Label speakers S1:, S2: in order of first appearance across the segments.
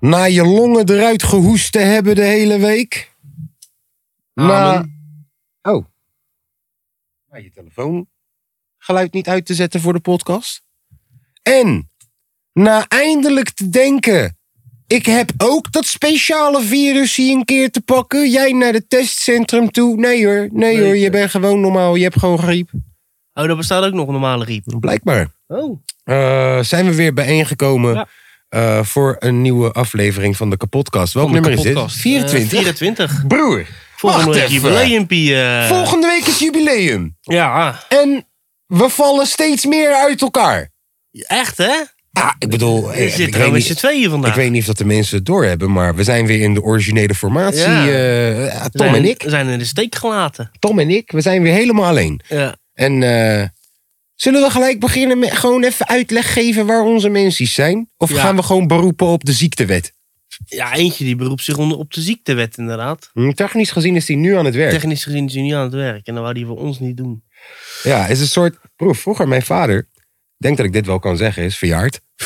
S1: Na je longen eruit gehoest te hebben de hele week. Na... Oh. Na je telefoon geluid niet uit te zetten voor de podcast. En na eindelijk te denken. Ik heb ook dat speciale virus hier een keer te pakken. Jij naar het testcentrum toe. Nee hoor, nee, hoor, je bent gewoon normaal. Je hebt gewoon griep.
S2: Oh, er bestaat ook nog een normale riep.
S1: Blijkbaar.
S2: Oh.
S1: Eh, zijn we weer bijeengekomen
S2: Ja.
S1: eh, voor een nieuwe aflevering van de kapotkast. Welk
S3: Van de
S1: nummer is dit?
S3: Kapotkast.
S1: 24.
S2: 24.
S1: Broer,
S2: eh, Volgende
S1: Wacht
S2: week
S1: even.
S2: jubileumpie. eh.
S1: volgende week is jubileum.
S2: Ja, ah.
S1: En we vallen steeds meer uit elkaar.
S2: echt hè?
S1: Ah, ik bedoel, eh,
S2: Er
S1: ik,
S2: zitten wel
S1: weet
S2: met z'n
S1: niet,
S2: tweeën vandaag.
S1: ik weet niet of dat de mensen het doorhebben, maar we zijn weer in de originele formatie.
S2: Ja.
S1: eh, ja,
S2: We
S1: Tom
S2: zijn,
S1: en ik.
S2: we zijn in de steek gelaten.
S1: Tom en ik, we zijn weer helemaal alleen.
S2: Ja.
S1: En eh, zullen we gelijk beginnen met gewoon even uitleg geven waar onze mensen zijn? Of
S2: Ja.
S1: gaan we gewoon beroepen op de ziektewet?
S2: ja, eentje die beroept zich onder op de ziektewet inderdaad.
S1: Hm, Technisch gezien is hij nu aan het werk.
S2: Technisch gezien is hij niet aan het werk. En dat wou hij voor ons niet doen.
S1: Ja, is een soort. Broer, vroeger mijn vader. ik Denk dat ik dit wel kan zeggen, is verjaard.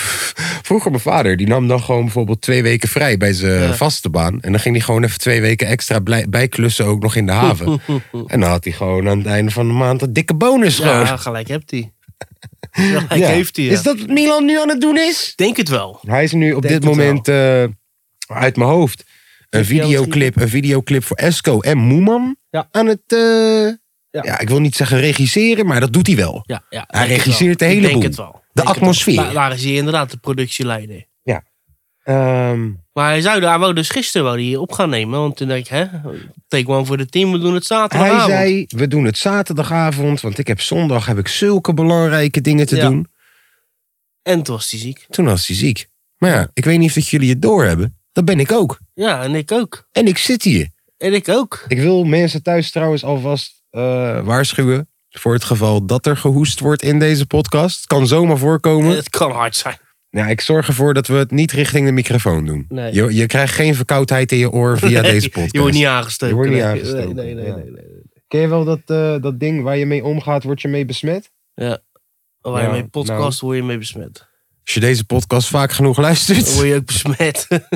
S1: Vroeger mijn vader, die nam dan gewoon bijvoorbeeld twee weken vrij bij zijn
S2: Ja.
S1: vaste baan. En dan ging hij gewoon even twee weken extra blij- bijklussen ook nog in de haven. en dan had hij gewoon aan het einde van de maand een dikke bonus
S2: Ja,
S1: gewoon.
S2: gelijk hebt hij. Gelijk
S1: Ja.
S2: heeft hij. ja.
S1: Is dat wat Milan nu aan het doen is?
S2: Denk het wel.
S1: Hij is nu op
S2: Denk
S1: dit
S2: het
S1: moment eh, uit mijn hoofd een
S2: Video
S1: videoclip, een videoclip voor Esco en Moeman
S2: Ja.
S1: aan het... eh, ja.
S2: Ja.
S1: ik wil niet zeggen regisseren, maar dat doet hij wel.
S2: Ja, ja,
S1: Hij
S2: denk het
S1: regisseert
S2: wel.
S1: de hele
S2: Ik Denk
S1: boel.
S2: het wel. Denk
S1: De
S2: het wel.
S1: atmosfeer.
S2: Daar, daar is hij inderdaad de productieleider.
S1: Ehm,
S2: Maar hij zou daar wou dus gisteren wou die op gaan nemen. Want toen denk ik, hè, take one voor de team, we doen het
S1: Hij
S2: zaterdagavond.
S1: zei, we doen het zaterdagavond, want ik heb zondag heb ik zulke belangrijke dingen te
S2: Ja.
S1: doen.
S2: En toen was hij ziek.
S1: Toen was hij ziek. Maar ja, ik weet niet of dat jullie het doorhebben. Dat ben ik ook.
S2: Ja, en ik ook.
S1: En ik zit hier.
S2: En ik ook.
S1: Ik wil mensen thuis trouwens alvast eh, waarschuwen. Voor het geval dat er gehoest wordt in deze podcast. Het kan zomaar voorkomen.
S2: Het kan hard zijn.
S1: Ja, ik zorg ervoor dat we het niet richting de microfoon doen.
S2: Nee.
S1: Je, je krijgt geen verkoudheid in je oor via
S2: Nee,
S1: deze podcast.
S2: Je wordt niet aangestoken.
S1: Je wordt niet
S2: Nee,
S1: aangestoken,
S2: Nee, nee,
S1: ja.
S2: nee. nee, nee.
S1: Ken je wel dat, eh, dat ding waar je mee omgaat, word je mee besmet?
S2: Waar
S1: Ja,
S2: je mee
S1: nou.
S2: podcast word je mee besmet.
S1: Als je deze podcast vaak genoeg
S2: Dan
S1: luistert.
S2: word je ook besmet.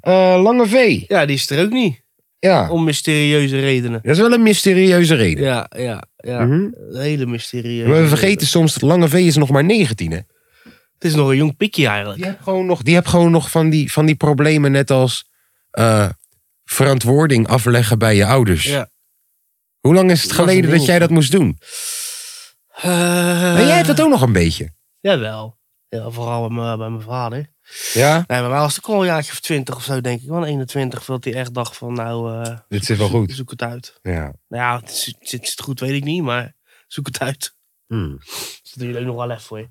S1: Eh, Lange V.
S2: ja, die is er ook niet.
S1: Ja.
S2: Om mysterieuze redenen.
S1: Dat is wel een mysterieuze reden.
S2: Ja, ja, ja.
S1: Mhm.
S2: Hele mysterieuze
S1: Maar we
S2: redenen.
S1: vergeten soms dat Lange V is nog maar 19, hè?
S2: Het is nog een jong pikje eigenlijk.
S1: Die hebt gewoon nog, die hebt gewoon nog van, die, van die problemen net als eh, verantwoording afleggen bij je ouders.
S2: Ja.
S1: Hoe lang is het
S2: Dat was
S1: geleden
S2: een
S1: dat jij dat moest doen?
S2: Eh,
S1: en jij hebt dat ook nog een beetje.
S2: Jawel. Ja, vooral bij mijn- bij mijn vader.
S1: Ja?
S2: Nee, maar mij was het ook al een jaartje of 20 of zo, denk ik. Wel 21, dat hij echt dacht van, nou, eh,
S1: Dit zit wel goed.
S2: zoek het uit.
S1: Ja.
S2: Nou ja, het zit, zit het goed, weet ik niet, maar zoek het uit. Hmm. Dat is natuurlijk ook nog wel even voor je.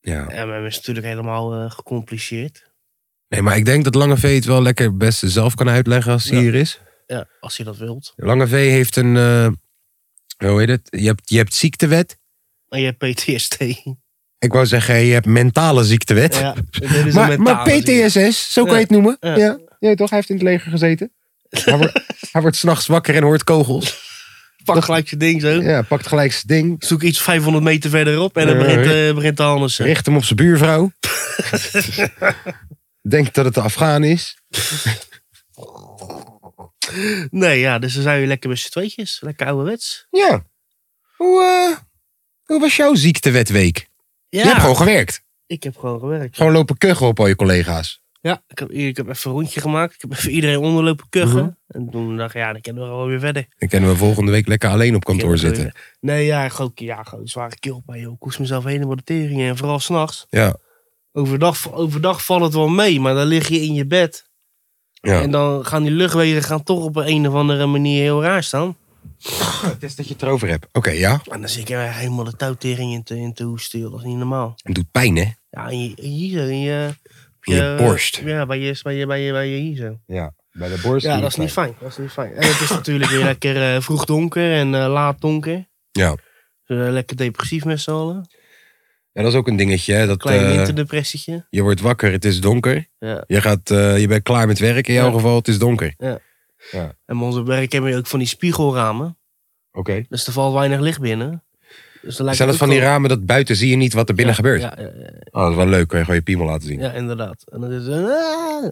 S1: ja.
S2: En dat is natuurlijk helemaal eh, gecompliceerd.
S1: Nee, maar ik denk dat Lange V het wel lekker het beste zelf kan uitleggen als hij
S2: Ja.
S1: hier is.
S2: Ja, als je dat wilt.
S1: Lange V heeft een. eh, hoe heet het? Je hebt, je hebt ziektewet.
S2: En je hebt PTSD.
S1: Ik wou zeggen, je hebt mentale ziektewet.
S2: ja, dit is een
S1: maar,
S2: mentale
S1: maar
S2: ziekte.
S1: PTSS, zo kan
S2: Ja.
S1: je het noemen. Ja.
S2: Ja.
S1: Ja. toch? Hij heeft in het leger gezeten. Hij wordt, hij wordt s'nachts wakker en hoort kogels.
S2: Pak gelijk je ding zo.
S1: Ja, pakt gelijk zijn ding.
S2: Zoek iets 500 meter verderop en dan
S1: Ja,
S2: begint,
S1: ja.
S2: eh begint de Hannessen.
S1: Richt hem op zijn buurvrouw. Denkt dat het de Afghaan is.
S2: Nee, ja, dus dan zijn we lekker met z'n tweetjes. Lekker ouderwets.
S1: Ja. Hoe, eh, hoe was jouw ziektewetweek?
S2: Ja,
S1: Je hebt gewoon gewerkt.
S2: ik heb gewoon gewerkt.
S1: Gewoon lopen kuchen op al je collega's.
S2: Ja, ik heb, ik heb even een rondje gemaakt. Ik heb even iedereen onderlopen kuchen.
S1: Mhm.
S2: En toen dacht ik, ja, dan kunnen we gewoon weer verder.
S1: Dan kunnen we volgende week lekker alleen op kantoor
S2: Kunnen we
S1: zitten.
S2: weer- Nee, ja, gewoon, ja, gewoon zware keel bij, joh. Ik koest mezelf helemaal de tering. En vooral s'nachts.
S1: Ja.
S2: Overdag, overdag valt het wel mee, maar dan lig je in je bed.
S1: ja.
S2: En dan gaan die luchtwegen gaan toch op een of andere manier heel raar staan.
S1: Het is dat je het erover hebt. Oké, ja.
S2: En dan zit ik er helemaal de touwtering in te, in te hoesten, joh. Dat is niet normaal.
S1: Het doet pijn, hè?
S2: Ja, en je, en hier, en je, op
S1: In je borst.
S2: Ja, bij je, bij je, bij je, bij je hier zo.
S1: Ja, bij de borst.
S2: Ja, dat is niet fijn. Dat is niet fijn. En het is natuurlijk weer lekker eh, vroeg donker en eh, laat donker.
S1: Ja.
S2: Dus, eh, lekker depressief met z'n allen.
S1: Ja, dat is ook een dingetje. Hè? Dat,
S2: Klein
S1: eh,
S2: winterdepressietje.
S1: je wordt wakker, het is donker.
S2: Ja.
S1: Je, gaat, eh, je bent klaar met werk. In jouw
S2: Ja.
S1: geval, het is donker.
S2: En bij onze werk hebben we ook van die spiegelramen.
S1: Oké.
S2: Dus er valt weinig licht binnen. Dus dan
S1: Zijn
S2: lijkt het
S1: dat
S2: ook
S1: van die
S2: wel-
S1: ramen dat buiten zie je niet wat er binnen gebeurt?
S2: Ja, ja, ja,
S1: Oh, dat is wel leuk. Kun je gewoon je piemel laten zien.
S2: ja, inderdaad. En dan is het... ah.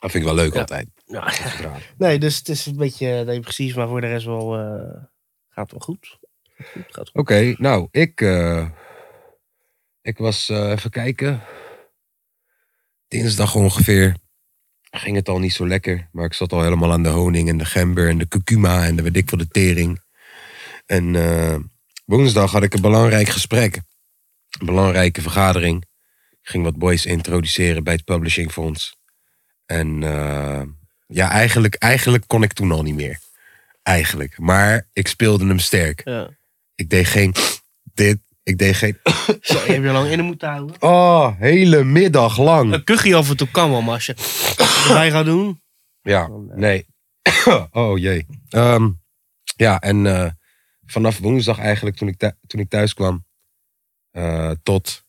S1: Dat vind ik wel leuk
S2: Ja.
S1: altijd.
S2: Ja.
S1: Raar.
S2: Nee, dus het is een beetje depressief, maar voor de rest wel... eh, gaat wel goed. Gaat goed, Gaat goed.
S1: Oké, nou, ik, eh, ik was eh, even kijken. Dinsdag ongeveer ging het al niet zo lekker. Maar ik zat al helemaal aan de honing en de gember en de curcuma en de weet ik veel, de tering. En eh, woensdag had ik een belangrijk gesprek. Een belangrijke vergadering. Ik ging wat boys introduceren bij het Publishing Fonds. En eh, ja, eigenlijk, eigenlijk kon ik toen al niet meer. Eigenlijk. Maar ik speelde hem sterk.
S2: Ja.
S1: Ik deed geen dit. Ik deed geen.
S2: Zo, je hebt je lang in moeten houden.
S1: Oh, hele middag lang.
S2: Een kuchje af en toe kan wel, maar als je erbij gaat doen...
S1: Ja, nee. Oh jee. Ehm, ja, en eh, vanaf woensdag eigenlijk, toen ik, thu- toen ik thuis kwam, eh, tot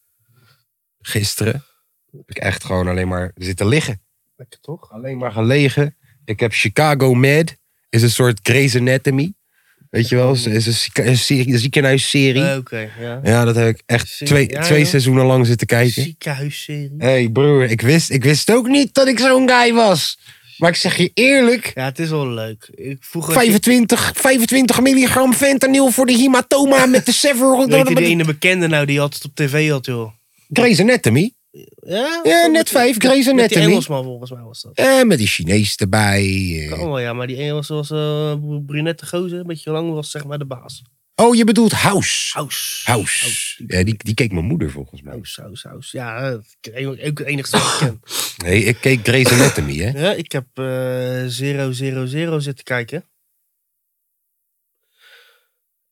S1: gisteren, heb ik echt gewoon alleen maar zitten liggen.
S2: Lekker toch?
S1: Alleen maar gelegen. Ik heb Chicago Med, is een soort Grey's Anatomy. Weet je wel, is is een, zieke- een serie- een ziekenhuisserie.
S2: Eh, Oké, ja.
S1: Ja, dat heb ik echt
S2: Zie-
S1: twee,
S2: ja,
S1: twee
S2: joh.
S1: seizoenen lang zitten kijken.
S2: Ziekenhuisserie.
S1: Hé hey broer, ik wist, ik wist ook niet dat ik zo'n guy was. Maar ik zeg je eerlijk,
S2: Ja, het is wel leuk. Ik vroeger...
S1: 25, 25 milligram fentanyl voor de hematoma met de several...
S2: Weet je die ene bekende nou die altijd op tv had, joh?
S1: Grey's Anatomy.
S2: Ja,
S1: Ja,
S2: met
S1: net
S2: die-
S1: vijf, Grey's
S2: Met die
S1: Anatomy.
S2: Engelsman volgens mij was dat.
S1: En eh, met die Chinees erbij. eh.
S2: Kan wel, ja, maar die Engels was eh brunette gozer, een beetje lang was zeg maar de baas.
S1: Oh, je bedoelt House.
S2: House.
S1: House. Ja, die, die keek mijn moeder volgens mij.
S2: House, house, house. Ja, dat is ook ook het enigste wat ik ken.
S1: Nee, ik keek Grey's Anatomy, hè.
S2: Ja, ik heb eh 000 zitten kijken.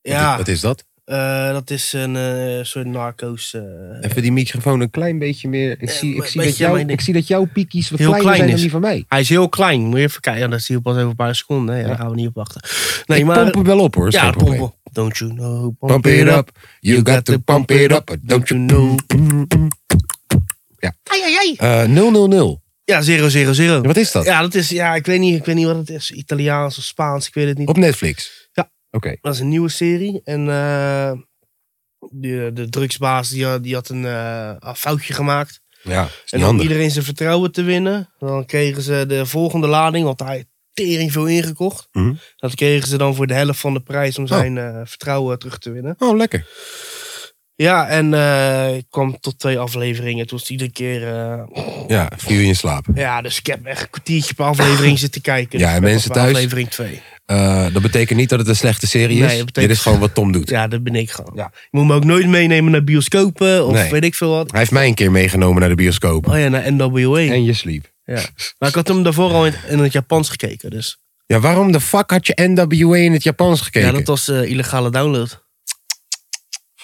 S1: Wat is-
S2: Ja,
S1: Wat is dat?
S2: eh, dat is een eh, soort narco's. eh,
S1: Even die microfoon een klein beetje meer. Ik
S2: Eh,
S1: zie, ik
S2: maar-
S1: zie, dat,
S2: beetje
S1: jou,
S2: mijn ding.
S1: ik zie dat jouw piekjes wat
S2: Heel
S1: kleiner
S2: klein
S1: zijn dan
S2: is.
S1: die van mij.
S2: Hij is heel klein, moet je even kijken. Ja, dat zie je pas over een paar seconden. hè. Ja, daar gaan we niet op wachten. Nee,
S1: ik
S2: maar.
S1: pomp hem wel op, hoor. is
S2: ja,
S1: geen probleem.
S2: pompen. Don't you know? Pump,
S1: Pump it up. You got to pump it up. Don't you know? Ja. Eh, 000.
S2: Ja, 000.
S1: Wat is dat?
S2: Ja, dat is. Ja, ik weet niet, ik weet niet wat het is. Italiaans of Spaans, ik weet het niet.
S1: Op Netflix.
S2: Ja.
S1: Oké.
S2: Dat is een nieuwe serie. En eh, de, de drugsbaas die, had- die had een eh, een foutje gemaakt.
S1: Ja, is
S2: En
S1: niet
S2: om
S1: handig.
S2: iedereen zijn vertrouwen te winnen, dan kregen ze de volgende lading, want hij had tering veel ingekocht.
S1: Mhm.
S2: Dat kregen ze dan voor de helft van de prijs om zijn eh, vertrouwen terug te winnen.
S1: Oh, lekker.
S2: Ja, en eh, ik kwam tot twee afleveringen. Toen was het iedere keer. eh,
S1: Ja, viel je in slaap.
S2: ja, dus ik heb echt een kwartiertje per aflevering zitten kijken.
S1: Ja,
S2: Dus
S1: en
S2: ik ben
S1: mensen
S2: pas bij
S1: thuis?
S2: Aflevering 2.
S1: Eh, dat betekent niet dat het een slechte serie is.
S2: Nee, dat betekent-
S1: Dit is gewoon wat Tom doet.
S2: Ja, dat ben ik gewoon.
S1: Ja.
S2: Je moet me ook nooit meenemen naar bioscopen of
S1: Nee.
S2: weet ik veel wat.
S1: Hij heeft mij een keer meegenomen naar de bioscoop.
S2: Oh ja, naar NWA.
S1: En je sliep.
S2: Ja. Maar ik had hem daarvoor al in, in het Japans gekeken. Dus.
S1: Ja, waarom de fuck had je NWA in het Japans gekeken?
S2: Ja, dat was eh, illegale download.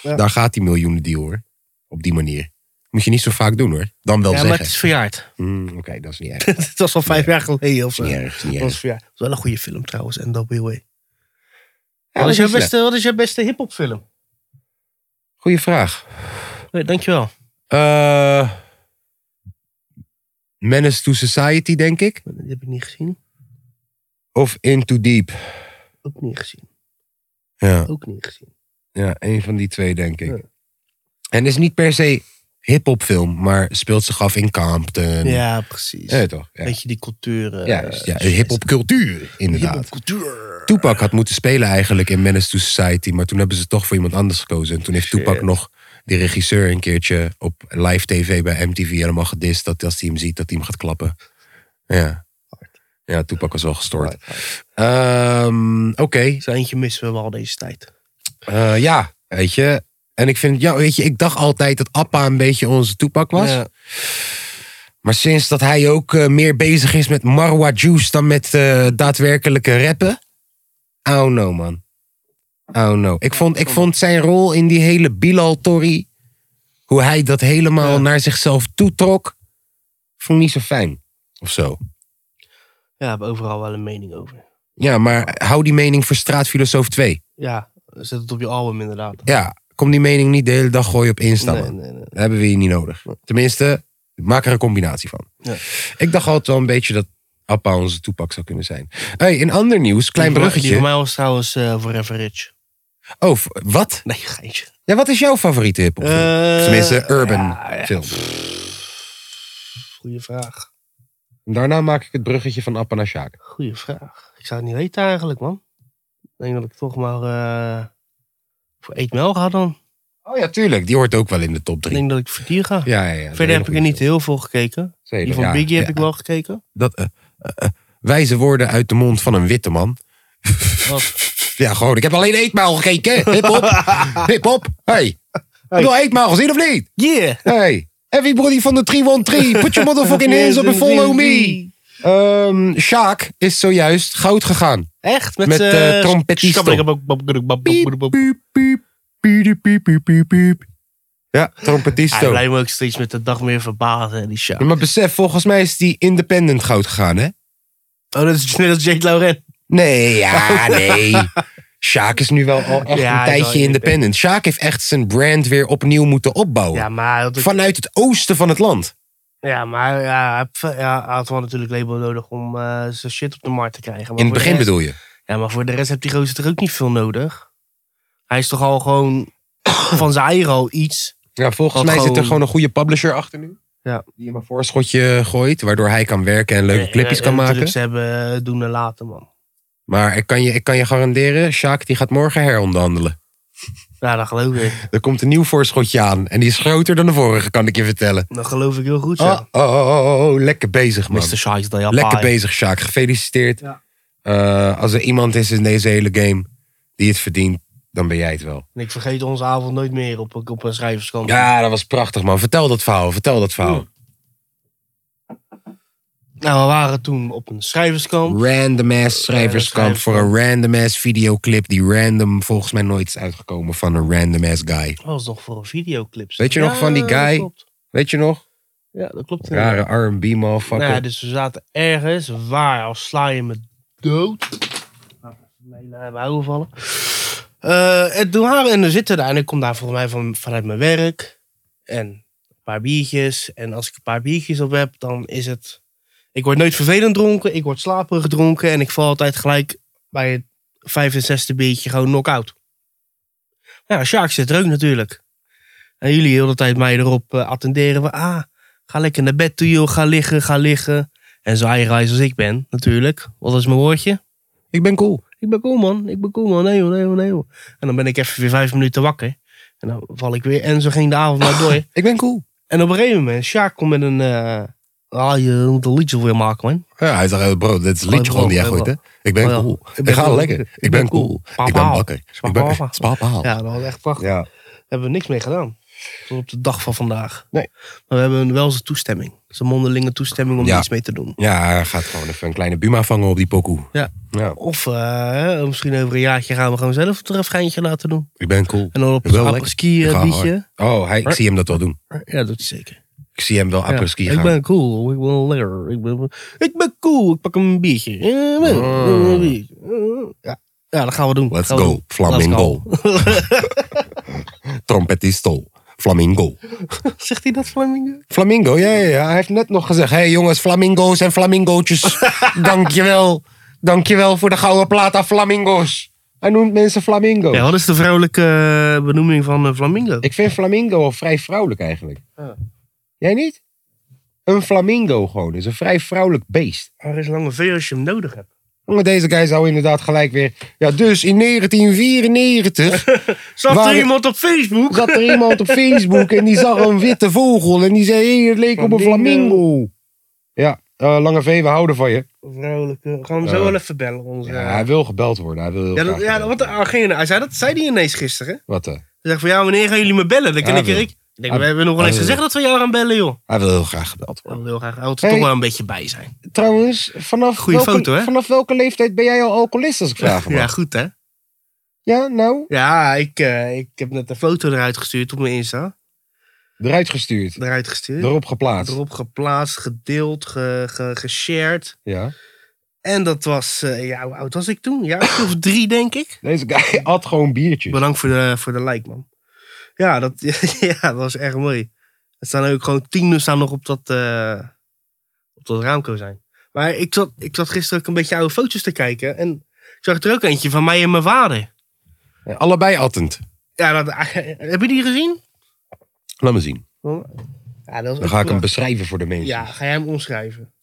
S2: ja.
S1: Daar gaat die miljoenen deal hoor. Op die manier. Moet je niet zo vaak doen hoor. Dan wel
S2: ja, maar
S1: zeggen.
S2: het is verjaard.
S1: Hmm, Oké, dat is niet erg. Dat
S2: het was al vijf jaar geleden of
S1: is
S2: zo.
S1: niet erg. is niet
S2: Dat
S1: erg.
S2: was verjaard. Dat is wel een goede film trouwens, NWA.
S1: Ja,
S2: wat,
S1: dat
S2: is jouw
S1: is
S2: beste, wat is jouw beste hip-hop film?
S1: Goeie vraag.
S2: Nee, dankjewel.
S1: Eh Menace to Society, denk ik.
S2: Die heb ik niet gezien.
S1: Of Into Deep.
S2: Ook niet gezien.
S1: Ja,
S2: Ook niet gezien.
S1: ja een van die twee, denk ik.
S2: Ja.
S1: En is niet per se hip-hop film, maar speelt zich af in Compton.
S2: Ja, precies.
S1: Ja, toch? eh, Ja.
S2: Beetje die cultuur. eh,
S1: Juist, ja, hip-hop cultuur, inderdaad.
S2: Hip-hop cultuur.
S1: Tupac had moeten spelen eigenlijk in Menace to Society, maar toen hebben ze toch voor iemand anders gekozen. En toen heeft
S2: Shit.
S1: Tupac nog die regisseur een keertje op live tv bij MTV helemaal gedist dat als hij hem ziet, dat hij hem gaat klappen. Ja. Ja, Tupac was wel gestoord. Ehm, Oké,
S2: Zo eentje missen we wel deze tijd.
S1: Eh, ja, weet je. En ik vind, ja, weet je, ik dacht altijd dat Appa een beetje onze Tupac was.
S2: Ja.
S1: Maar sinds dat hij ook eh, meer bezig is met Marwa Juice dan met eh, daadwerkelijke rappen. Oh no, man. Oh no. Ik vond, ik vond zijn rol in die hele Bilal Tory. Hoe hij dat helemaal
S2: Ja.
S1: naar zichzelf toetrok. Vond ik niet zo fijn. Of zo.
S2: Ja, heb overal wel een mening over.
S1: Ja, maar hou die mening voor Straatfilosoof 2.
S2: Ja, zet het op je album inderdaad.
S1: Ja, kom die mening niet de hele dag gooien op Insta. man.
S2: Nee, nee, nee.
S1: Dat hebben we hier niet nodig. Tenminste, maak er een combinatie van.
S2: Ja.
S1: Ik dacht altijd wel een beetje dat Appa onze toepak zou kunnen zijn. hey, in ander nieuws, klein
S2: Die voor- Die
S1: bruggetje.
S2: voor mij was trouwens eh Forever Rich.
S1: Oh, v- wat?
S2: Nee, geintje.
S1: Ja, wat is jouw favoriete hip
S2: Eh,
S1: Tenminste, urban
S2: ja, ja.
S1: film.
S2: Goeie vraag.
S1: Daarna maak ik het bruggetje van Appa naar Sjaak.
S2: Goeie vraag. Ik zou het niet weten eigenlijk, man. Ik denk dat ik toch maar eh, voor Eetmel ga dan.
S1: Oh ja, tuurlijk. Die hoort ook wel in de top
S2: Ik
S1: 3.
S2: denk dat ik voor die ga.
S1: Ja, ja, ja. Een hele
S2: Verder heb ik
S1: goeie
S2: er niet
S1: film.
S2: heel veel gekeken.
S1: Zeker,
S2: Die van
S1: ja,
S2: Biggie heb
S1: ja.
S2: ik wel gekeken.
S1: Dat, eh, eh, eh, wijze woorden uit de mond van een witte man.
S2: Wat?
S1: Ja, gewoon. Ik heb alleen eetmaal gekeken. Hip-hop. Hip-hop. Hey. Heb je al eetmaal gezien of niet?
S2: Yeah!
S1: Hey. Everybody van de 313. Put your motherfucking hands up and follow me. Ehm Sjaak is zojuist goud gegaan.
S2: Echt? Met,
S1: Met, eh, trompetisten. Piep,
S2: trompetisten.
S1: piep, piep. Piep, piep, piep, piep, piep. Ja,
S2: Hij
S1: trompetisto.
S2: blijft me ook steeds met de dag meer verbazen, die Sjaak.
S1: Ja, Maar besef, volgens mij is die independent goud gegaan, hè?
S2: Oh, dat is net als Jake Laurent.
S1: Nee, ja, nee. Sjaak is nu wel al echt
S2: Ja,
S1: een
S2: hij is
S1: tijdje
S2: wel
S1: independent. Sjaak heeft echt zijn brand weer opnieuw moeten opbouwen.
S2: Ja, maar, dat-
S1: Vanuit het oosten van het land.
S2: ja, maar ja, hij heeft- ja, hij had wel natuurlijk label nodig om eh, zijn shit op de markt te krijgen. Maar
S1: In het
S2: voor de
S1: begin
S2: rest-
S1: bedoel je?
S2: Ja, maar voor de rest heeft die gozer toch ook niet veel nodig? Hij is toch al gewoon van zijn eigen al iets.
S1: Ja, volgens
S2: Had
S1: mij zit er
S2: gewoon-
S1: gewoon een goede publisher achter nu.
S2: Ja.
S1: Die hem een voorschotje gooit, waardoor hij kan werken en leuke
S2: Eh,
S1: clipjes
S2: eh,
S1: kan
S2: natuurlijk,
S1: maken.
S2: Ze hebben eh, doen en laten, man.
S1: Maar ik kan je, ik kan je garanderen, Sjaak die gaat morgen heronderhandelen.
S2: Ja, dat geloof ik.
S1: Er komt een nieuw voorschotje aan en die is groter dan de vorige, kan ik je vertellen.
S2: Dat geloof ik heel goed,
S1: Oh,
S2: ja.
S1: oh, oh, oh, oh, lekker bezig man.
S2: Mr. Shice, dat
S1: Lekker bezig, Sjaak. Gefeliciteerd.
S2: Ja.
S1: Eh, als er iemand is in deze hele game die het verdient, dan ben jij het wel.
S2: En ik vergeet onze avond nooit meer op, op een schrijverskamp.
S1: Ja, dat was prachtig, man. Vertel dat verhaal, vertel dat verhaal.
S2: Nou, we waren toen op een schrijverskamp.
S1: Random ass schrijverskamp voor een random ass videoclip die random volgens mij nooit is uitgekomen van een random ass guy.
S2: Dat was nog voor een videoclips.
S1: Weet je nog van die
S2: dat
S1: guy?
S2: klopt.
S1: Weet je nog?
S2: Ja, dat klopt. inderdaad.
S1: Rare R&B motherfucker.
S2: Nou ja, dus we zaten ergens. Waar? Al sla je me dood. Nee, laat me houden vallen. Eh, en toen waren we en dan zitten we daar. En ik kom daar volgens mij van, vanuit mijn werk. En een paar biertjes. En als ik een paar biertjes op heb, dan is het... Ik word nooit vervelend dronken. Ik word slaperig dronken. En ik val altijd gelijk bij het vijfde, zesde biertje gewoon knock-out. Ja, Sjaak zit er ook natuurlijk. En jullie heel de hele tijd mij erop eh, attenderen. Van, ah, Ga lekker naar bed toe, joh. Ga liggen, ga liggen. En zo eigenwijs als ik ben, natuurlijk. Wat is mijn woordje?
S1: Ik ben cool.
S2: Ik ben cool, man. Ik ben cool, man. Nee, joh, nee, joh, nee. Joh. En dan ben ik even weer vijf minuten wakker. En dan val ik weer. En zo ging de avond maar door.
S1: Ik ben cool.
S2: En op een gegeven moment, Sjaak komt met een... eh, Ah, je moet een liedje weer maken, man.
S1: Ja, hij zegt, eh, bro, dit is een
S2: Oh,
S1: liedje gewoon
S2: bro,
S1: die jij
S2: bro.
S1: gooit, hè? Ik ben
S2: Oh, ja.
S1: cool.
S2: Ik
S1: Ik,
S2: ben
S1: ga
S2: cool.
S1: lekker. Ik ben cool. Ik ben
S2: Papaal.
S1: bakker. Ik
S2: Papaal.
S1: ben spapaal.
S2: Ja, dat was echt prachtig.
S1: Oh. Ja.
S2: Daar hebben we niks mee gedaan. Tot op de dag van vandaag.
S1: Nee.
S2: Maar we hebben wel zijn toestemming. Zijn mondelinge toestemming om
S1: Ja.
S2: er iets mee te doen.
S1: Ja, hij gaat gewoon even een kleine Buma vangen op die pokoe.
S2: Ja.
S1: ja.
S2: Of eh, misschien over een jaartje gaan we gewoon zelf het refreintje laten doen.
S1: Ik ben cool.
S2: En dan op
S1: Ik wil
S2: een
S1: lekker.
S2: apperskier
S1: Ik ga
S2: liedje.
S1: Oh, hij, ik zie hem dat wel doen.
S2: Ja, dat doet hij zeker.
S1: Ik zie hem wel
S2: Ja.
S1: apres ski
S2: Ik
S1: gaan.
S2: ben cool, ik ben lekker. Ik ben, ik ben cool, ik pak een biertje. Eh, wel,
S1: Ah.
S2: eh, een biertje. Eh, Ja. ja, dat gaan we doen.
S1: Let's
S2: Gaan we
S1: go,
S2: doen.
S1: flamingo. Trompetisto, flamingo.
S2: Zegt hij dat, Flamingo?
S1: Flamingo, ja, ja, ja. Hij heeft net nog gezegd, hé hey, jongens, flamingo's en flamingootjes. Dankjewel. Dankjewel voor de gouden plaat aan flamingo's. Hij noemt mensen flamingo.
S2: Ja, wat is de vrouwelijke eh, benoeming van een Flamingo?
S1: Ik vind flamingo al vrij vrouwelijk eigenlijk.
S2: Ja.
S1: Jij niet? Een flamingo gewoon is een vrij vrouwelijk beest.
S2: Er is lange veer als je hem nodig hebt.
S1: Maar deze guy zou inderdaad gelijk weer. Ja, dus in 1994
S2: Zat
S1: Waar-
S2: er iemand op Facebook?
S1: zat er iemand op Facebook en die zag een witte vogel. En die zei: hé, het leek op een
S2: Flamingo.
S1: flamingo. Ja, eh, Lange V, we houden van je.
S2: Vrouwelijke. We gaan hem
S1: Ja.
S2: zo wel even bellen. Onze...
S1: Ja, hij wil gebeld worden. Hij wil heel
S2: Ja, dat,
S1: graag
S2: ja,
S1: gebeld
S2: want
S1: worden.
S2: hij, ging, hij zei dat zei hij ineens gisteren.
S1: Wat, eh,
S2: Hij zegt van ja, wanneer gaan jullie me bellen? Dan kan
S1: Ja,
S2: ik er.
S1: wil.
S2: Ik Ik denk,
S1: Ja,
S2: we hebben nog wel
S1: ja,
S2: eens
S1: wil.
S2: gezegd dat we jou gaan bellen, joh.
S1: hij wil heel graag gebeld worden.
S2: Ik wil graag. Hij wil er
S1: Hey.
S2: toch wel een beetje bij zijn.
S1: Trouwens, vanaf,
S2: Goeie
S1: welke,
S2: foto, hè?
S1: vanaf welke leeftijd ben jij al alcoholist als ik vraag?
S2: Ja,
S1: ja.
S2: goed hè?
S1: ja, nou.
S2: Ja, ik, eh, ik heb net een foto eruit gestuurd op mijn Insta.
S1: Eruit gestuurd.
S2: eruit gestuurd.
S1: Erop geplaatst.
S2: Erop geplaatst, gedeeld, ge, ge- geshared.
S1: Ja.
S2: En dat was, eh, ja, hoe oud was ik toen? Ja, of drie denk ik.
S1: Deze guy had gewoon biertjes.
S2: Bedankt voor de, voor de like, man. Ja, dat, ja, dat was echt mooi. Er staan ook gewoon tien nu staan nog op dat, eh, op dat raamkozijn. Maar ik zat, ik zat gisteren ook een beetje oude foto's te kijken. En ik zag er ook eentje van mij en mijn vader.
S1: Ja, Allebei attend.
S2: Ja, dat, ah, heb je die gezien?
S1: Laat me zien.
S2: Ja, dat
S1: Dan
S2: was ook
S1: ga ik hem
S2: prachtig.
S1: beschrijven voor de mensen.
S2: Ja, ga jij hem omschrijven?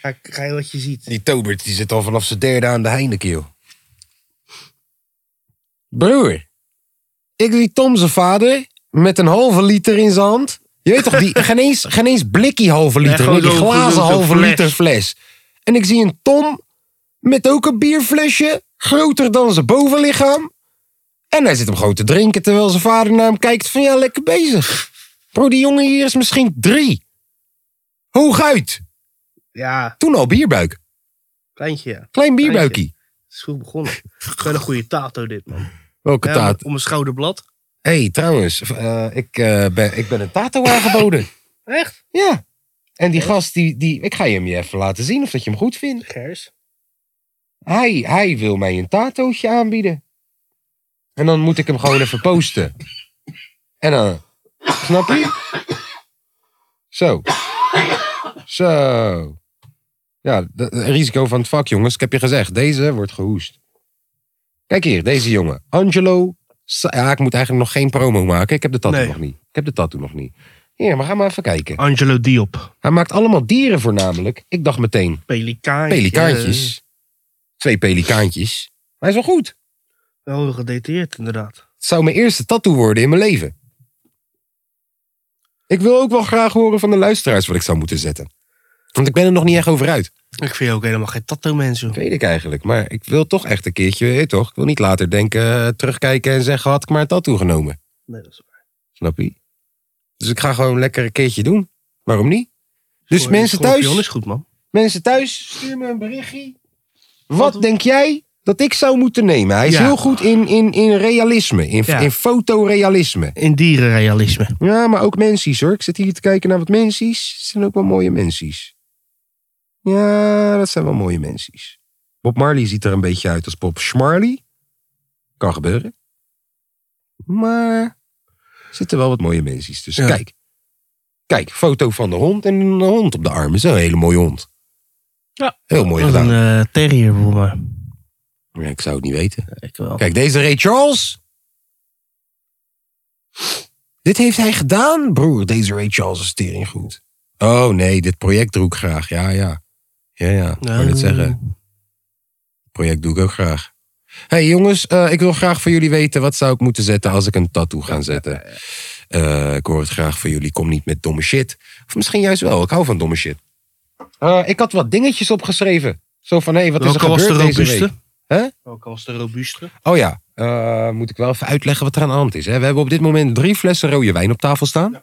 S2: Ga, ik- ga je wat je ziet?
S1: Die Tobert die zit al vanaf zijn derde aan de Heineken, joh. Broer, ik zie Tom zijn vader met een halve liter in zijn hand. Je weet toch, die, geen, eens, geen eens blikkie halve
S2: Nee,
S1: liter,
S2: gewoon
S1: die
S2: zo'n-
S1: glazen
S2: zo'n
S1: halve
S2: fles.
S1: liter fles. En ik zie een Tom met ook een bierflesje, groter dan zijn bovenlichaam. En hij zit hem gewoon te drinken terwijl zijn vader naar hem kijkt van ja, lekker bezig. Bro, die jongen hier is misschien drie. Hooguit.
S2: Ja,
S1: Toen al bierbuik.
S2: kleintje, ja.
S1: Klein bierbuikie.
S2: Het is goed begonnen. Wel een goede tato dit, man.
S1: Welke
S2: Ja,
S1: taart?
S2: om een schouderblad.
S1: Hé, hey, trouwens, eh, ik, eh, ben, ik ben een tato aangeboden.
S2: Echt?
S1: ja. En die gast, die, die, ik ga hem je even laten zien of dat je hem goed vindt.
S2: Gers.
S1: Hij, hij wil mij een tatootje aanbieden. En dan moet ik hem gewoon even posten. En dan, snap je? Zo. Zo. Ja, de- de risico van het vak, jongens. Ik heb je gezegd, deze wordt gehoest. Kijk hier, deze jongen. Angelo. Sa- ja, ik moet eigenlijk nog geen promo maken. Ik heb de tattoo
S2: Nee.
S1: nog niet. Ik heb de tattoo nog niet. Hier, maar ga maar even kijken.
S2: Angelo Diop.
S1: Hij maakt allemaal dieren voornamelijk. Ik dacht meteen,
S2: Pelikaantjes.
S1: Pelikaantjes. Twee pelikaantjes. Maar hij is wel goed.
S2: Wel gedateerd, inderdaad.
S1: Het zou mijn eerste tattoo worden in mijn leven. Ik wil ook wel graag horen van de luisteraars wat ik zou moeten zetten. Want ik ben er nog niet echt over uit.
S2: Ik vind je ook helemaal geen tattoo mensen.
S1: Dat weet ik eigenlijk. Maar ik wil toch echt een keertje, weet je toch? Ik wil niet later denken, eh, terugkijken en zeggen, had ik maar een tattoo genomen.
S2: Nee, dat is waar.
S1: Snap je? Dus ik ga gewoon lekker een keertje doen. Waarom niet? Dus
S2: Voor-
S1: mensen
S2: Scorpion
S1: thuis,
S2: is goed, man.
S1: mensen thuis, stuur me een berichtje. Wat,
S2: Wat-
S1: denk jij dat ik zou moeten nemen? Hij is
S2: Ja.
S1: heel goed in, in, in realisme, in,
S2: Ja.
S1: in fotorealisme.
S2: In dierenrealisme.
S1: Ja, maar ook mensies hoor. Ik zit hier te kijken naar wat mensies. Het zijn ook wel mooie mensies. Ja, dat zijn wel mooie mensies. Bob Marley ziet er een beetje uit als Bob Schmarley. Kan gebeuren. Maar er zitten wel wat mooie mensies tussen.
S2: Ja.
S1: Kijk. Kijk, foto van de hond en een hond op de arm. Dat is een hele mooie hond.
S2: Ja.
S1: Heel mooi
S2: Wat een
S1: gedaan.
S2: eh, terrier voor mij.
S1: Ja, ik zou het niet weten.
S2: Ik wel.
S1: Kijk, deze Ray Charles. Dit heeft hij gedaan, broer. Deze Ray Charles is tering goed. Oh nee, dit project doe ik graag. Ja, ja. Ja, ja. Ik wou
S2: Oh.
S1: net zeggen. Het project doe ik ook graag. hey, jongens, eh, ik wil graag van jullie weten... wat zou ik moeten zetten als ik een tattoo ga zetten? Eh, ik hoor het graag van jullie. Kom niet met domme shit. Of misschien juist wel. Ik hou van domme shit. Eh, ik had wat dingetjes opgeschreven. Zo van, hé, hey, wat is er
S2: Welke was de
S1: gebeurd deze week?
S2: robuuste?
S1: Hè?
S2: Welke was de robuuste?
S1: Oh ja, eh, moet ik wel even uitleggen wat er aan de hand is. Hè? We hebben op dit moment drie flessen rode wijn op tafel staan.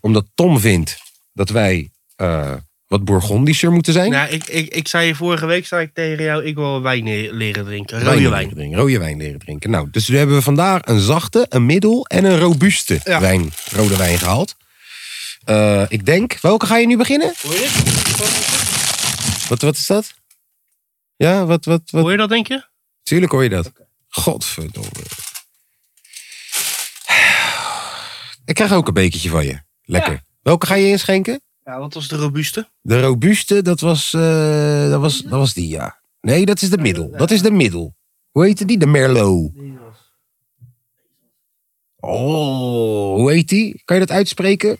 S1: Omdat Tom vindt dat wij eh, wat Bourgondischer moeten zijn.
S2: Nou, ik, ik, ik zei je vorige week zei ik tegen jou, ik wil wijn le- leren drinken.
S1: Wijn
S2: Rode
S1: leren
S2: wijn.
S1: drinken, rode wijn leren drinken. Nou, dus we hebben vandaag een zachte, een middel en een robuuste
S2: Ja.
S1: wijn, rode wijn gehaald. Eh, ik denk, welke ga je nu beginnen?
S2: Hoor je dit?
S1: Wat, wat is dat? Ja, wat, wat, wat?
S2: Hoor je dat, denk je?
S1: Tuurlijk hoor je dat. Godverdomme. Ik krijg ook een bekertje van je. Lekker. Welke ga je inschenken?
S2: Ja, wat was de robuuste?
S1: De robuuste, dat was, eh, dat was, dat was die, ja. Nee, dat is de middel. Dat is de middel. Hoe heette die? De Merlot. Oh, hoe heet die? Kan je dat uitspreken?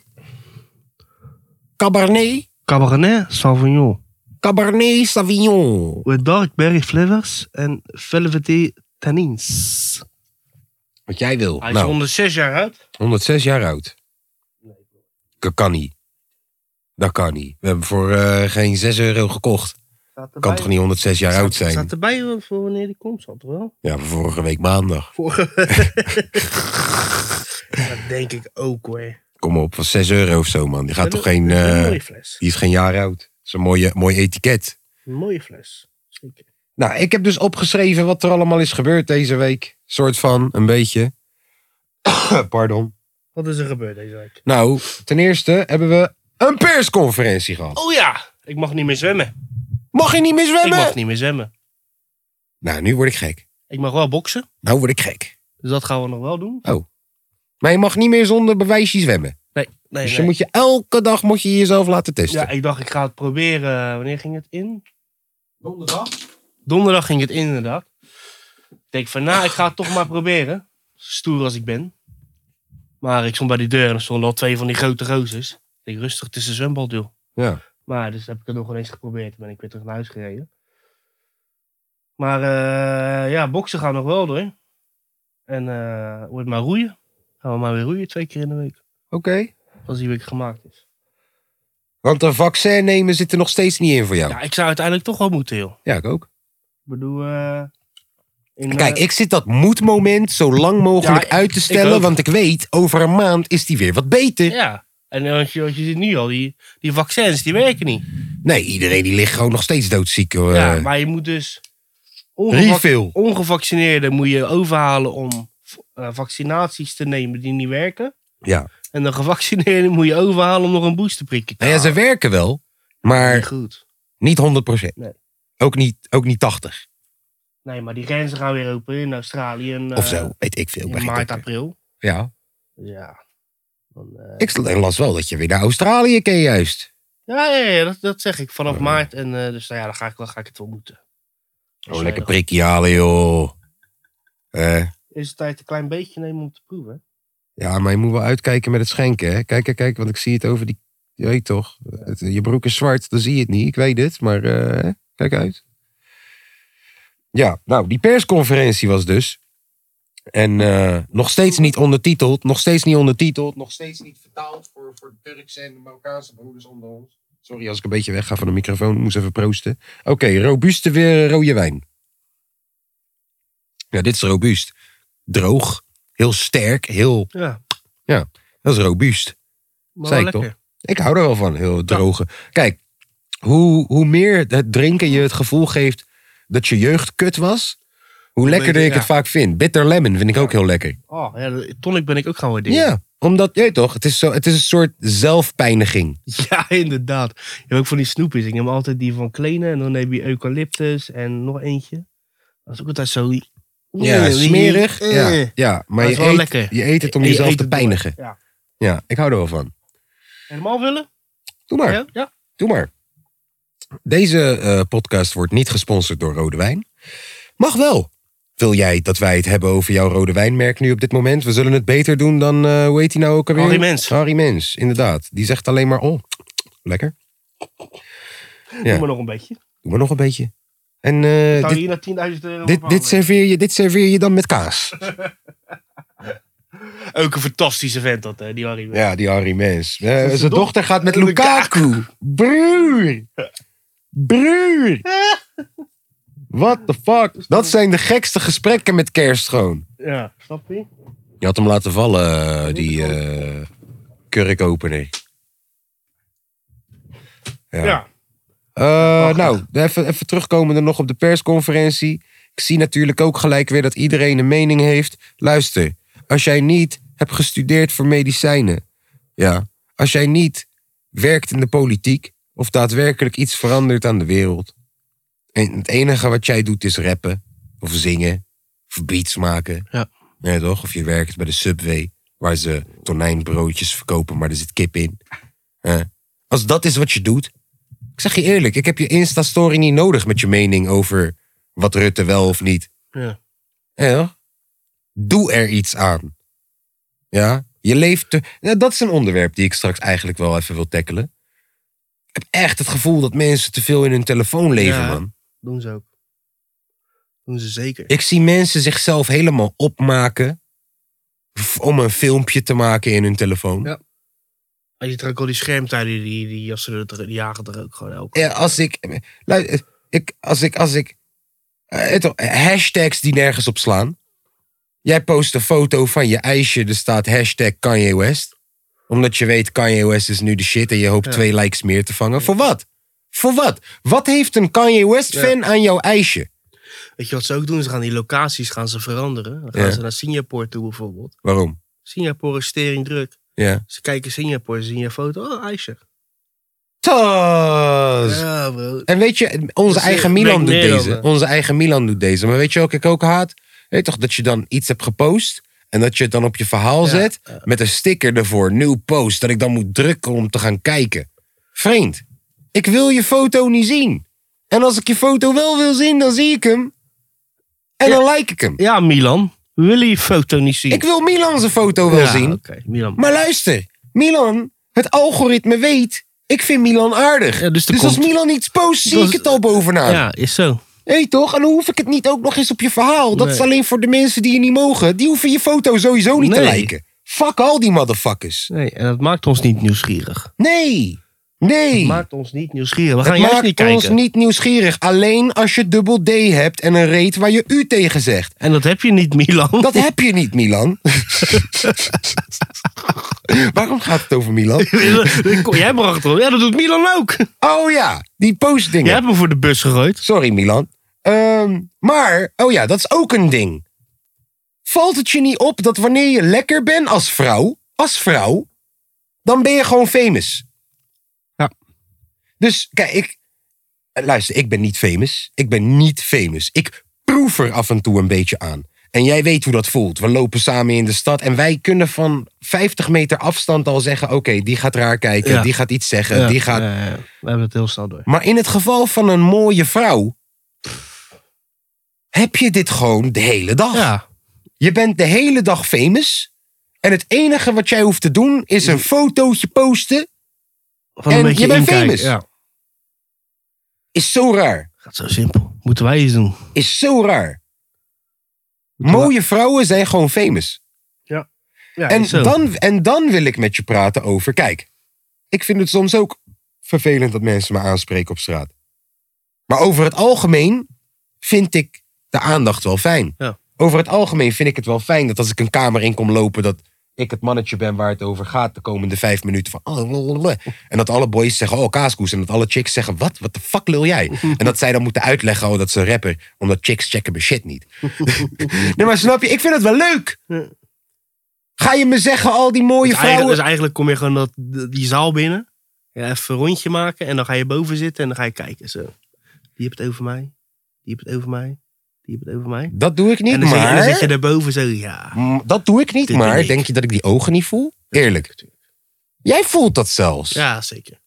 S1: Cabernet?
S2: Cabernet Sauvignon.
S1: Cabernet Sauvignon.
S2: with dark berry flavors and velvety tannins.
S1: Wat jij wil.
S2: Hij is
S1: Nou.
S2: 106 jaar oud.
S1: 106 jaar oud. Dat kan niet. Dat kan niet. We hebben voor eh, geen 6 euro gekocht.
S2: Staat
S1: Kan toch niet 106 jaar oud zijn?
S2: Staat erbij wel voor wanneer die komt, zat er wel.
S1: Ja, voor vorige week maandag.
S2: Dat denk ik ook hoor.
S1: Kom op, was 6 euro of zo, man. Die gaat
S2: Dat
S1: toch
S2: is-
S1: geen.
S2: dat is Een
S1: eh,
S2: mooie fles.
S1: die is geen jaar oud. Dat is een mooie, mooi etiket.
S2: Een mooie fles. Zeker.
S1: Nou, ik heb dus opgeschreven wat er allemaal is gebeurd deze week. Soort van, een beetje. Pardon.
S2: Wat is er gebeurd deze week?
S1: Nou, ten eerste hebben we een persconferentie gehad.
S2: Oh ja, ik mag niet meer zwemmen.
S1: Mag je niet meer
S2: Ik
S1: zwemmen?
S2: mag niet meer zwemmen.
S1: Nou, nu word ik gek.
S2: Ik mag wel boksen,
S1: Nou word ik gek.
S2: dus dat gaan we nog wel doen.
S1: Maar je mag niet meer zonder bewijsje zwemmen.
S2: Nee, nee,
S1: dus je
S2: nee.
S1: moet je elke dag moet je jezelf laten testen.
S2: Ja, ik dacht ik ga het proberen. Wanneer ging het in? Donderdag. Donderdag ging het in, inderdaad. Ik denk van, nou, ik ga het toch maar proberen. Stoer als ik ben. Maar ik stond bij die deur en er stonden al twee van die grote gozers. Ik denk, rustig, het is een zwembad, joh.
S1: Ja.
S2: Maar dus heb ik het nog wel eens geprobeerd. Toen ben ik weer terug naar huis gereden. Maar eh, ja, boksen gaan nog wel door. En eh wordt maar roeien. Gaan we maar weer roeien twee keer in de week.
S1: Oké.
S2: Als die week gemaakt is.
S1: Want een vaccin nemen zit er nog steeds niet in voor jou.
S2: Ja, ik zou uiteindelijk toch wel moeten, joh.
S1: Ja, ik ook.
S2: Ik bedoel... eh, in,
S1: Kijk,
S2: eh,
S1: ik zit dat moedmoment zo lang mogelijk
S2: Ja,
S1: uit te stellen.
S2: ook.
S1: want ik weet, over een maand is die weer wat beter.
S2: Ja. En als je, als je ziet nu al, die, die vaccins, die werken niet.
S1: Nee, iedereen die ligt gewoon nog steeds doodziek. hoor.
S2: ja,
S1: Eh,
S2: maar je moet dus...
S1: Refill.
S2: ongevaccineerden moet je overhalen om eh, vaccinaties te nemen die niet werken.
S1: Ja.
S2: En de gevaccineerden moet je overhalen om nog een boosterprikje te
S1: Nou ja, ze
S2: halen.
S1: werken wel,
S2: Niet
S1: maar
S2: goed.
S1: niet 100%.
S2: Nee.
S1: Ook, niet, ook niet 80
S2: Nee, maar die grenzen gaan weer open in Australië. En, eh,
S1: of zo. Weet ik veel. ben
S2: In
S1: geen
S2: maart,
S1: dokter.
S2: april.
S1: Ja.
S2: Ja. Dan, eh,
S1: Ik las wel dat je weer naar Australië kan juist.
S2: ja, ja, ja, dat, dat zeg ik. Vanaf
S1: Oh.
S2: maart. En, eh, dus nou ja, dan ga ik, dan ga ik het wel moeten. Dus,
S1: Oh,
S2: eh,
S1: lekker
S2: dan
S1: prikkie halen, joh. Eh,
S2: Is het tijd een klein beetje nemen om te proeven?
S1: ja, maar je moet wel uitkijken met het schenken, hè. Kijk, kijk, kijk, want ik zie het over die... Je weet toch, het- je broek is zwart, dan zie je het niet. Ik weet het, maar eh, kijk uit. Ja, nou, die persconferentie was dus. En eh, nog steeds niet ondertiteld, nog steeds niet ondertiteld, nog steeds niet vertaald voor, voor Turkse en Marokkaanse broeders onder ons. Sorry als ik een beetje wegga van de microfoon, ik moest even proosten. Oké, robuuste weer eh, rode wijn. Ja, dit is robuust. Droog, heel sterk, heel...
S2: Ja.
S1: Dat is robuust.
S2: Maar
S1: Zei
S2: wel
S1: ik toch?
S2: lekker.
S1: Ik hou er wel van, heel droge. Kijk, hoe, hoe meer het drinken je het gevoel geeft dat je jeugd kut was, hoe lekkerder
S2: beter,
S1: ik het
S2: ja.
S1: vaak vind. Bitter lemon vind ik ook heel lekker.
S2: Oh, ja, de tonic ben ik ook gaan waarderen.
S1: Ja, omdat, je weet toch, het is, zo, het is een soort zelfpijniging.
S2: Ja, inderdaad. Je hebt ook van die snoepjes. Ik neem altijd die van Kleene en dan neem je eucalyptus en nog eentje. Dat is ook altijd zo...
S1: Ja, smerig. Ja, ja maar
S2: Eh. Maar
S1: je
S2: is wel
S1: eet,
S2: lekker.
S1: je eet het om
S2: Je
S1: jezelf
S2: eet
S1: te
S2: het door.
S1: pijnigen.
S2: Ja.
S1: Ja, ik hou er wel van.
S2: Helemaal willen?
S1: Doe maar.
S2: Ja? ja.
S1: Doe maar. Deze eh, podcast wordt niet gesponsord door Rode Wijn. Mag wel. Wil jij dat wij het hebben over jouw rode wijnmerk nu op dit moment? We zullen het beter doen dan, eh, hoe heet hij nou ook alweer?
S2: Harry Mens.
S1: Harry Mens, inderdaad. Die zegt alleen maar, oh, lekker. Ja.
S2: Doe maar nog een beetje.
S1: Doe maar nog een beetje. En eh,
S2: Zou je
S1: dit,
S2: hier naar 10.000 euro
S1: dit, dit, serveer je, dit serveer je dan met kaas.
S2: Ook een fantastische vent dat, hè, die Harry.
S1: Ja, die Harry Mens. Eh,
S2: zijn
S1: zijn
S2: doch-
S1: dochter gaat met
S2: Lukaku.
S1: Lukaku. Broer. Broer. What the fuck? Dat zijn de gekste gesprekken met kerst gewoon.
S2: Ja, snap je?
S1: Je had hem laten vallen, eh, die eh kurkopener. Ja.
S2: Ja.
S1: Eh, nou, even, even terugkomende nog op de persconferentie. Ik zie natuurlijk ook gelijk weer dat iedereen een mening heeft. Luister, als jij niet hebt gestudeerd voor medicijnen. Ja, als jij niet werkt in de politiek. Of daadwerkelijk iets verandert aan de wereld. En het enige wat jij doet is rappen. Of zingen. Of beats maken.
S2: Ja.
S1: Nee, toch? Of je werkt bij de Subway. Waar ze tonijnbroodjes verkopen, maar er zit kip in. Eh, Als dat is wat je doet, ik zeg je eerlijk, ik heb je Insta-story niet nodig met je mening over wat Rutte wel of niet.
S2: Ja.
S1: Ja. Doe er iets aan. Ja, je leeft te... Nou, dat is een onderwerp die ik straks eigenlijk wel even wil tackelen. Ik heb echt het gevoel dat mensen te veel in hun telefoon leven,
S2: Ja.
S1: man.
S2: Doen ze ook. Doen ze zeker.
S1: Ik zie mensen zichzelf helemaal opmaken f- om een filmpje te maken in hun telefoon.
S2: Ja. Als je trouwens al die schermtijden, die, die jassen er, die jagen er ook gewoon elke
S1: Ja, als ik, lui- eh, ik, als ik, als ik, eh, het- hashtags die nergens op slaan. Jij post een foto van je ijsje, er staat hashtag Kanye West. Omdat je weet Kanye West is nu de shit en je hoopt
S2: Ja.
S1: twee likes meer te vangen. Voor wat? Voor wat? Wat heeft een Kanye West fan aan jouw ijsje?
S2: Weet je wat ze ook doen? Ze gaan die locaties gaan ze veranderen. Dan gaan
S1: Ja.
S2: ze naar Singapore toe bijvoorbeeld.
S1: Waarom?
S2: Singapore is stering druk.
S1: Ja.
S2: Ze kijken Singapore, ze zien je foto. Oh, ijsje.
S1: Tas!
S2: Ja, bro.
S1: En weet je, onze
S2: Dus, eh,
S1: eigen Milan
S2: Black
S1: doet
S2: Mirror,
S1: deze.
S2: man.
S1: Onze eigen Milan doet deze. Maar weet je ook, ik ook haat. Weet toch dat je dan iets hebt gepost. En dat je het dan op je verhaal
S2: Ja,
S1: zet. Met een sticker ervoor. Nieuw post. Dat ik dan moet drukken om te gaan kijken. Vreemd. Ik wil je foto niet zien. En als ik je foto wel wil zien, dan zie ik hem. En dan like ik hem.
S2: Ja, Milan. We willen je foto niet zien.
S1: Ik wil Milan zijn foto wel
S2: Ja,
S1: zien.
S2: Oké, Milan.
S1: Maar luister, Milan, het algoritme weet, ik vind Milan aardig.
S2: Ja, dus
S1: dus
S2: er komt-
S1: als Milan iets post, zie
S2: Dus-
S1: ik het al bovenaan.
S2: ja, is zo.
S1: Hé toch? En dan hoef ik het niet ook nog eens op je verhaal. Dat
S2: Nee.
S1: is alleen voor de mensen die je niet mogen. Die hoeven je foto sowieso niet te
S2: Nee.
S1: liken. Fuck al die motherfuckers.
S2: Nee, en dat maakt ons niet nieuwsgierig.
S1: Nee. Nee.
S2: Het maakt ons niet nieuwsgierig. We
S1: Het
S2: gaan juist
S1: maakt
S2: niet
S1: ons
S2: kijken.
S1: niet nieuwsgierig. Alleen als je dubbel D hebt en een reet waar je U tegen zegt.
S2: En dat heb je niet, Milan.
S1: Dat heb je niet, Milan. Waarom gaat het over Milan?
S2: Jij bracht erop. Ja, dat doet Milan ook.
S1: Oh ja, die postdingen.
S2: Jij hebt me voor de bus gegooid.
S1: Sorry, Milan. Ehm, maar, oh ja, dat is ook een ding. Valt het je niet op dat wanneer je lekker bent als vrouw, als vrouw, dan ben je gewoon famous?
S2: Ja.
S1: Dus, kijk, ik, eh, luister, ik ben niet famous. Ik ben niet famous. Ik proef er af en toe een beetje aan. En jij weet hoe dat voelt. We lopen samen in de stad en wij kunnen van 50 meter afstand al zeggen: oké, die gaat raar kijken,
S2: Ja.
S1: die gaat iets zeggen, die gaat.
S2: Ja, ja, ja. we hebben het heel snel door.
S1: Maar in het geval van een mooie vrouw. heb je dit gewoon de hele dag.
S2: Ja,
S1: Je bent de hele dag famous. En het enige wat jij hoeft te doen is een fotootje posten.
S2: van een
S1: En
S2: beetje
S1: je bent
S2: inkijken.
S1: famous.
S2: Ja.
S1: Is zo raar.
S2: Gaat zo simpel. Moeten wij iets doen.
S1: Is zo raar.
S2: Moeten wij-
S1: Mooie vrouwen zijn gewoon famous.
S2: Ja,
S1: En
S2: is zo.
S1: dan, en dan wil ik met je praten over. Kijk, ik vind het soms ook vervelend dat mensen me aanspreken op straat. Maar over het algemeen vind ik de aandacht wel fijn.
S2: Ja.
S1: Over het algemeen vind ik het wel fijn dat als ik een kamer in kom lopen, dat ik het mannetje ben waar het over gaat de komende vijf minuten. Van, oh, lalalala. en dat alle boys zeggen, oh, kaaskoes. En dat alle chicks zeggen, wat? Wat de fuck lul jij? En dat zij dan moeten uitleggen, oh, dat ze een rapper. Omdat chicks checken mijn shit niet. nee, maar snap je? Ik vind het wel leuk. Ga je me zeggen, al die mooie
S2: Dus
S1: vrouwen...
S2: eigenlijk, dus eigenlijk kom je gewoon dat, die zaal binnen. Ja, even een rondje maken. En dan ga je boven zitten en dan ga je kijken. Zo. Die hebt het over mij. Die hebt het over mij. Die hebt het over mij.
S1: Dat doe ik niet,
S2: en, dan zit, je- en
S1: maar...
S2: dan zit je daarboven zo. Ja.
S1: Mm, Dat doe ik niet,
S2: Dit
S1: maar
S2: ben ik.
S1: denk je dat ik die ogen niet voel? Eerlijk. Jij voelt dat zelfs.
S2: Ja, zeker.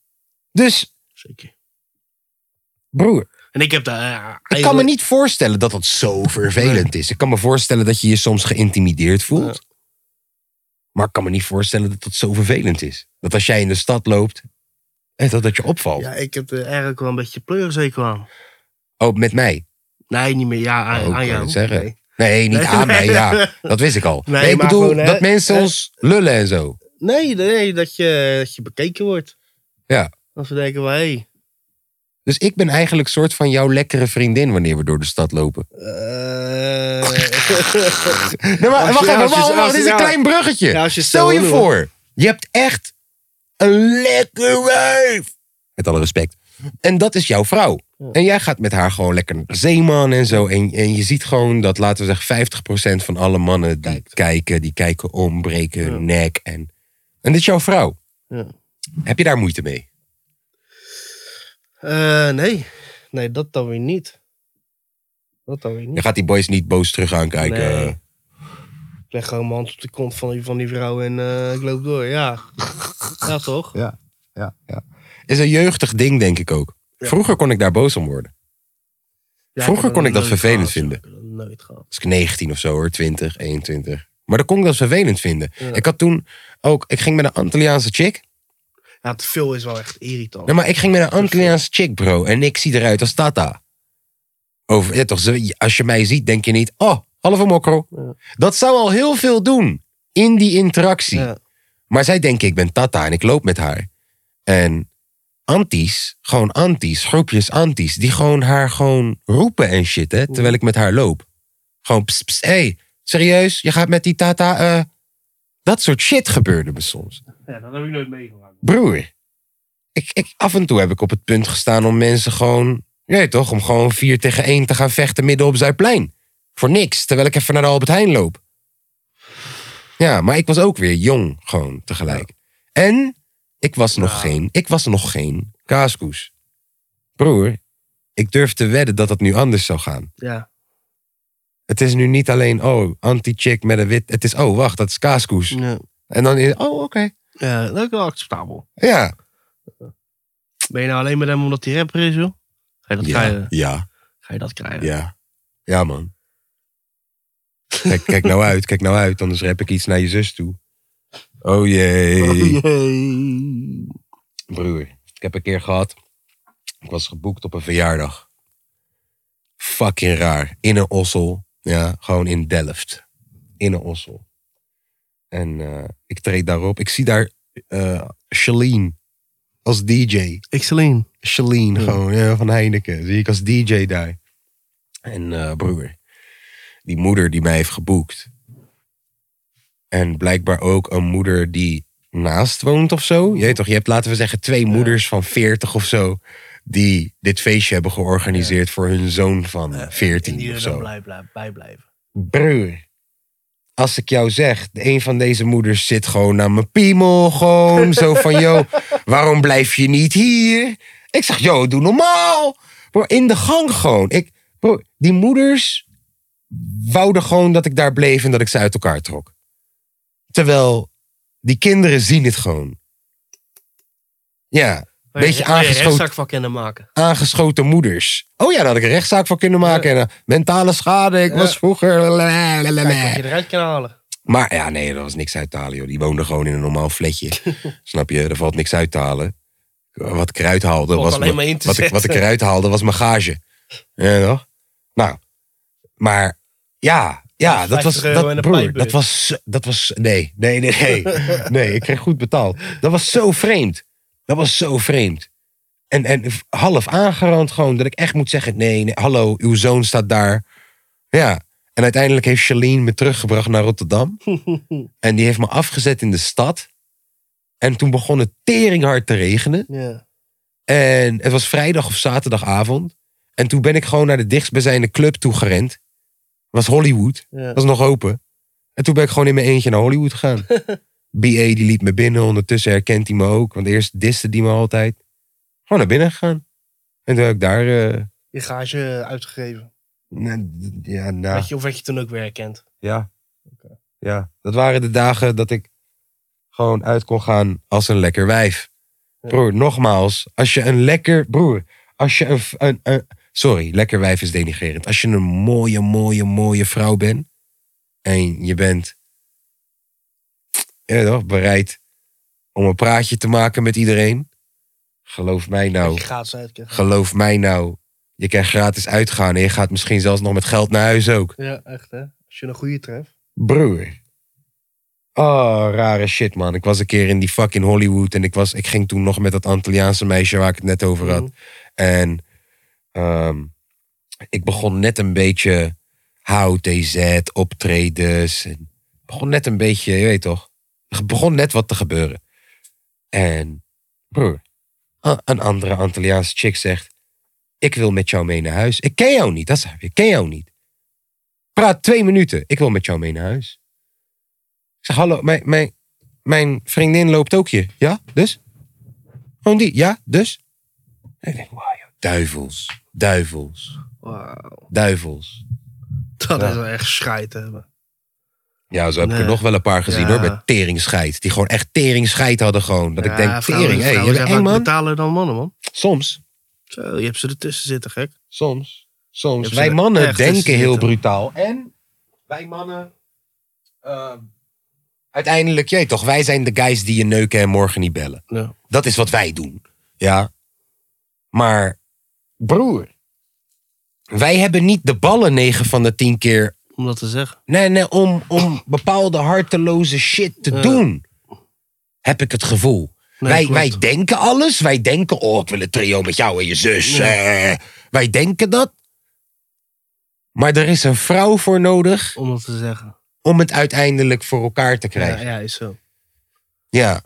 S1: Dus,
S2: zeker.
S1: broer,
S2: En ik heb daar. ja,
S1: ik kan me
S2: eigenlijk-
S1: niet voorstellen dat dat zo vervelend is. Ik kan me voorstellen dat je je soms geïntimideerd voelt. Maar ik kan me niet voorstellen dat dat zo vervelend is. Dat als jij in de stad loopt, eh, dat, dat je opvalt.
S2: Ja, ik heb er eigenlijk wel een beetje pleurzeker aan.
S1: Oh, met mij.
S2: Nee, niet meer. Ja,
S1: Oh,
S2: aan,
S1: ik
S2: aan
S1: wou
S2: jou.
S1: het zeggen.
S2: Nee.
S1: Nee, niet
S2: Nee.
S1: aan mij, ja. Dat wist ik al.
S2: Nee,
S1: Nee, ik
S2: maar
S1: bedoel
S2: gewoon, hè,
S1: dat mensen
S2: hè.
S1: ons lullen en zo.
S2: Nee, nee, dat je, dat je bekeken wordt.
S1: Ja.
S2: Dat ze denken, wel, hé,
S1: Dus ik ben eigenlijk soort van jouw lekkere vriendin wanneer we door de stad lopen.
S2: eh,
S1: Nee, maar
S2: Als je-
S1: wacht even,
S2: als je-
S1: wacht, wacht,
S2: als je-
S1: dit is een
S2: ja.
S1: klein bruggetje.
S2: Ja, als je het
S1: Stel
S2: zo
S1: je
S2: wil doen,
S1: voor, je hebt echt een lekker wijf. Met alle respect. En dat is jouw vrouw. En jij gaat met haar gewoon lekker naar de zeeman en zo. En, en je ziet gewoon dat, laten we zeggen, 50% van alle mannen die kijken, die kijken om, breken hun nek. En, en dit is jouw vrouw.
S2: Ja.
S1: Heb je daar moeite mee?
S2: eh, nee. Nee, dat dan weer niet. Dat dan weer
S1: Dan
S2: niet.
S1: gaat die boys niet boos terug aankijken.
S2: Nee. Ik leg gewoon mijn hand op de kont van die, van die vrouw en eh, ik loop door. Ja. ja, toch?
S1: Is een jeugdig ding, denk ik ook. Vroeger kon ik daar boos om worden.
S2: Ja,
S1: Vroeger
S2: heb
S1: kon ik dat
S2: nooit
S1: vervelend
S2: gehad,
S1: vinden.
S2: joh. Ik heb dat nooit gehad.
S1: was ik 19 of zo hoor, 20, 21. Maar dat kon ik dat vervelend vinden.
S2: Ja.
S1: Ik had toen ook, ik ging met een Antilliaanse chick.
S2: Ja, te veel is wel echt irritant.
S1: Nee, maar ik ging
S2: Oh,
S1: met een Antilliaanse chick, bro. En ik zie eruit als Tata. Over, ja, toch, ze- als je mij ziet, denk je niet, oh, halve mokro.
S2: Ja.
S1: Dat zou al heel veel doen in die interactie.
S2: Ja.
S1: Maar zij denken, ik ben Tata en ik loop met haar. En anties, gewoon anties, groepjes anties, die gewoon haar gewoon roepen en shit, hè, terwijl ik met haar loop. Gewoon, ps, ps, hey, serieus, je gaat met die Tata, eh, dat soort shit gebeurde me soms.
S2: ja, dat heb ik nooit meegemaakt.
S1: Broer, ik, ik, af en toe heb ik op het punt gestaan om mensen gewoon, je weet toch, om gewoon vier tegen één te gaan vechten midden op Zuidplein. Voor niks, terwijl ik even naar de Albert Heijn loop. Ja, maar ik was ook weer jong gewoon tegelijk. En ik was nog geen, ik was nog geen kaaskoes. Broer, ik durf te wedden dat dat nu anders zou gaan.
S2: Ja.
S1: Het is nu niet alleen, oh, anti-chick met een wit. Het is, oh, wacht, dat is kaaskoes.
S2: Ja.
S1: En dan is, oh, oké.
S2: ja, dat is wel acceptabel.
S1: Ja.
S2: Ben je nou alleen met hem omdat hij rapper is, joh? Ga je dat
S3: Ja,
S2: krijgen?
S3: ja,
S2: Ga je dat krijgen?
S3: ja.
S1: Ja, man. Kijk, kijk nou uit, kijk nou uit, anders rap ik iets naar je zus toe. Oh jee.
S2: Jee.
S1: Broer, ik heb een keer gehad. Ik was geboekt op een verjaardag. Fucking raar. In een ossel. Ja, gewoon in Delft. In een ossel. En eh, ik treed daarop. Ik zie daar eh Shaleen als DJ.
S2: Ik, Celine.
S1: Shaleen
S2: Ja.
S1: gewoon, ja, van Heineken. Zie ik als DJ daar. En eh, broer, die moeder die mij heeft geboekt. En blijkbaar ook een moeder die naast woont of zo. Je weet toch, je hebt laten we zeggen twee moeders van 40 of zo. Die dit feestje hebben georganiseerd voor hun zoon van
S2: En
S1: 14
S2: die
S1: of
S2: er
S1: zo.
S2: dan blij, blij- bij blijven.
S1: Broer. Als ik jou zeg, een van deze moeders zit gewoon aan mijn piemel. Gewoon zo van, joh, waarom blijf je niet hier? Ik zeg, joh, doe normaal. Bro, in de gang gewoon. Ik, bro, die moeders wouden gewoon dat ik daar bleef en dat ik ze uit elkaar trok. Terwijl die kinderen zien het gewoon. Ja, Beetje
S2: Wil je- wil je
S1: aangeschoten.
S2: rechtszaak van kunnen maken.
S1: aangeschoten moeders. Oh ja, daar had ik een rechtszaak voor kunnen maken. En, eh, mentale schade, ik was vroeger...
S2: Kijk wat je eruit kan halen.
S1: Maar ja, nee, dat was niks uit te halen, joh. Die woonde gewoon in een normaal flatje. Snap je? Er valt niks uit te halen. Wat ik eruit haalde,
S2: Valt
S1: was
S2: alleen maar in te
S1: wat, ik, wat ik
S2: zetten.
S1: eruit haalde was mijn gage. Ja, toch? Nou, maar ja, ja dat
S2: 50
S1: was,
S2: euro en
S1: dat,
S2: een
S1: broer,
S2: pijpbeurt.
S1: dat was, zo- dat was, nee, nee, nee, nee, nee, ik kreeg goed betaald. Dat was zo vreemd. Dat was zo vreemd. En, en half aangerand gewoon, dat ik echt moet zeggen, nee, nee, hallo, uw zoon staat daar. Ja, en uiteindelijk heeft Charlene me teruggebracht naar Rotterdam. en die heeft me afgezet in de stad. En toen begon het teringhard te regenen.
S2: Ja.
S1: En het was vrijdag of zaterdagavond. En toen ben ik gewoon naar de dichtstbijzijnde club toegerend. Was Hollywood.
S2: ja.
S1: Was nog open. En toen ben ik gewoon in mijn eentje naar Hollywood gegaan. BA die liep me binnen. Ondertussen herkent hij me ook. Want eerst diste die me altijd. Gewoon naar binnen gegaan. En toen heb ik daar... eh,
S2: Je gage uitgegeven.
S1: na- ja, na,
S2: Weet je, of werd je toen ook weer herkend?
S1: ja. ja, dat waren de dagen dat ik gewoon uit kon gaan als een lekker wijf.
S2: Ja.
S1: Broer, nogmaals, als je een lekker... Broer, als je een, v- een, een- Sorry, lekker wijf is denigrerend. Als je een mooie, mooie, mooie vrouw bent... en je bent... Ja, toch, bereid om een praatje te maken met iedereen... geloof mij nou...
S2: Je gaat ze uitkeren.
S1: Geloof mij nou... je kan gratis uitgaan... en je gaat misschien zelfs nog met geld naar huis ook.
S2: Ja, echt hè. Als je een goede treft.
S1: Broer. Oh, rare shit, man. Ik was een keer in die fucking Hollywood. En ik, was, ik ging toen nog met dat Antilliaanse meisje waar ik het net over had.
S2: Mhm.
S1: En ehm, ik begon net een beetje HOTZ, optredens. En begon net een beetje, je weet toch. Er begon net wat te gebeuren. En broer, a- een andere Antilliaanse chick zegt... Ik wil met jou mee naar huis. Ik ken jou niet, dat zei ik. Ik ken jou niet. Praat twee minuten. Ik wil met jou mee naar huis. Ik zeg, hallo, mijn, mijn, mijn vriendin loopt ook hier. Ja, dus? Gewoon die. Ja, dus? En ik denk, wauw, joh, duivels. Duivels.
S2: Wauw.
S1: Duivels.
S2: Dat
S1: Ja.
S2: is wel echt scheid hebben.
S1: Ja, zo heb ik
S2: Nee.
S1: er nog wel een paar gezien
S2: Ja.
S1: hoor, met teringscheid. Die gewoon echt teringscheid hadden gewoon. Dat ik denk, tering, hé, je bent eng man.
S2: betaler dan mannen, man.
S1: Soms,
S2: Zo, je hebt ze ertussen zitten, gek.
S1: soms, soms.
S2: Heb
S1: Wij
S2: ze
S1: mannen
S2: echt tussen
S1: denken heel
S2: zitten.
S1: brutaal. En wij mannen, eh, uiteindelijk, jij toch, wij zijn de guys die je neuken en morgen niet bellen.
S2: Ja.
S1: Dat is wat wij doen. Ja. Maar, broer, wij hebben niet de ballen 9 van de 10 keer
S2: Om dat te zeggen.
S1: Nee, nee, om, om bepaalde harteloze shit te
S2: Ja.
S1: doen. Heb ik het gevoel.
S2: Nee,
S1: wij,
S2: klopt.
S1: wij denken alles. Wij denken, oh, ik wil een trio met jou en je zus. eh. wij denken dat. Maar er is een vrouw voor nodig
S2: Om dat te zeggen.
S1: om het uiteindelijk voor elkaar te
S2: Ja,
S1: krijgen. Ja.
S2: ja, is zo.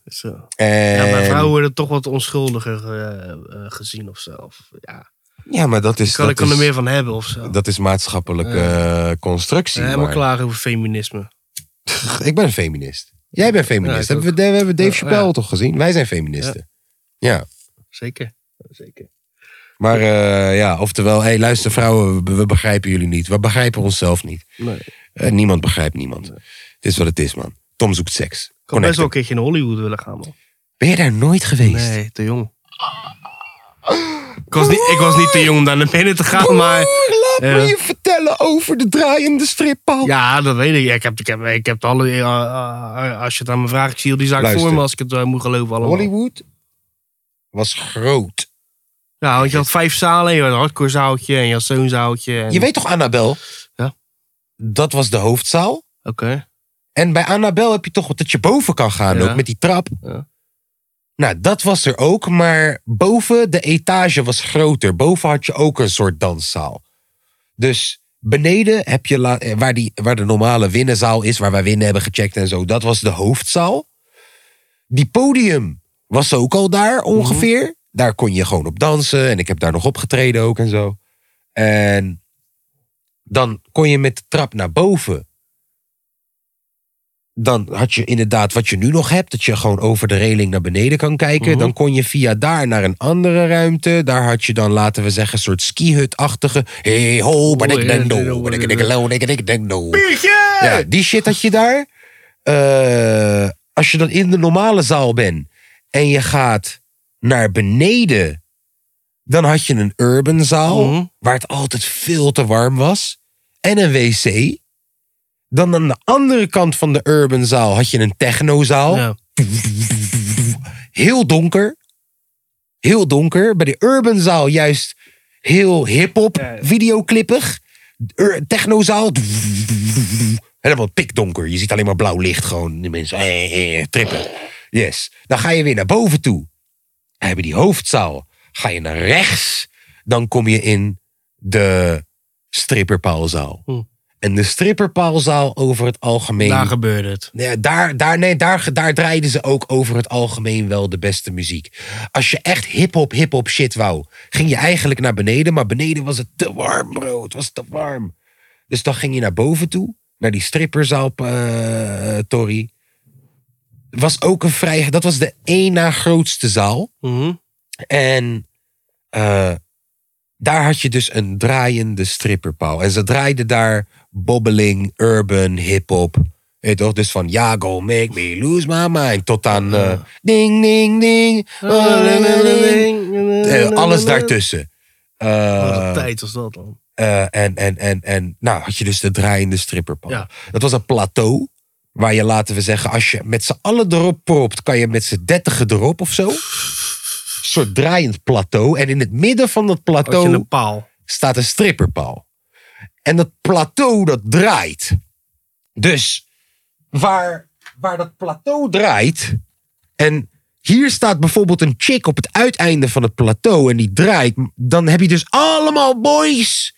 S2: Is zo.
S1: en-
S2: Ja, maar vrouwen worden toch wat onschuldiger eh, eh, gezien of zo. Of, ja.
S1: ja, maar dat is,
S2: kan, ik
S1: Dus dat
S2: kan
S1: is,
S2: er meer van hebben of zo.
S1: dat is maatschappelijke
S2: Ja.
S1: eh, constructie.
S2: Helemaal
S1: maar-
S2: klaar over feminisme.
S1: Ik ben een feminist. Jij bent
S2: Ja,
S1: feminist.
S2: ik
S1: hebben we, we hebben Dave
S2: Ja,
S1: Chappelle
S2: ja.
S1: toch gezien? Wij zijn feministen. Ja.
S2: Zeker. Zeker.
S1: Maar eh, ja, oftewel, hey, luister vrouwen, we, we begrijpen jullie niet. We begrijpen onszelf niet.
S2: Nee. Ik
S1: Eh, niemand begrijpt niemand. Dit is wat het is, man. Tom zoekt seks.
S2: had best wel
S1: Connected.
S2: een keertje in Hollywood willen gaan, man.
S1: Ben je daar nooit geweest?
S2: Nee, te jong. Ik was, niet, ik was niet te jong om daar naar binnen te gaan, maar...
S1: laat
S2: Ja.
S1: me je vertellen over de draaiende strippaal.
S2: Ja, dat weet ik. Ik heb, ik heb, ik heb alle... eh, eh, als je het aan me vraagt, ik zie al die zaak
S1: Luister.
S2: voor me als ik het eh, moet geloven allemaal.
S1: Hollywood was groot.
S2: Ja, want je had vijf zalen. Je had een hardcore zaaltje en je had zo'n zaaltje. En...
S1: Je weet toch Annabel?
S2: Ja.
S1: Dat was de hoofdzaal.
S2: Oké.
S1: En bij Annabel heb je toch wat dat je boven kan gaan
S2: Ja.
S1: ook met die trap.
S2: Ja.
S1: Nou, dat was er ook, maar boven de etage was groter. Boven had je ook een soort danszaal. Dus beneden heb je la- eh, waar, die, waar de normale winnenzaal is, waar wij winnen hebben gecheckt en zo. Dat was de hoofdzaal. Die podium was ook al daar ongeveer.
S2: Mhm.
S1: Daar kon je gewoon op dansen en ik heb daar nog opgetreden ook en zo. En dan kon je met de trap naar boven dan had je inderdaad wat je nu nog hebt, dat je gewoon over de reling naar beneden kan kijken.
S2: Mhm.
S1: Dan kon je via daar naar een andere ruimte. Daar had je dan, laten we zeggen, een soort skihut-achtige. Hey ho, maar ik denk no, maar ik denk no, maar ik denk no. Ja, die shit had je daar. Eh, als je dan in de normale zaal bent en je gaat naar beneden, dan had je een urban zaal
S2: Mhm.
S1: waar het altijd veel te warm was en een wc. Dan aan de andere kant van de urban zaal had je een technozaal.
S2: Ja.
S1: Heel donker. Heel donker. Bij de urban zaal juist heel hip-hop, videoclippig. Ur- Technozaal. Helemaal pikdonker. Je ziet alleen maar blauw licht. Gewoon de mensen eh, eh, trippen. Yes. Dan ga je weer naar boven toe. Dan heb je die hoofdzaal. Ga je naar rechts. Dan kom je in de stripperpaalzaal.
S2: Hm.
S1: En de stripperpaalzaal over het algemeen...
S2: Daar gebeurde het.
S1: Nee, daar, daar, nee, daar, daar draaiden ze ook over het algemeen wel de beste muziek. Als je echt hip-hop, hip-hop shit wou, ging je eigenlijk naar beneden. Maar beneden was het te warm, bro. Het was te warm. Dus dan ging je naar boven toe, naar die stripperzaal, eh Tori. Was ook een vrij. Dat was de één na grootste zaal.
S2: Mhm.
S1: En eh, daar had je dus een draaiende stripperpaal. En ze draaiden daar bobbeling, urban, hip-hop. Weet je toch? Dus van ja, go make me lose my mind. Tot aan eh, ding, ding, ding. Eh, alles daartussen. Eh,
S2: Wat een tijd was dat dan.
S1: eh, en, en, en, en nou had je dus de draaiende stripperpan.
S2: Ja.
S1: Dat was een plateau. Waar je, laten we zeggen, als je met z'n allen erop propt, kan je met z'n dertigen erop of zo. Een soort draaiend plateau. En in het midden van dat
S2: Had
S1: plateau
S2: je een paal.
S1: staat een stripperpaal. En dat plateau dat draait. Dus waar, waar dat plateau draait. En hier staat bijvoorbeeld een chick op het uiteinde van het plateau en die draait. Dan heb je dus allemaal boys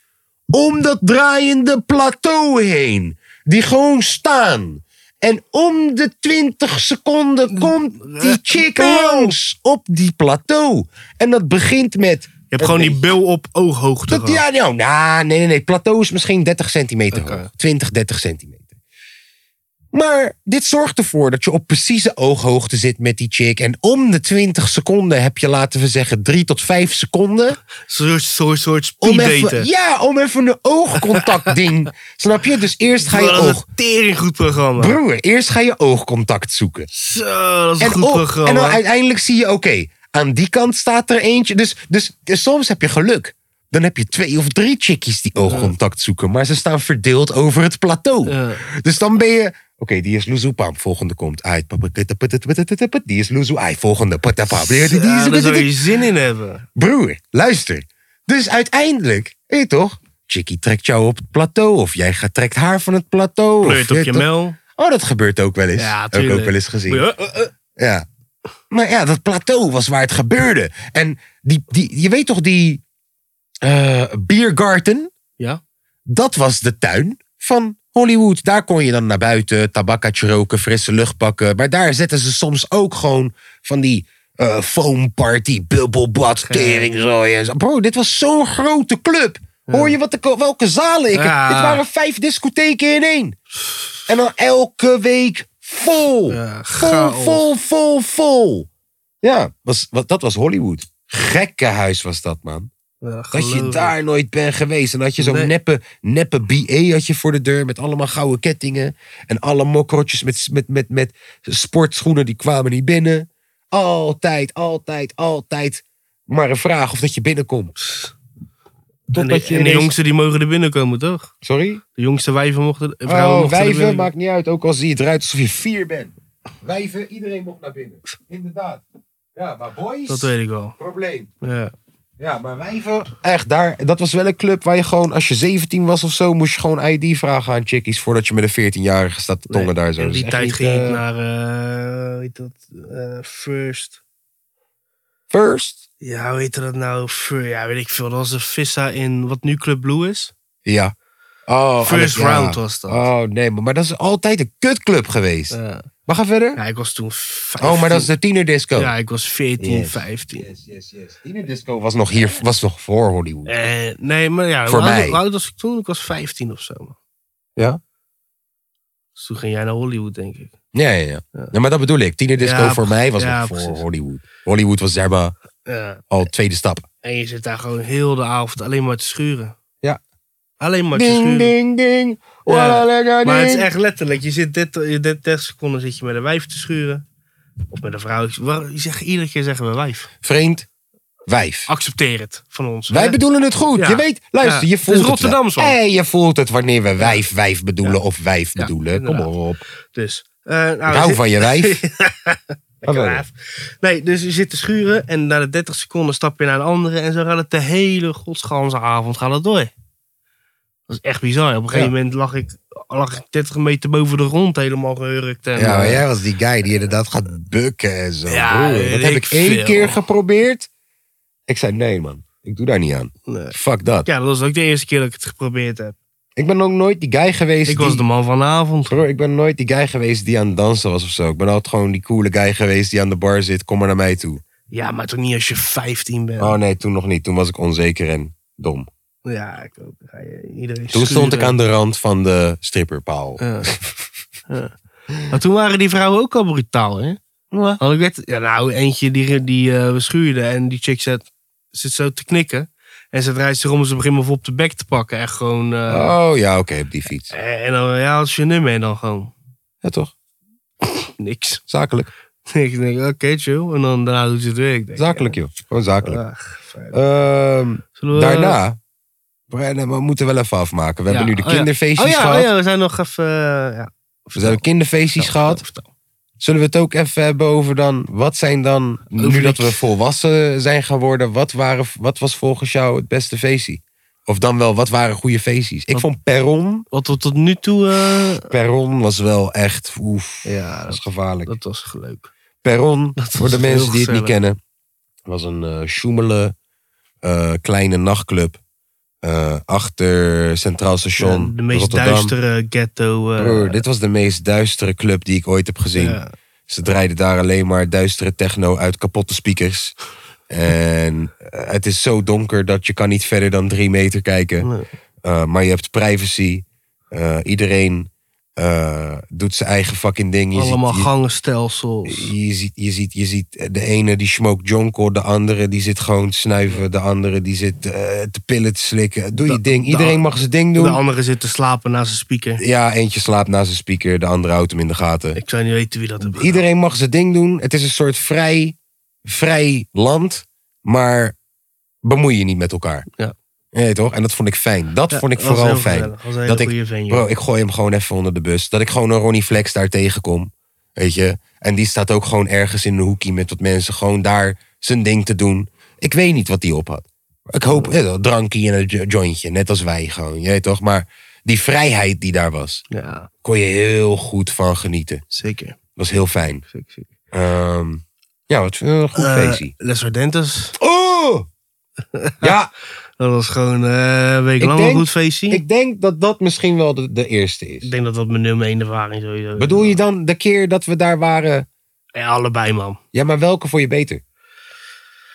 S1: om dat draaiende plateau heen. Die gewoon staan. En om de 20 seconden komt die chick langs op die plateau. En dat begint met.
S2: Je hebt gewoon die bil op ooghoogte.
S1: Dat, ja, nou, nou, nee, nee, nee. Plateau is misschien 30 centimeter
S2: Oké.
S1: hoog. 20, 30 centimeter. Maar dit zorgt ervoor dat je op precieze ooghoogte zit met die chick. En om de 20 seconden heb je, laten we zeggen, 3 tot 5 seconden.
S2: Een soort, soort, soort
S1: Om
S2: speeddaten.
S1: even, ja, om even een oogcontact ding. Snap je? Dus eerst ga je
S2: dat is
S1: oog...
S2: een tering goed programma.
S1: Broer, eerst ga je oogcontact zoeken.
S2: Zo, dat is een
S1: En,
S2: goed
S1: op-
S2: programma.
S1: en dan uiteindelijk zie je, oké, aan die kant staat er eentje. Dus, dus, dus soms heb je geluk. Dan heb je twee of drie chickies die oogcontact zoeken. Maar ze staan verdeeld over het plateau.
S2: Ja.
S1: Dus dan ben je... Oké, die is Luzu, pam, volgende komt uit. Die is Luzu, ai, volgende.
S2: Ja, daar zou je zin in hebben.
S1: Broer, luister. Dus uiteindelijk, weet je toch? Chickie trekt jou op het plateau. Of jij gaat- trekt haar van het plateau. of
S2: Pleurt op je
S1: toch-
S2: mel.
S1: Oh, dat gebeurt ook wel eens.
S2: Ja,
S1: heb ik
S2: tuurlijk.
S1: ook wel eens gezien.
S2: Ja, eh, eh.
S1: Ja. Maar ja, dat plateau was waar het gebeurde. En die, die, je weet toch die eh biergarten?
S2: Ja.
S1: Dat was de tuin van Hollywood. Daar kon je dan naar buiten, tabakkatje roken, frisse lucht pakken. Maar daar zetten ze soms ook gewoon van die eh foam party, bubbelbad, teringzooi en zo. Bro, dit was zo'n grote club. Hoor je wat de, ko- welke zalen ik
S2: Ja.
S1: heb? Dit waren vijf discotheken in één. En dan elke week vol.
S2: Ja,
S1: vol,
S2: chaos.
S1: vol, vol, vol. Ja, was, wat, dat was Hollywood. Gekkenhuis was dat, man.
S2: Eh,
S1: Dat je daar nooit bent geweest. En dan had je zo'n
S2: Nee.
S1: neppe, neppe BA had je voor de deur. Met allemaal gouden kettingen. En alle mokrotjes met, met, met, met sportschoenen. Die kwamen niet binnen. Altijd, altijd, altijd. Maar een vraag of dat je binnenkomt.
S2: En,
S1: Totdat je
S2: en de
S1: ineens-
S2: jongsten die mogen er binnenkomen, toch?
S1: Sorry?
S2: De jongste wijven mochten. eh, Vrouwen
S1: Oh,
S2: mochten er
S1: wijven,
S2: binnen-
S1: maakt niet uit. Ook al zie je het eruit alsof je vier bent. Wijven, iedereen mocht naar binnen. Inderdaad. Ja, maar boys,
S2: Dat weet ik wel.
S1: probleem.
S2: Ja.
S1: Ja, maar wijven. Echt, daar, dat was wel een club waar je gewoon, als je 17 was of zo, moest je gewoon ID vragen aan chickies voordat je met een 14-jarige staat te tongen daar zo.
S2: In
S1: Dat is echt
S2: die tijd
S1: niet,
S2: ging
S1: eh,
S2: ik naar. eh, hoe heet dat? Eh, first.
S1: First?
S2: Ja, hoe heette dat nou? Fur, ja, weet ik veel. Dat was de Vissa in wat nu Club Blue is.
S1: Ja. Oh,
S2: First
S1: alles- ja.
S2: Round was dat.
S1: Oh nee, maar, maar dat is altijd een kutclub geweest.
S2: Ja.
S1: Maar ga verder.
S2: Ja, ik was toen 15.
S1: Oh, maar dat is de tienerdisco.
S2: Ja, ik was 14,
S1: Yes.
S2: 15.
S1: Yes, yes, yes. Tienerdisco was nog hier, was nog voor Hollywood.
S2: Eh, nee, maar ja,
S1: Voor
S2: hoe, oud,
S1: mij.
S2: hoe oud was ik toen? Ik was 15 of zo. man.
S1: Ja?
S2: Dus toen ging jij naar Hollywood, denk ik.
S1: Ja, ja, ja. Ja, maar dat bedoel ik. Tienerdisco
S2: Ja,
S1: voor mij was
S2: ja,
S1: nog voor
S2: precies.
S1: Hollywood. Hollywood was zeg maar
S2: Ja.
S1: al tweede stap.
S2: En je zit daar gewoon heel de avond alleen maar te schuren.
S1: Ja.
S2: Alleen maar te
S1: Ding,
S2: schuren.
S1: ding, ding. Walla, lekker
S2: Maar het is
S1: ding.
S2: echt letterlijk. Je zit 30, je zit 30 seconden zit je met een wijf te schuren. Of met een vrouw. Waar- Je zegt, iedere keer zeggen we wijf.
S1: Vreemd. Wijf.
S2: Accepteer het van ons.
S1: Wij
S2: hè?
S1: bedoelen het goed.
S2: Ja.
S1: Je weet, luister, je
S2: Ja. Het is
S1: voelt het. wel.
S2: Rotterdams, hoor.
S1: Hey, je voelt het wanneer we wijf, wijf bedoelen of wijf
S2: Ja,
S1: bedoelen. Kom
S2: inderdaad.
S1: op.
S2: Dus. eh nou,
S1: Ik
S2: je
S1: hou
S2: zit-
S1: van je wijf.
S2: Lekker
S1: Oké.
S2: raaf. Nee, dus je zit te schuren en na de 30 seconden stap je naar een andere. En zo gaat het de hele godsganse avond gaat het door. Dat is echt bizar. Op een gegeven
S1: Ja.
S2: moment lag ik, lag ik 30 meter boven de grond helemaal gehurkt. En,
S1: Ja, maar
S2: eh,
S1: jij was die guy die inderdaad gaat bukken en zo.
S2: Ja,
S1: Broer, dat
S2: weet
S1: heb
S2: ik
S1: ik één
S2: veel.
S1: keer geprobeerd. Ik zei, nee man, ik doe daar niet aan.
S2: nee.
S1: Fuck dat.
S2: Ja, dat was ook de eerste keer dat ik het geprobeerd heb.
S1: Ik ben ook nooit die guy geweest
S2: Ik
S1: die...
S2: was de man van de avond.
S1: Broer, ik ben nooit die guy geweest die aan het dansen was of zo. Ik ben altijd gewoon die coole guy geweest die aan de bar zit. Kom maar naar mij toe.
S2: Ja, maar toch niet als je 15 bent.
S1: Oh nee, toen nog niet. Toen was ik onzeker en dom.
S2: Ja, ik ook. Ga je iedereen
S1: Toen stond
S2: schuren.
S1: ik aan de rand van de stripperpaal.
S2: Ja. Ja. Eh, Maar toen waren die vrouwen ook al brutaal, hè? Want ik werd, ja, nou, eentje die, die eh we schuurden en die chick zat, zit zo te knikken. En ze draait zich om en ze begint me vol op de bek te pakken. Echt gewoon. eh,
S1: Oh ja, oké, op die fiets.
S2: eh, En dan, ja, als je nummer en dan gewoon
S1: Ja, toch?
S2: niks.
S1: Zakelijk.
S2: ik denk, oké, chill. En dan daarna doet ze het weer. Ik denk,
S1: Zakelijk, joh. Gewoon
S2: ja,
S1: zakelijk.
S2: ach, fijn.
S1: Ehm,
S2: Zullen we-
S1: daarna. Brennan, we moeten wel even afmaken. We
S2: Ja,
S1: hebben nu
S2: oh
S1: de
S2: ja.
S1: kinderfeestjes
S2: Oh ja,
S1: gehad.
S2: oh ja, we zijn nog even. eh, ja,
S1: We
S2: Nou,
S1: hebben kinderfeestjes gehad.
S2: Vertel.
S1: Zullen we het ook even hebben over dan. Wat zijn dan. Nu
S2: Overlijk.
S1: dat we volwassen zijn geworden. Wat, waren, wat was volgens jou het beste feestje? Of dan wel, wat waren goede feestjes? Ik
S2: Wat-
S1: vond Perron.
S2: Wat we tot nu toe. eh,
S1: Perron was wel echt. Oef.
S2: ja,
S1: Dat
S2: dat,
S1: is gevaarlijk.
S2: dat was leuk.
S1: Perron,
S2: Dat
S1: voor
S2: was
S1: de
S2: heel
S1: mensen die het niet
S2: gezellig.
S1: kennen, was een eh sjoemele eh, kleine nachtclub eh, achter Centraal Station.
S2: Ja, de meest
S1: Rotterdam.
S2: duistere ghetto. eh,
S1: Broer, dit was de meest duistere club die ik ooit heb gezien.
S2: ja.
S1: Ze draaiden daar alleen maar duistere techno uit kapotte speakers. En eh, het is zo donker dat je kan niet verder dan drie meter kijken.
S2: Nee.
S1: Eh, maar je hebt privacy. Eh, iedereen eh, doet zijn eigen fucking ding. Je ziet-
S2: Allemaal
S1: je-
S2: gangenstelsels.
S1: je ziet, je, ziet, je ziet eh, de ene die smoked jonko, de andere die zit gewoon te snuiven, de andere die zit eh, te pillen te slikken. Doe je
S2: Da-
S1: ding.
S2: da-
S1: Iedereen mag zijn ding
S2: De
S1: doen.
S2: andere zit te slapen naast een speaker.
S1: ja, eentje slaapt naast een speaker, de andere houdt hem in de gaten.
S2: Ik zou niet weten wie dat heeft gedaan.
S1: Iedereen mag zijn ding doen. Het is een soort vrij, vrij land, maar bemoei je niet met elkaar.
S2: Ja.
S1: Nee, toch? En dat vond ik fijn. Dat
S2: Ja,
S1: vond ik
S2: dat was
S1: vooral
S2: heel
S1: fijn.
S2: gezellig. Dat was een hele
S1: Dat ik-
S2: goede venue.
S1: Bro, ik gooi hem gewoon even onder de bus. Dat ik gewoon een Ronnie Flex daar tegenkom. Weet je? En die staat ook gewoon ergens in een hoekje met wat mensen. Gewoon daar zijn ding te doen. Ik weet niet wat die op had. Ik hoop, eh, een drankje en een jo- jointje. Net als wij gewoon. Je weet toch? Maar die vrijheid die daar was.
S2: Ja,
S1: Kon je heel goed van genieten.
S2: zeker.
S1: Was heel fijn.
S2: zeker, zeker.
S1: Ehm, ja, wat een goed
S2: Eh,
S1: feestje.
S2: Les Ardentes.
S1: Oh! ja,
S2: Dat was gewoon eh, een week
S1: Ik
S2: lang een
S1: denk-
S2: goed feestje. Ik,
S1: ik denk dat dat misschien wel de, de eerste is.
S2: denk dat dat mijn nummer 1 ervaring sowieso is.
S1: Bedoel je dan de keer dat we daar waren?
S2: Ja, allebei man.
S1: Ja, maar welke vond je beter?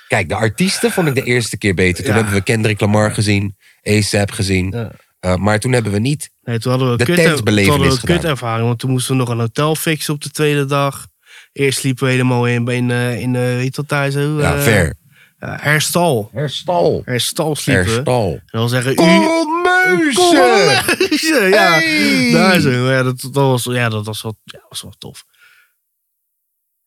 S1: Kijk, de artiesten vond ik de eerste keer beter. Toen
S2: Ja.
S1: hebben we Kendrick Lamar gezien, ASAP gezien.
S2: Ja.
S1: Eh, maar toen hebben we niet.
S2: Nee, toen hadden we
S1: De
S2: een kut,
S1: tentbelevenis
S2: toen hadden we een
S1: gedaan.
S2: kutervaring. Want toen moesten we nog een hotel fixen op de tweede dag. Eerst liepen we helemaal in, in, eh, in eh, weet dat daar zo?
S1: ja,
S2: eh,
S1: ver.
S2: eh, herstal.
S1: Herstal.
S2: Herstal sliepen we.
S1: Herstal.
S2: En dan zeggen u...
S1: Korrelmuizen!
S2: Korrelmuizen, Ja,
S1: Hey!
S2: daar zo. Ja, dat, dat was, ja, dat was, wel, ja, was wel tof.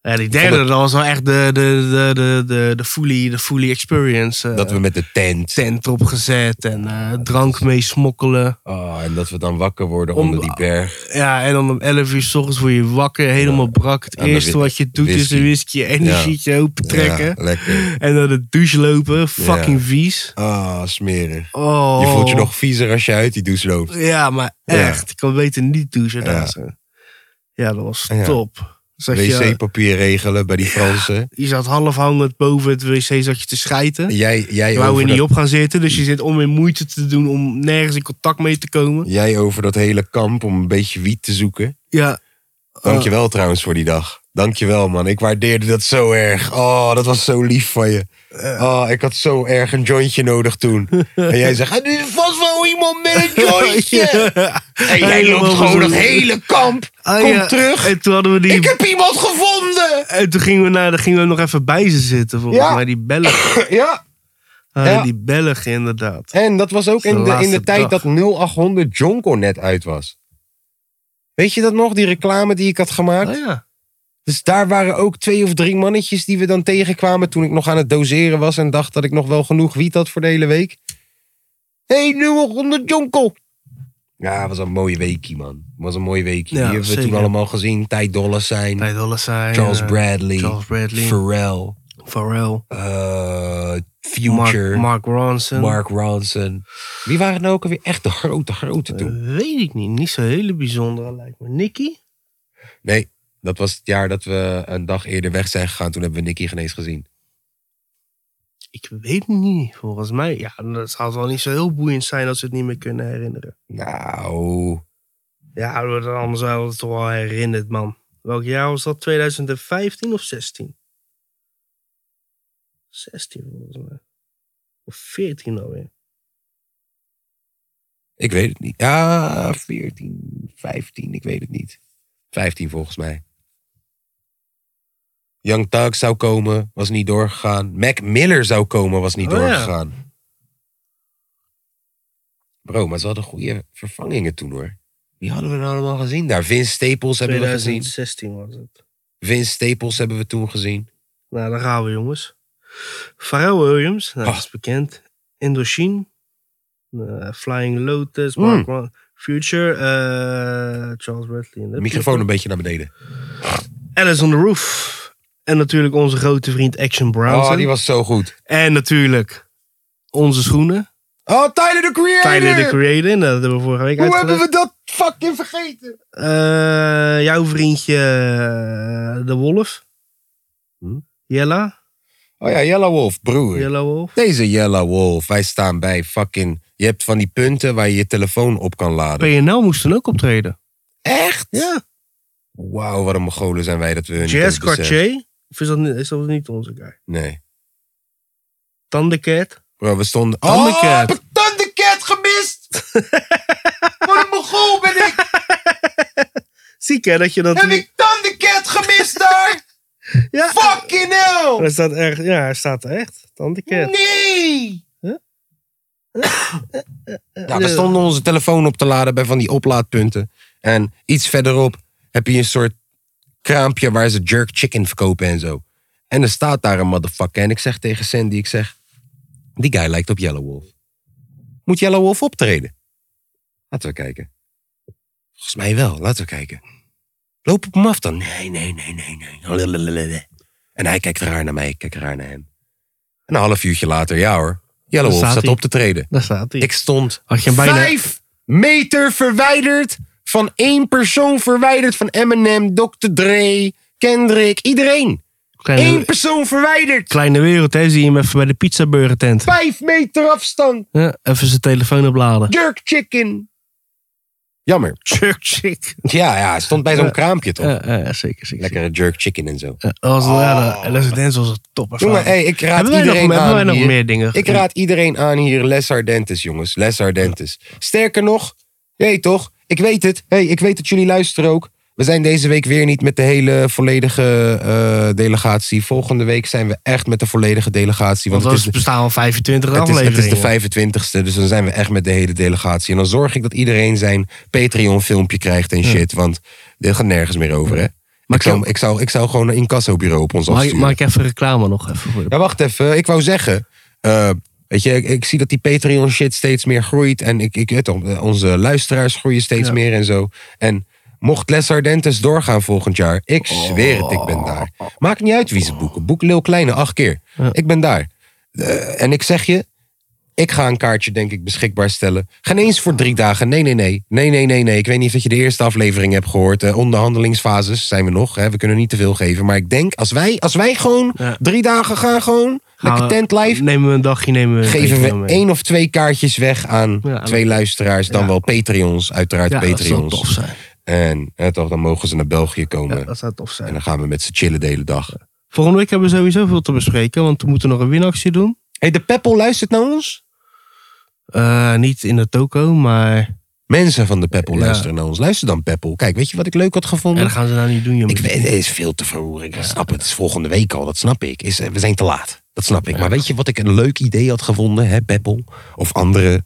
S2: Ja, die derde,
S1: Vond
S2: dat was wel echt de, de, de, de, de, de, fully, de fully experience. eh,
S1: Dat we met de tent.
S2: tent opgezet en eh, drank mee smokkelen.
S1: Ah, en dat we dan wakker worden
S2: Om-
S1: onder die berg.
S2: Ja, en dan om 11 uur s ochtends word je wakker, helemaal brak. Het
S1: En dan
S2: eerste
S1: wit-
S2: wat je doet is
S1: whisky.
S2: een whisky energietje open trekken.
S1: Ja, lekker.
S2: En dan de douche lopen, fucking vies.
S1: Ah, smerig.
S2: Oh.
S1: Je voelt je nog viezer als je uit die douche loopt.
S2: Ja, maar
S1: Ja.
S2: echt. Ik kan beter niet douchen.
S1: Ja.
S2: Ja, ja dat was
S1: Ja.
S2: top. Zat je,
S1: Wc-papier regelen bij die Fransen.
S2: je zat half hangend boven het wc zat je te schijten.
S1: Jij, jij,
S2: Je wou
S1: over
S2: er niet
S1: dat,
S2: op gaan zitten, dus je zit om in moeite te doen om nergens in contact mee te komen.
S1: jij over dat hele kamp om een beetje wiet te zoeken.
S2: Ja,
S1: Dankjewel trouwens voor die dag. Dankjewel man, ik waardeerde dat zo erg. Oh, dat was zo lief van je. Oh, ik had zo erg een jointje nodig toen. En jij zegt, er is vast wel iemand met een jointje. En jij
S2: Helemaal
S1: loopt gewoon dat
S2: bezoedeld.
S1: hele kamp.
S2: Ah,
S1: Kom
S2: ja.
S1: terug.
S2: En toen hadden we die.
S1: Ik heb iemand gevonden.
S2: En toen gingen we, naar, dan gingen we nog even bij ze zitten, volgens
S1: Ja.
S2: mij. Die bellen.
S1: Ja,
S2: Ah,
S1: Ja.
S2: Die Belgen, inderdaad.
S1: en dat was ook
S2: De
S1: in de, in de
S2: laatste
S1: tijd
S2: dag.
S1: dat 0800 Jonko net uit was. Weet je dat nog, die reclame die ik had gemaakt?
S2: Oh ja.
S1: Dus daar waren ook twee of drie mannetjes die we dan tegenkwamen toen ik nog aan het doseren was en dacht dat ik nog wel genoeg wiet had voor de hele week. Hé, hey, nu nog onder jonkel. Ja, het was een mooie weekie, man. Het was een mooie weekie. die
S2: Ja,
S1: hebben we
S2: zeker.
S1: toen allemaal gezien. Ty Dolla Sign,
S2: Tijd alles zijn.
S1: Charles
S2: eh,
S1: Bradley,
S2: Charles Bradley.
S1: Pharrell,
S2: Pharrell.
S1: eh,
S2: Mark,
S1: Future, Mark,
S2: Mark Ronson.
S1: Ronson. Wie waren nou ook alweer echt de grote, grote
S2: Eh,
S1: toen?
S2: weet ik niet. Niet zo hele bijzondere, lijkt me. Nicky?
S1: Nee, dat was het jaar dat we een dag eerder weg zijn gegaan. Toen hebben we Nicky Genees gezien.
S2: Ik weet het niet. Volgens mij. Ja, dat zou wel niet zo heel boeiend zijn als we het niet meer kunnen herinneren.
S1: Nou,
S2: Ja, we dan anders hadden we het toch wel herinnerd, man. Welk jaar was dat? 2015 of 16? 16 volgens mij. Of 14 alweer.
S1: Ik weet het niet. Ja, 14, 15, ik weet het niet. 15 volgens mij. Young Thug zou komen, was niet doorgegaan. Mac Miller zou komen, was niet
S2: Oh ja.
S1: doorgegaan. Bro, maar ze hadden goede vervangingen toen hoor. Wie hadden we nou allemaal gezien daar? Vince Staples hebben we gezien.
S2: 2016 was het.
S1: Vince Staples hebben we toen gezien.
S2: Nou, daar gaan we, jongens. Pharrell Williams, nou,
S1: Ah.
S2: dat is bekend. Indochine. eh, Flying Lotus,
S1: Hmm.
S2: Mark Ron- Future, eh, Charles Bradley. en dat-
S1: Microfoon een beetje naar beneden. Oh,
S2: Alice on the Roof. En natuurlijk onze grote vriend Action Brownson.
S1: Oh, die was zo goed.
S2: En natuurlijk onze schoenen.
S1: Oh, Tyler the Creator!
S2: Tyler, the Creator, nou, dat hebben we vorige week
S1: Hoe
S2: uitgelegd.
S1: hebben we dat fucking vergeten?
S2: Eh, jouw vriendje eh, de wolf.
S1: Hm?
S2: Jella.
S1: Oh ja, Yellow Wolf, broer.
S2: Jella wolf.
S1: Deze Yellow Wolf, wij staan bij fucking... Je hebt van die punten waar je je telefoon op kan laden.
S2: PNL moest toen ook optreden.
S1: Echt?
S2: Ja.
S1: Wauw, wat een mogolen zijn wij dat we hun niet
S2: Jazz
S1: eens beseffen.
S2: Cartier? Of is dat, niet- is dat niet onze guy?
S1: Nee.
S2: Thundercat?
S1: Bro, we stonden...
S2: Thundercat.
S1: Oh, heb ik Thundercat gemist! wat een mogol ben ik!
S2: Ziek hè, dat je dat...
S1: Heb ik Thundercat gemist daar?
S2: Ja,
S1: Fucking hell!
S2: hij staat echt. Ja, hij staat er echt. Thundercat.
S1: Nee!
S2: Huh?
S1: Nou, we stonden onze telefoon op te laden bij van die oplaadpunten. En iets verderop heb je een soort kraampje waar ze jerk chicken verkopen en zo. En er staat daar een motherfucker. En ik zeg tegen Sandy, ik zeg... Die guy lijkt op Yellow Wolf. Moet Yellow Wolf optreden? Laten we kijken. Volgens mij wel, laten we kijken. Loop op hem af dan. Nee, nee, nee, nee, nee. Lalalala. En hij kijkt raar naar mij, ik kijk raar naar hem. En een half uurtje later, ja hoor. Yellow
S2: Daar
S1: Wolf
S2: staat
S1: staat
S2: hij.
S1: op te treden.
S2: Daar staat hij.
S1: Ik stond
S2: Had je hem bijna-
S1: vijf meter verwijderd van één persoon verwijderd van Eminem, Dr. Dre, Kendrick, iedereen. Eén
S2: Kleine,
S1: persoon verwijderd.
S2: kleine wereld hè, zie je hem even bij de pizzaburger tent.
S1: Vijf meter afstand.
S2: Ja, even zijn telefoon opladen.
S1: Jerk chicken. Jammer.
S2: Jerk chick.
S1: Ja, ja, hij stond bij zo'n
S2: Ja.
S1: kraampje toch?
S2: Ja, ja, zeker, zeker.
S1: Lekkere jerk chicken en zo.
S2: zeker. Ja, dat was, ja, dat- Les Dance was een topper.
S1: Oh. Jongen, hey, ik raad
S2: hebben wij, nog,
S1: iedereen
S2: meer- hebben wij
S1: aan
S2: nog
S1: hier.
S2: meer dingen?
S1: Ik raad iedereen aan hier Les Ardentes, jongens. Les Ardentes. Sterker nog, hé toch, ik weet het. Hey, ik weet dat jullie luisteren ook. We zijn deze week weer niet met de hele volledige eh, delegatie. Volgende week zijn we echt met de volledige delegatie.
S2: Want
S1: Want,
S2: er
S1: het, is,
S2: bestaan al 25
S1: het, is, het is
S2: afleveringen.
S1: de 25ste, dus dan zijn we echt met de hele delegatie. En dan zorg ik dat iedereen zijn Patreon-filmpje krijgt en shit. Want dit gaat nergens meer over, hè?
S2: Maar
S1: ik, zou, ik, zou, ik zou gewoon een incassobureau op ons
S2: Mag ik,
S1: afsturen.
S2: maak ik even reclame nog even voor de...
S1: Ja, wacht even. Ik wou zeggen. eh, weet je, ik, ik zie dat die Patreon shit steeds meer groeit. En ik, ik weet al, eh, onze luisteraars groeien steeds
S2: Ja.
S1: meer en zo. En mocht Les Ardentes doorgaan volgend jaar. Ik zweer het, ik ben daar. Maakt niet uit wie ze boeken. Boek Lil Kleine acht keer. Ik ben daar. Eh, en ik zeg je. Ik ga een kaartje, denk ik, beschikbaar stellen. Geen eens voor drie dagen. Nee, nee, nee. Nee, nee, nee, nee. Ik weet niet of dat je de eerste aflevering hebt gehoord. Eh, onderhandelingsfases zijn we nog. Hè. We kunnen niet te veel geven. Maar ik denk, als wij, als wij gewoon
S2: Ja.
S1: drie dagen gaan gewoon.
S2: Gaan
S1: Lekker
S2: we-
S1: tent live.
S2: Nou, Nemen we een dagje, nemen we...
S1: Geven
S2: nemen
S1: we één of twee kaartjes weg aan
S2: Ja, aan-
S1: twee luisteraars. Dan
S2: Ja.
S1: wel Patreons. Uiteraard
S2: Ja, dat zou tof
S1: Patreons.
S2: zijn.
S1: En hè, toch, dan mogen ze naar België
S2: Ja,
S1: komen.
S2: dat zou tof
S1: En
S2: zijn.
S1: dan gaan we met ze chillen de hele dag.
S2: Volgende week hebben we sowieso veel te bespreken, want we moeten nog een winactie doen.
S1: hey, de Peppel luistert naar ons?
S2: Eh, niet in de toko, maar...
S1: Mensen van de Peppel
S2: Ja.
S1: luisteren naar ons. Luister dan Peppel. Kijk, weet je wat ik leuk had
S2: En
S1: gevonden?
S2: dat gaan ze nou niet doen, jongen.
S1: Ik weet, het is veel te vroeg. Ik snap het. Het is volgende week al. Dat snap ik. Is, eh, we zijn te laat. Dat snap ik. Maar weet je wat ik een leuk idee had gevonden, hè, Peppel? Of andere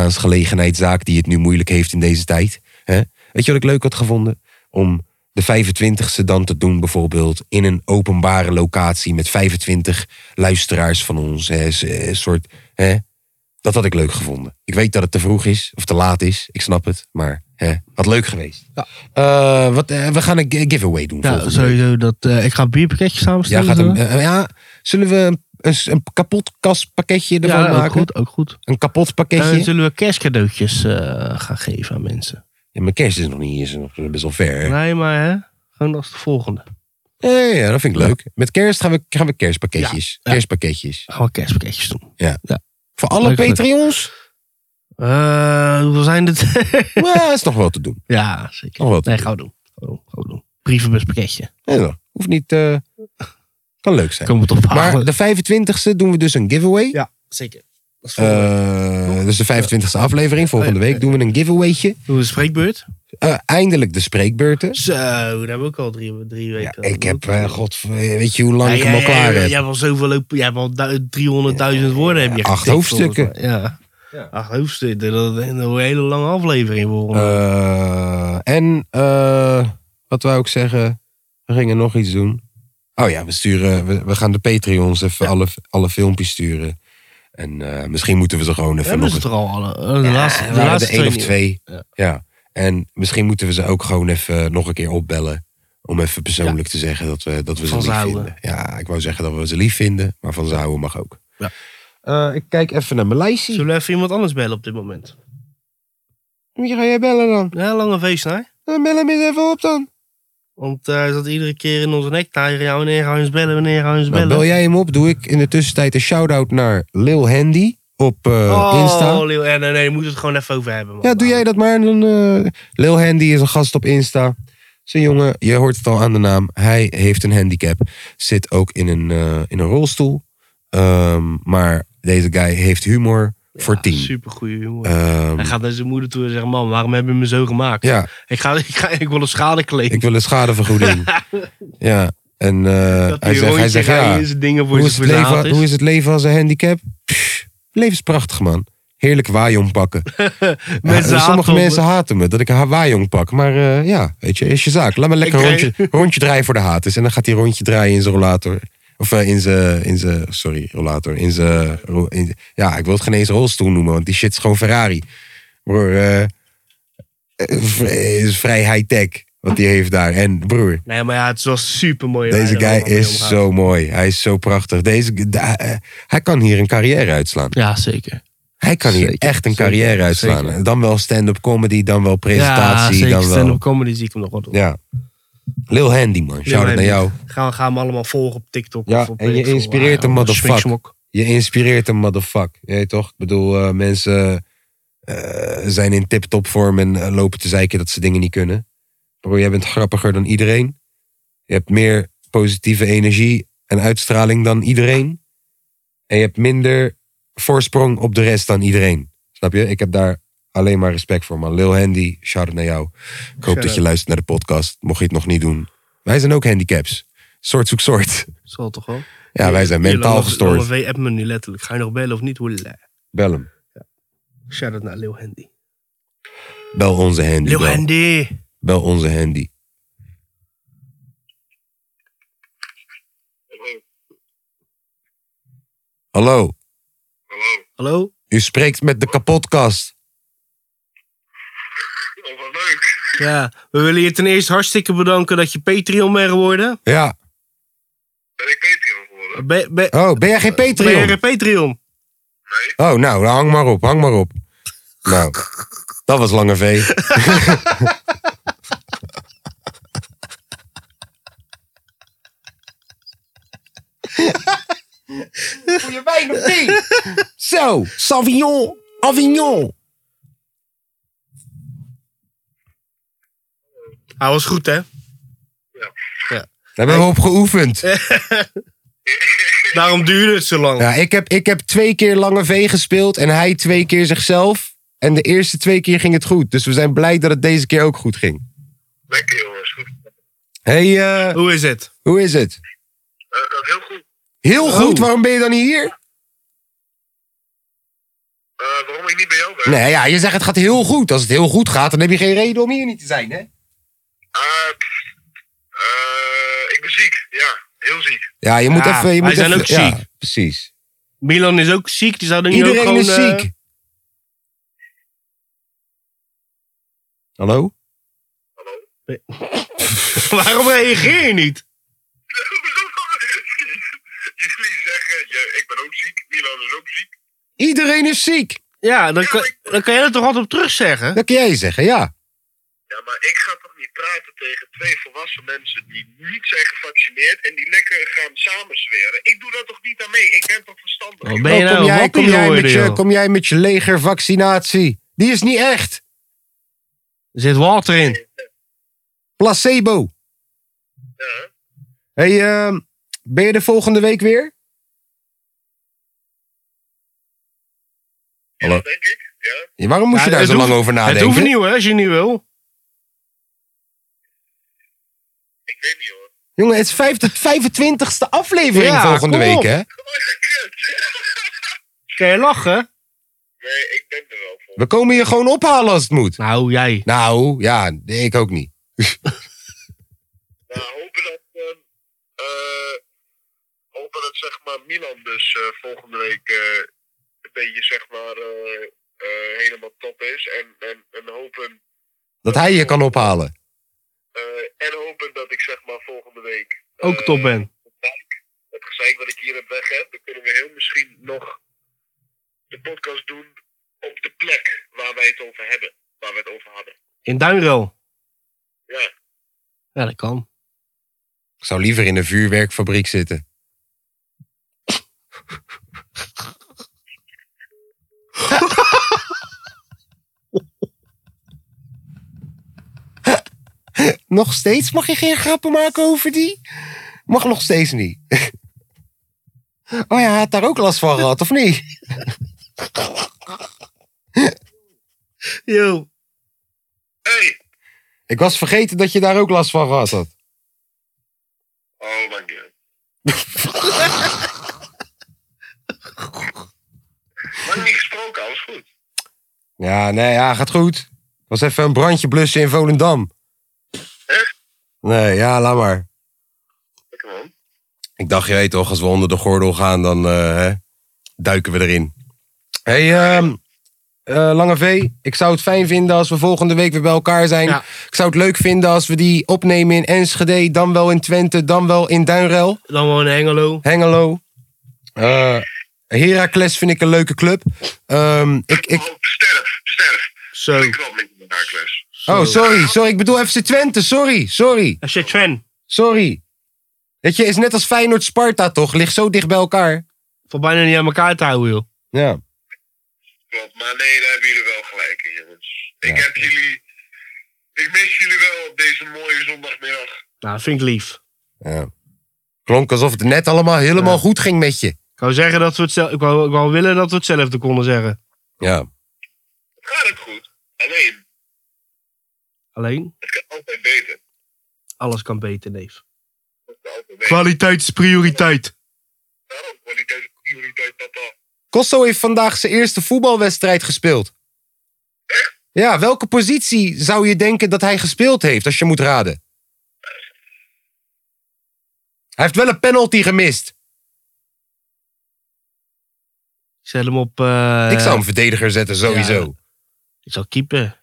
S1: uitgaansgelegenheidszaak die het nu moeilijk heeft in deze tijd. Hè? Weet je wat ik leuk had gevonden? Om de 25e dan te doen, bijvoorbeeld in een openbare locatie met 25 luisteraars van ons. Hè, s- eh, soort, hè? Dat had ik leuk gevonden. Ik weet dat het te vroeg is of te laat is. Ik snap het. Maar hè, had leuk geweest. Eh, wat, eh, we gaan een gi- giveaway doen.
S2: Ja,
S1: volgende week.
S2: sowieso. Dat, eh, ik ga een bierpakketje
S1: Ja,
S2: samenstellen.
S1: gaat een,
S2: zullen we?
S1: eh, ja, zullen we een, een, s- een kapot kaspakketje ervan
S2: ja, ook
S1: maken?
S2: goed, Eh, ook goed.
S1: Een kapot
S2: En
S1: pakketje.
S2: zullen we kerstcadeautjes eh, gaan geven aan mensen?
S1: Ja, mijn kerst is nog niet is nog best wel ver. hè?
S2: Nee, maar hè? Gewoon als de volgende.
S1: Ja, ja, ja, dat vind ik leuk. Met kerst gaan we, gaan we kerstpakketjes.
S2: Ja, ja.
S1: Kerstpakketjes.
S2: Gaan we kerstpakketjes doen.
S1: Voor alle
S2: Leuk, leuk.
S1: Patreons?
S2: Eh, hoeveel zijn het?
S1: Ja, is nog wel te doen.
S2: ja, zeker.
S1: Nog wel te
S2: nee,
S1: doen.
S2: gaan we doen. Gaan we doen. Gaan we doen. Brievenbuspakketje.
S1: Ja, nou, hoeft niet... eh, kan leuk zijn.
S2: Komen we het ophalen.
S1: Maar de 25e doen we dus een giveaway.
S2: Ja, zeker. Dat is volgende week.
S1: Eh, dus de 25e aflevering. Volgende
S2: Oh, ja,
S1: week doen we een giveawaytje.
S2: Doen we een spreekbeurt?
S1: Eh, eindelijk de spreekbeurten.
S2: Zo, daar hebben we ook al drie, drie
S1: Ja,
S2: weken.
S1: ik heb, eh, god, weet je hoe lang
S2: Ja,
S1: ik hem
S2: ja,
S1: al
S2: ja,
S1: klaar
S2: ja,
S1: heb?
S2: Jij hebt al zoveel lopen. Jij hebt al du- 300.000 woorden. Heb je
S1: acht
S2: getikt, volgens
S1: hoofdstukken.
S2: mij. Ja. Acht hoofdstukken. Dat is een hele lange aflevering volgens mij.
S1: Eh, en eh, wat wou ik zeggen? We gingen nog iets doen. Oh ja, we, sturen, we, we gaan de Patreons even alle, alle filmpjes sturen. En eh, misschien moeten we ze gewoon even
S2: hebben
S1: nog
S2: ze
S1: eens-
S2: er al alle? eh, De laatste, de
S1: Ja,
S2: laatste
S1: de één of
S2: niet.
S1: twee. Ja.
S2: Ja.
S1: En misschien moeten we ze ook gewoon even nog een keer opbellen. Om even persoonlijk te zeggen dat we, dat we ze
S2: Van ze
S1: lief
S2: houden.
S1: vinden. Ja, ik wou zeggen dat we ze lief vinden. Maar van ze houden mag ook.
S2: Ja.
S1: Eh, ik kijk even naar mijn lijstje.
S2: Zullen we even iemand anders bellen op dit moment?
S1: Wie ga jij bellen dan?
S2: Ja, lange feest, hè?
S1: Dan bel hem eens even op dan.
S2: Want eh, hij zat iedere keer in onze nek tegen jou. Wanneer gaan we eens bellen? Wanneer gaan we eens
S1: Nou,
S2: bellen?
S1: bel jij hem op, doe ik in de tussentijd een shout-out naar Lil Handy op eh,
S2: oh,
S1: Insta.
S2: Leeuw, eh, nee, nee, daar moeten we het gewoon even over hebben. Man. Nou,
S1: Ja, doe jij dat maar. En Dan, eh, Lil Handy is een gast op Insta. Zijn jongen, je hoort het al aan de naam. Hij heeft een handicap. Zit ook in een, eh, in een rolstoel. Ehm, maar deze guy heeft humor voor tien.
S2: Super goede humor.
S1: Ehm,
S2: hij gaat naar zijn moeder toe en zegt: Man, waarom hebben we me zo gemaakt?
S1: ja,
S2: Ik, ga, ik, ga, ik wil een schadeclaim.
S1: ik wil een schadevergoeding. ja, en eh,
S2: dat
S1: hij
S2: hij
S1: zegt, hij zegt ja.
S2: dingen voor
S1: Hoe
S2: zijn
S1: is, het
S2: voor zijn
S1: leven,
S2: haat is.
S1: hoe is het leven als een handicap? Pff, leven is prachtig, man. Heerlijk waaijong pakken. Ja,
S2: Mensen haten
S1: eh, sommige
S2: op
S1: mensen haten me dat ik haar waaijong pak. Maar eh, ja, weet je, is je zaak. Laat me lekker een
S2: Ik
S1: rondje, rondje draaien voor de haters. En dan gaat hij rondje draaien in zijn rollator. Of eh, in zijn, in zijn, sorry, rollator. In zijn, ro- in- ja, ik wil het geen eens rolstoel noemen, want die shit is gewoon Ferrari. Broer, eh, eh, v- eh, is vrij high-tech wat hij heeft daar. En broer,
S2: Nee, maar ja, het is wel super mooi.
S1: deze guy is zo mooi. Hij is zo prachtig. Deze, de- eh, hij kan hier een carrière uitslaan.
S2: Ja, zeker.
S1: Hij kan hier
S2: Zeker,
S1: echt een
S2: zeker,
S1: carrière uitslaan.
S2: zeker.
S1: Dan wel stand-up comedy, dan wel
S2: ja,
S1: presentatie,
S2: zeker.
S1: dan wel...
S2: Stand-up comedy zie ik hem nog wel doen.
S1: Ja. Lil Handy, man. Shout out
S2: Handy.
S1: naar jou.
S2: Gaan, gaan we allemaal volgen op TikTok.
S1: Ja,
S2: of op
S1: en
S2: weet
S1: je
S2: ik veel
S1: inspireert
S2: waar,
S1: een
S2: op
S1: motherfucker.
S2: Smiksmok.
S1: Je inspireert een motherfucker. Je weet toch? Ik bedoel, eh, mensen... eh, eh, zijn in tip-top vorm en eh, lopen te zeiken dat ze dingen niet kunnen. Bro, jij bent grappiger dan iedereen. Je hebt meer positieve energie en uitstraling dan iedereen. En je hebt minder voorsprong op de rest dan iedereen. Snap je? Ik heb daar alleen maar respect voor, man. Lil Handy, shout-out naar jou. Ik hoop
S2: Shout-out.
S1: dat je luistert naar de podcast. Mocht je het nog niet doen. Wij zijn ook handicaps. Soort zoek soort.
S2: Zal toch wel?
S1: Ja, wij zijn mentaal gestoord.
S2: LV app me nu letterlijk. Ga je nog bellen of niet? Hoela.
S1: Bel hem.
S2: Shout-out naar Lil Handy.
S1: Bel onze handy.
S2: Lil
S1: Bel,
S2: Handy!
S1: Bel onze handy. Hallo,
S3: Hallo.
S2: Hallo?
S1: u spreekt met de kapotkast.
S3: Oh, wat leuk.
S2: Ja, we willen je ten eerste hartstikke bedanken dat je Patreon bent geworden.
S1: Ja.
S3: Ben ik Patreon geworden?
S2: Be- be-
S1: Oh, ben jij geen
S2: ben jij
S1: Patreon?
S2: een Patreon?
S3: Nee.
S1: Oh, nou, hang maar op, hang maar op. Nou, dat was Lange V. Goeie wijn of thee? Zo, Savignon, Avignon.
S2: Hij was goed, hè?
S1: Daar hebben we op geoefend.
S2: Daarom duurde het zo lang.
S1: Ja, ik, heb, ik heb twee keer Lange V gespeeld en hij twee keer zichzelf. En de eerste twee keer ging het goed. Dus we zijn blij dat het deze keer ook goed ging.
S3: Lekker jongens. Goed.
S1: hey, eh,
S2: Hoe is het?
S1: hoe is het?
S3: Eh, gaat heel goed.
S1: Heel goed,
S2: Oh.
S1: waarom ben je dan niet hier?
S3: Eh, waarom ik niet bij jou ben?
S1: Nee, ja, je zegt het gaat heel goed. Als het heel goed gaat, dan heb je geen reden om hier niet te zijn, hè?
S3: Eh, pff, eh, ik ben ziek. Ja, heel ziek.
S1: Ja, je moet
S2: Ja,
S1: even... Je
S2: wij
S1: moet
S2: zijn
S1: even,
S2: ook
S1: ja,
S2: ziek.
S1: precies.
S2: Milan is ook ziek, die zou dan hier
S1: Iedereen
S2: ook
S1: is
S2: gewoon, eh,
S1: ziek. Hallo?
S2: waarom reageer je niet?
S3: Jullie zeggen, je, ik ben ook ziek. Milan is ook ziek.
S1: Iedereen is ziek.
S2: Ja, dan kan, dan kan jij er toch altijd op terugzeggen?
S1: Dat kun jij zeggen, ja.
S3: Ja, maar ik ga toch niet praten tegen twee volwassen mensen die niet zijn gevaccineerd en die lekker gaan samensweren. Ik doe daar toch niet aan mee? Ik ben toch verstandig?
S2: Wat ben je
S1: Oh,
S2: nou
S1: kom,
S2: een
S1: jij, kom,
S2: wappie
S1: jij
S2: geworden,
S1: met je,
S2: joh?
S1: kom jij met je legervaccinatie? Die is niet echt.
S2: Er zit water in.
S1: Placebo.
S3: Ja.
S1: hey, ehm, ben je er volgende week weer?
S3: Ja,
S1: Hallo.
S3: denk ik. Ja.
S1: Ja, waarom moest
S2: Ja,
S1: je daar
S2: het
S1: zo
S2: hoeft-
S1: lang over
S2: het
S1: nadenken?
S2: hoeft niet hoor, als je niet wil.
S3: Ik weet niet hoor.
S1: Jongen, het is 50 25ste aflevering
S2: Ja,
S1: volgende
S2: kom op.
S1: week, hè?
S2: Kan je lachen?
S3: Nee, ik ben er wel voor.
S1: We komen je gewoon ophalen als het moet.
S2: Nou, jij.
S1: Nou, ja, nee, ik ook niet.
S3: Nou, hopen dat, ehm, eh, hopen dat zeg maar Milan dus eh, volgende week eh, een beetje zeg maar eh, eh, helemaal top is. En, en, en, hopen,
S1: Dat hij je kan ophalen.
S3: eh, en hopen dat ik zeg maar volgende week eh,
S2: Ook top ben.
S3: het gezeik wat ik hier heb weg heb, dan kunnen we heel misschien nog de podcast doen op de plek waar wij het over hebben. Waar we het over hadden.
S2: In Duinrel.
S3: Ja.
S2: Ja, dat kan.
S1: Ik zou liever in een vuurwerkfabriek zitten. nog steeds mag je geen grappen maken over die? Mag nog steeds niet. Oh ja, hij had daar ook last van gehad, of niet?
S2: Yo.
S3: Hey!
S1: Ik was vergeten dat je daar ook last van gehad had.
S3: Oh my god. maar niet gesproken, alles goed.
S1: Ja, nee, ja, gaat goed. Was even een brandje blussen in Volendam.
S3: Echt?
S1: Nee, ja, laat maar.
S3: Lekker man.
S1: Ik dacht, je weet toch, als we onder de gordel gaan, dan eh, hè, duiken we erin. hey, ehm, eh, Lange V, ik zou het fijn vinden als we volgende week weer bij elkaar zijn.
S2: Ja.
S1: Ik zou het leuk vinden als we die opnemen in Enschede, dan wel in Twente, dan wel in Duinrel.
S2: Dan wel in Hengelo.
S1: Hengelo. Eh Heracles vind ik een leuke club. Ehm, ik, ik,
S3: Oh, sterf, sterf.
S2: Zo.
S3: Ik kwam niet met haar klas.
S1: oh, sorry, sorry. Ik bedoel FC Twente, sorry, sorry.
S2: Als je Twen
S1: Sorry. Weet je, is net als Feyenoord Sparta toch? Ligt zo dicht bij elkaar.
S2: van bijna niet aan elkaar te houden, joh.
S1: Ja.
S3: Klopt, maar nee, daar hebben jullie wel gelijk in, jongens. Ik
S1: Ja.
S3: heb jullie. Ik mis jullie wel op deze mooie zondagmiddag.
S2: Nou, vind ik lief.
S1: Ja. Klonk alsof het net allemaal helemaal
S2: Ja.
S1: goed ging met je.
S2: Ik wou zeggen dat we het zelf, ik wou, ik wou willen dat we hetzelfde konden zeggen.
S1: Ja.
S3: Het gaat ook goed. Alleen,
S2: Alleen,
S3: het kan altijd beter.
S2: alles kan beter, neef.
S3: Het kan altijd beter.
S2: Kwaliteit is prioriteit.
S3: Daarom kwaliteit en prioriteit, papa.
S1: Kosto heeft vandaag zijn eerste voetbalwedstrijd gespeeld. Ja, welke positie zou je denken dat hij gespeeld heeft als je moet raden? Hij heeft wel een penalty gemist.
S2: Ik zet hem op... eh,
S1: Ik zou hem verdediger zetten, sowieso.
S2: Ik zou keeper.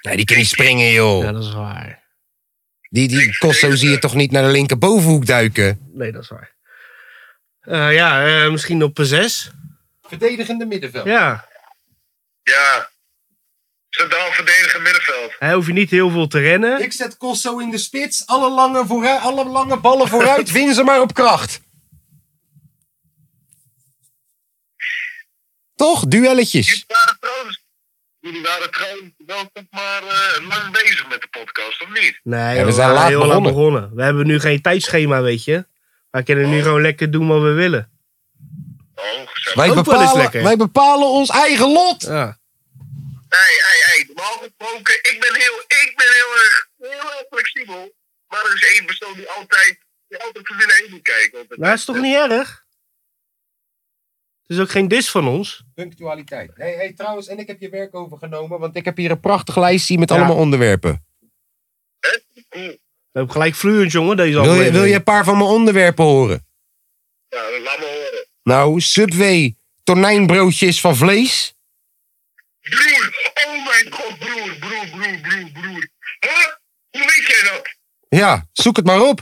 S1: Nee, die kan niet springen, joh.
S2: Ja, dat is waar.
S1: Die, die Kosso zie je toch niet naar de linkerbovenhoek duiken?
S2: Nee, dat is waar. Eh, ja, eh, misschien op eh, zes.
S1: Verdedigende middenveld.
S2: Ja,
S3: Ja. Centraal verdedigen middenveld.
S2: hij hoeft je niet heel veel te rennen.
S1: Ik zet Kosso in de spits. Alle lange, vooruit, alle lange ballen vooruit. Win ze maar op kracht. Toch? Duelletjes.
S3: Jullie waren trouwens. Jullie waren trouwens wel zeg maar eh, lang bezig met de podcast, of niet?
S2: Nee,
S1: Ja, we
S2: joh,
S1: zijn laat
S2: heel
S1: begonnen.
S2: We hebben nu geen tijdschema, weet je. Wij kunnen nu gewoon lekker doen wat we willen.
S3: Oh,
S1: Wij
S2: Ook
S3: gezellig.
S2: wel eens
S1: bepalen,
S2: lekker.
S1: wij bepalen ons eigen lot.
S2: Ja.
S3: Hey, hey, hey, normaal gesproken, ik ben heel, ik ben heel erg, heel erg flexibel. Maar er is één persoon die altijd, die altijd voor binnen heen moet kijken. Want het-
S2: Nou, is toch niet erg? Het is ook geen dis van ons.
S1: Punctualiteit. Hey, hey, trouwens, en ik heb je werk overgenomen, want ik heb hier een prachtig lijstje met
S2: Ja.
S1: allemaal onderwerpen.
S2: We hebben gelijk vloeiend, jongen, deze
S1: Wil je,
S2: aflevering.
S1: wil je een paar van mijn onderwerpen horen?
S3: Ja, dat laat me horen.
S1: Nou, Subway, tonijnbroodjes van vlees.
S3: Broer, oh mijn god, broer, broer, broer, broer, broer. Huh? Hoe weet jij dat?
S1: Ja, zoek het maar op.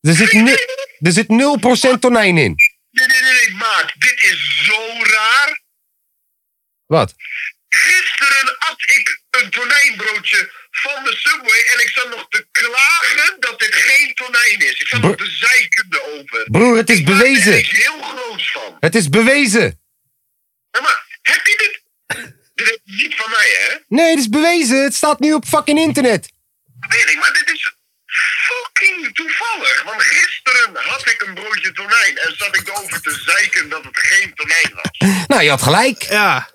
S1: Er zit, ni- er zit 0% tonijn in.
S3: Nee, nee, nee, nee, maat, dit is zo raar.
S1: Wat?
S3: Gisteren at ik een tonijnbroodje van de Subway en ik zat nog te klagen dat dit geen tonijn is. Ik zat
S1: Bro-
S3: nog te zeiken over.
S1: Broer, het is
S3: Ik maak er
S1: bewezen.
S3: iets heel groots van.
S1: Het is bewezen.
S3: Hé, maar heb je dit? dit is niet van mij, hè?
S1: Nee, het is bewezen. Het staat nu op fucking internet.
S3: Weet ik, maar dit is fucking toevallig. Want gisteren had ik een broodje tonijn en zat ik erover te zeiken dat het geen tonijn was.
S1: Nou, je had gelijk.
S2: Ja,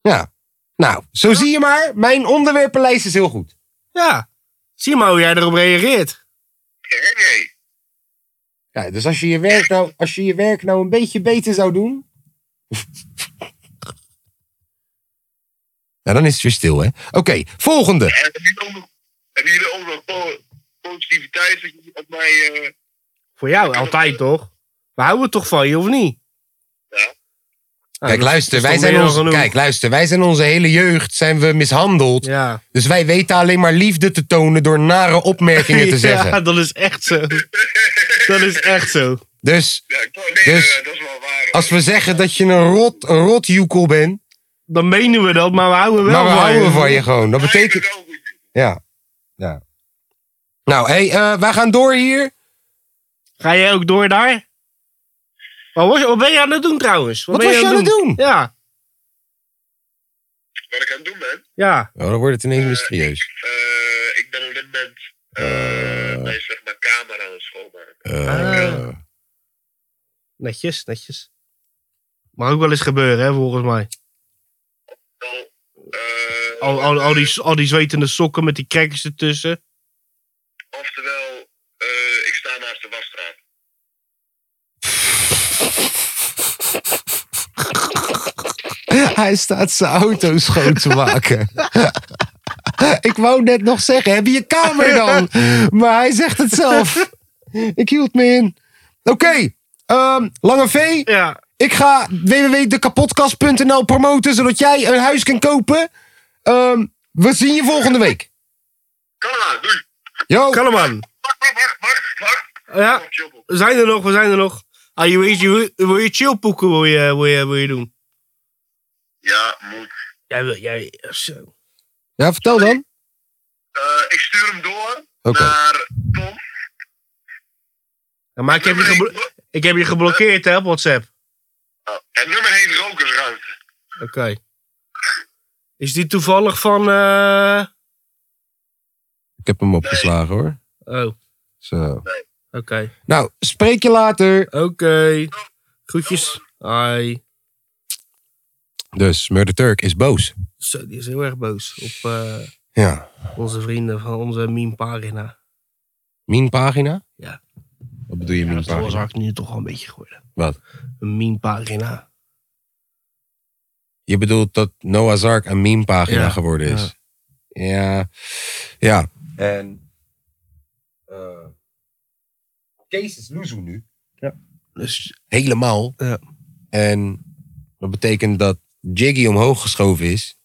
S1: Ja. Nou, zo zie je maar. Mijn onderwerpenlijst is heel goed.
S2: ja. Zie maar hoe jij erop reageert.
S3: Nee, nee.
S1: Ja, dus als je je werk nou, als je je werk nou een beetje beter zou doen... Ja, dan is het weer stil, hè? Oké, volgende.
S3: En hebben jullie ook nog- hebben jullie ook nog po- positiviteit dat jullie op mij... eh,
S2: Voor jou altijd, toch? We houden toch van je, of niet?
S3: Ja.
S2: Nou,
S1: Kijk,
S2: dat
S1: luister,
S2: is toch
S1: wij zijn
S2: meer dan
S1: onze,
S2: genoeg.
S1: kijk, luister, wij zijn onze hele jeugd zijn we mishandeld.
S2: Ja.
S1: Dus wij weten alleen maar liefde te tonen door nare opmerkingen te
S2: Ja,
S1: zeggen.
S2: dat is echt zo. Dat is echt zo.
S1: Dus
S3: ja, ik- nee,
S1: Dus-
S3: eh, dat is wel waar.
S1: als we zeggen dat je een rot, een rotjoekel bent,
S2: Dan menen we dat, maar we houden wel
S1: maar we
S2: van
S1: houden van je gewoon. Dat
S3: Maar ik
S1: betekent,
S3: ben wel goed.
S1: ja. ja. Nou, hey, eh, wij gaan door hier.
S2: Ga jij ook door daar? Wat, was, wat ben je aan het doen trouwens?
S1: Wat
S2: ben
S1: was je aan het doen?
S2: Ja,
S3: Wat ik aan het doen ben,
S2: ja.
S1: Oh, dan wordt het ineens mysterieus.
S3: eh, ik ben op dit moment eh bij zeg maar camera aan het schoonmaken.
S1: Eh.
S2: Ah. Netjes, netjes. Mag ook wel eens gebeuren, hè, volgens mij.
S3: Nou, eh,
S2: Al, al, al, die, al die zwetende sokken met die crackers ertussen.
S3: Oftewel, eh, ik sta naast de wasstraat.
S1: Hij staat zijn auto schoon te maken. Ik wou net nog zeggen, heb je je kamer dan? Maar hij zegt het zelf. Ik hield me in. Oké, ehm, Lange V,
S2: Ja,
S1: Ik ga www.dekapodcast.nl promoten, zodat jij een huis kan kopen. Ehm, we zien je volgende week.
S3: Kom maar, doei.
S1: Yo.
S2: Kalleman.
S3: Wacht, wacht, wacht, wacht, wacht.
S2: Ja,
S3: Kom, jobbel.
S2: we zijn er nog, we zijn er nog. Ah, je, wil je, wil je- wil je chillpoeken wil je, wil, je, wil je doen?
S3: Ja, moet.
S2: Jij wil, jij, zo.
S1: Ja, vertel dan.
S3: Eh, ik stuur hem door
S1: Oké.
S3: naar Tom.
S2: Ja, maar ik heb, je geblo- ik heb je geblokkeerd, hè, op WhatsApp.
S3: Oh,
S2: Oké. Is die toevallig van... eh,
S1: Ik heb hem opgeslagen hoor.
S2: Oh, oké.
S1: Zo. Nou, spreek je later.
S2: Oké. Groetjes. Hi.
S1: Dus Murder Turk is boos.
S2: Zo, die is heel erg boos op eh,
S1: Ja.
S2: onze vrienden van onze meme-pagina.
S1: Mien pagina?
S2: Ja.
S1: Wat bedoel je
S2: Ja,
S1: mien
S2: dat was
S1: pagina?
S2: hard nu toch wel een beetje geworden.
S1: Wat?
S2: Een meme-pagina.
S1: Je bedoelt dat Noah's Ark een meme pagina
S2: Ja,
S1: geworden is. Ja. Ja. En eh Kees is loezoe nu.
S2: Dus
S1: Helemaal.
S2: Ja.
S1: En dat betekent dat Jiggy omhoog geschoven is.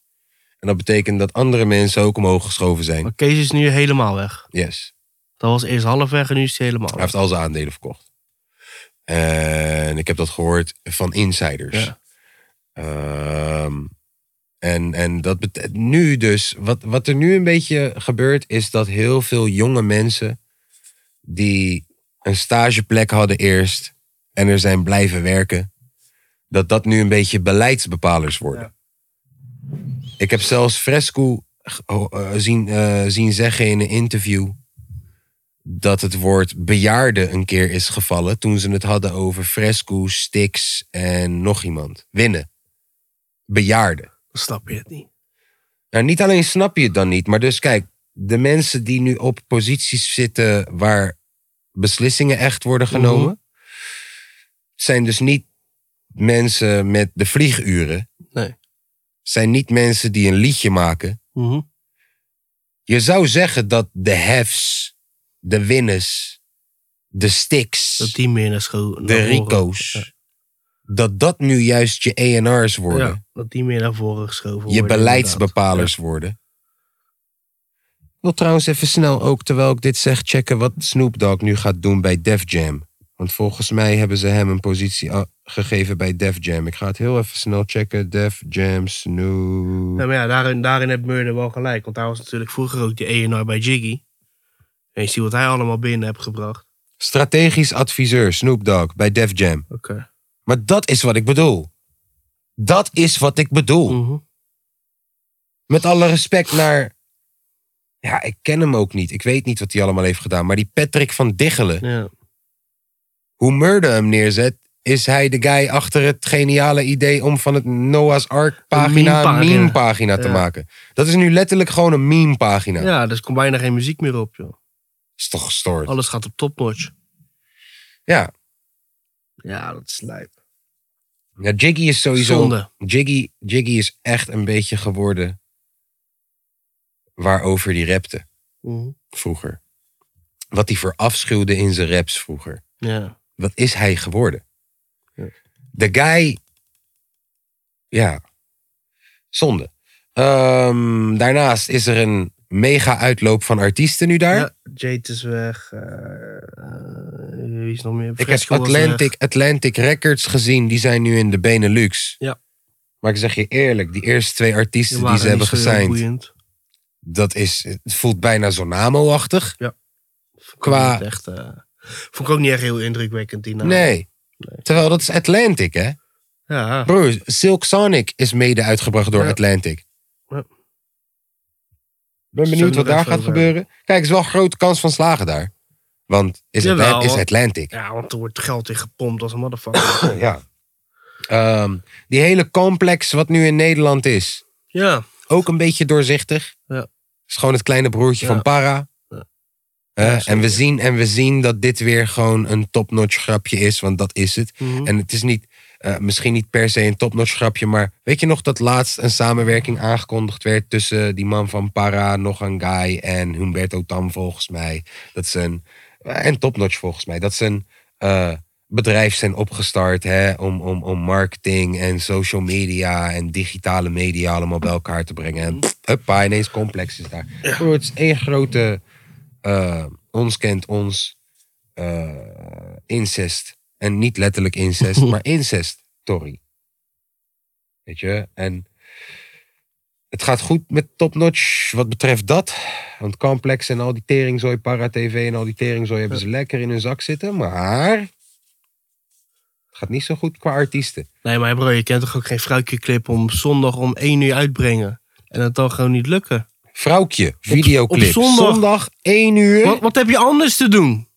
S1: En dat betekent dat andere mensen ook omhoog geschoven zijn.
S2: maar Kees is nu helemaal weg.
S1: Yes.
S2: Dat was eerst half weg en nu is hij helemaal
S1: Hij
S2: weg.
S1: heeft al zijn aandelen verkocht. En ik heb dat gehoord van insiders.
S2: Ja.
S1: Ehm, en, en dat bet- nu dus, wat, wat er nu een beetje gebeurt, is dat heel veel jonge mensen die een stageplek hadden eerst en er zijn blijven werken, dat dat nu een beetje beleidsbepalers worden. Ik heb zelfs Fresco g- ho- eh, zien, eh, zien zeggen in een interview dat het woord bejaarde een keer is gevallen toen ze het hadden over Fresco, Stix en nog iemand. Winnen. Bejaarden.
S2: Dan snap je het niet.
S1: Nou, niet alleen snap je het dan niet, maar dus kijk, de mensen die nu op posities zitten waar beslissingen echt worden genomen, zijn dus niet mensen met de vlieguren.
S2: Nee.
S1: Zijn niet mensen die een liedje maken.
S2: Mhm.
S1: Je zou zeggen dat de hefs, de winners, de sticks,
S2: Dat die meer naar scho- naar
S1: de
S2: voren-
S1: rico's,
S2: Ja.
S1: dat dat nu juist je ENR's worden.
S2: Ja, dat die meer naar voren geschoven worden.
S1: je
S2: inderdaad.
S1: beleidsbepalers worden. Ik wil trouwens even snel ook, terwijl ik dit zeg, checken wat Snoop Dogg nu gaat doen bij Def Jam. Want volgens mij hebben ze hem een positie a- gegeven bij Def Jam. Ik ga het heel even snel checken. Def Jam,
S2: Ja.
S1: Snoop.
S2: Nou, maar ja, daarin, daarin heeft Murder wel gelijk. Want daar was natuurlijk vroeger ook die ENR bij Jiggy. En je ziet wat hij allemaal binnen heeft gebracht.
S1: Strategisch adviseur Snoop Dogg bij Def Jam.
S2: Oké.
S1: Maar dat is wat ik bedoel. Dat is wat ik bedoel.
S2: Mhm.
S1: Met alle respect naar... Ja, ik ken hem ook niet. Ik weet niet wat hij allemaal heeft gedaan. Maar die Patrick van Diggelen.
S2: Ja.
S1: hoe Murder hem neerzet, is hij de guy achter het geniale idee om van het Noah's Ark pagina een
S2: meme-pagina.
S1: meme pagina te
S2: Ja.
S1: maken. Dat is nu letterlijk gewoon een meme pagina.
S2: ja, dus komt bijna geen muziek meer op, joh.
S1: Is toch gestoord.
S2: Alles gaat op topnotch.
S1: Ja.
S2: Ja, dat is lijp.
S1: Ja, Jiggy is sowieso.
S2: Zonde.
S1: Jiggy, Jiggy is echt een beetje geworden waarover die rapte
S2: Mhm.
S1: vroeger. Wat hij verafschuwde in zijn raps vroeger.
S2: Ja.
S1: wat is hij geworden?
S2: Ja.
S1: De guy. Ja. Zonde. Ehm, daarnaast is er een mega uitloop van artiesten nu daar.
S2: ja. Jade is weg. eh, eh, wie is nog meer?
S1: ik heb
S2: Fresco was
S1: Atlantic,
S2: weg.
S1: Atlantic Records gezien. Die zijn nu in de Benelux.
S2: Ja.
S1: Maar ik zeg je eerlijk, die eerste twee
S2: Die
S1: artiesten die,
S2: waren
S1: ze hebben
S2: niet zo heel
S1: gesigned,
S2: boeiend.
S1: dat is, het voelt bijna Zonamo-achtig.
S2: Vond ik
S1: Qua-
S2: niet Echt, eh, vond ik ook niet echt heel indrukwekkend die naam.
S1: nee. Terwijl dat is Atlantic, hè?
S2: Ja.
S1: Broer, Silk Sonic is mede uitgebracht door
S2: Ja.
S1: Atlantic.
S2: Ja.
S1: Ik ben
S2: Zullen
S1: benieuwd
S2: we
S1: wat
S2: er
S1: daar
S2: even
S1: gaat
S2: over
S1: gebeuren. Kijk, er is wel een grote kans van slagen daar. Want is,
S2: Jawel,
S1: Atlan- is
S2: hoor.
S1: Atlantic.
S2: ja, want er wordt geld in gepompt als een motherfucker.
S1: Ja. Ehm, die hele complex wat nu in Nederland is,
S2: ja.
S1: ook een beetje doorzichtig.
S2: Ja.
S1: Is gewoon het kleine broertje
S2: Ja.
S1: van Para.
S2: Ja.
S1: Hè?
S2: Ja,
S1: en,
S2: zeker.
S1: we zien, en we zien dat dit weer gewoon een topnotch grapje is, want dat is het.
S2: Mhm.
S1: En het is niet, eh, misschien niet per se een topnotch grapje, maar weet je nog dat laatst een samenwerking aangekondigd werd tussen die man van Para, nog een guy en Humberto Tam volgens mij. Dat ze een, eh, en topnotch volgens mij, dat ze een eh, bedrijf zijn opgestart hè, om, om, om marketing en social media en digitale media allemaal bij elkaar te brengen. En pff, huppa, ineens complex is daar. Bro, het is één grote eh, ons kent ons eh, incest. En niet letterlijk incest, maar incest, Tory. Weet je? En het gaat goed met topnotch wat betreft dat. Want Complex en al die teringzooi, Para TV en al die teringzooi hebben ze lekker in hun zak zitten. Maar het Gaat niet zo goed qua artiesten.
S2: Nee, maar bro, je kent toch ook geen fruitjeclip om zondag om 1 uur uitbrengen. En dat dan gewoon niet lukken.
S1: Vrouwtje, videoclip.
S2: op zondag.
S1: 1 uur.
S2: Wat, wat heb je anders te doen?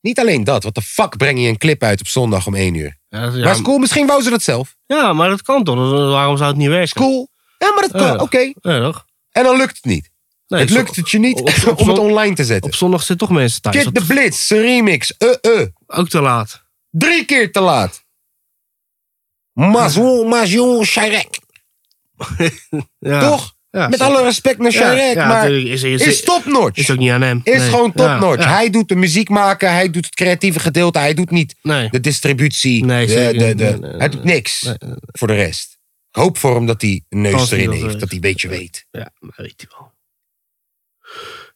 S1: Niet alleen dat, wat de fuck breng je een clip uit op zondag om 1 uur?
S2: Ja, dat- ja,
S1: Maar is cool, misschien wou ze dat zelf.
S2: ja, maar dat kan toch? Dus Waarom zou het niet werken?
S1: Cool. Ja, maar dat kan.
S2: Ja.
S1: Oké.
S2: Ja, toch?
S1: En dan lukt het niet.
S2: Nee,
S1: het
S2: zo-
S1: lukt het je niet
S2: op- op- op-
S1: om het online te zetten.
S2: Op zondag zitten toch mensen thuis.
S1: Kid
S2: Dat
S1: de Blitz, zijn remix. Eh, eh.
S2: is ook te laat.
S1: Drie keer te laat. Mazon, Mazon, Chirac.
S2: Ja.
S1: Toch?
S2: Ja,
S1: Met
S2: zo-
S1: alle respect naar
S2: ja,
S1: Chirac,
S2: ja,
S1: maar
S2: natuurlijk is, is,
S1: is
S2: is,
S1: topnotch.
S2: ook niet aan hem.
S1: Is
S2: Nee.
S1: gewoon topnotch.
S2: Ja, ja.
S1: Hij doet de muziek maken, hij doet het creatieve gedeelte, hij doet niet
S2: Nee.
S1: de distributie.
S2: Nee,
S1: de-
S2: zeker
S1: de-
S2: niet.
S1: de-
S2: Nee, nee,
S1: hij doet niks
S2: nee, eh,
S1: voor de rest. Ik hoop voor hem dat hij een neus
S2: Als hij
S1: erin
S2: dat
S1: heeft,
S2: weet.
S1: dat hij een beetje weet.
S2: Ja, maar weet je wel.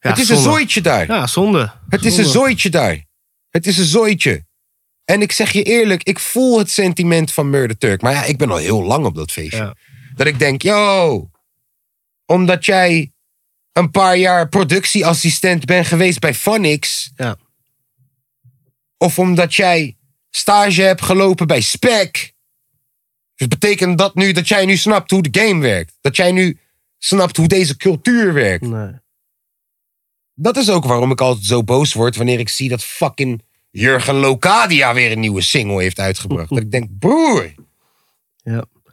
S2: Ja,
S1: het is
S2: zonde.
S1: een zooitje daar.
S2: Ja, zonde.
S1: Het is een
S2: Zonde.
S1: zooitje daar. Het is een zooitje. En ik zeg je eerlijk, ik voel het sentiment van Murder Turk. Maar ja, ik ben al heel lang op dat feestje.
S2: Ja.
S1: Dat ik denk, yo, omdat jij een paar jaar productieassistent bent geweest bij Phonix.
S2: Ja.
S1: Of omdat jij stage hebt gelopen bij Spec. Dus betekent dat nu dat jij nu snapt hoe de game werkt? Dat jij nu snapt hoe deze cultuur werkt?
S2: Nee.
S1: Dat is ook waarom ik altijd zo boos word wanneer ik zie dat fucking Jurgen Locadia weer een nieuwe single heeft uitgebracht. Dat ik denk, broer,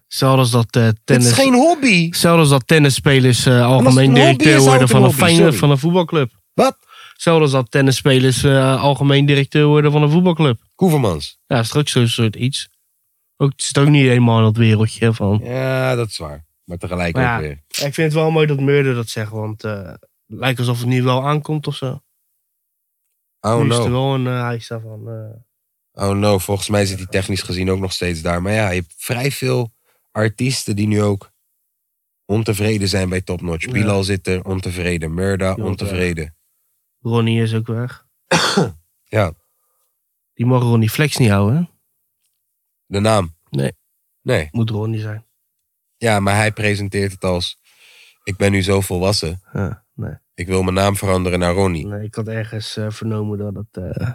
S2: Zelfs als dat eh,
S1: dit is
S2: tennis...
S1: geen hobby.
S2: Zelfs als dat tennisspelers
S1: als
S2: eh,
S1: het
S2: algemeen
S1: een hobby
S2: directeur
S1: is,
S2: worden
S1: houdt
S2: van een,
S1: een hobby,
S2: fijne,
S1: sorry.
S2: van een voetbalclub.
S1: Wat?
S2: Zelfs als dat tennisspelers eh, algemeen directeur worden van een voetbalclub.
S1: Koevermans.
S2: Ja, is het ook zo'n soort iets. Ook, het is ook niet helemaal in dat wereldje van...
S1: Ja, dat is waar. Maar tegelijk
S2: Maar
S1: ook
S2: ja.
S1: weer.
S2: Ik vind het wel mooi dat Murder dat zegt, want eh, het lijkt alsof het nu wel aankomt of zo.
S1: Oh
S2: nu is er
S1: no.
S2: wel een eh, hijs daarvan. eh.
S1: Oh no, volgens mij zit hij technisch gezien ook nog steeds daar. Maar ja, je hebt vrij veel artiesten die nu ook ontevreden zijn bij Top Notch.
S2: Ja.
S1: Bilal zit er, ontevreden. Murda,
S2: Ja,
S1: ontevreden.
S2: Ronnie is ook weg.
S1: Ja.
S2: Die mag Ronnie Flex niet houden, hè?
S1: De naam?
S2: Nee.
S1: Nee.
S2: Moet Ronnie zijn.
S1: Ja, maar hij presenteert het als... Ik ben nu zo volwassen.
S2: Ja, nee.
S1: Ik wil mijn naam veranderen naar Ronnie.
S2: nee, ik had ergens eh, vernomen dat, het, eh,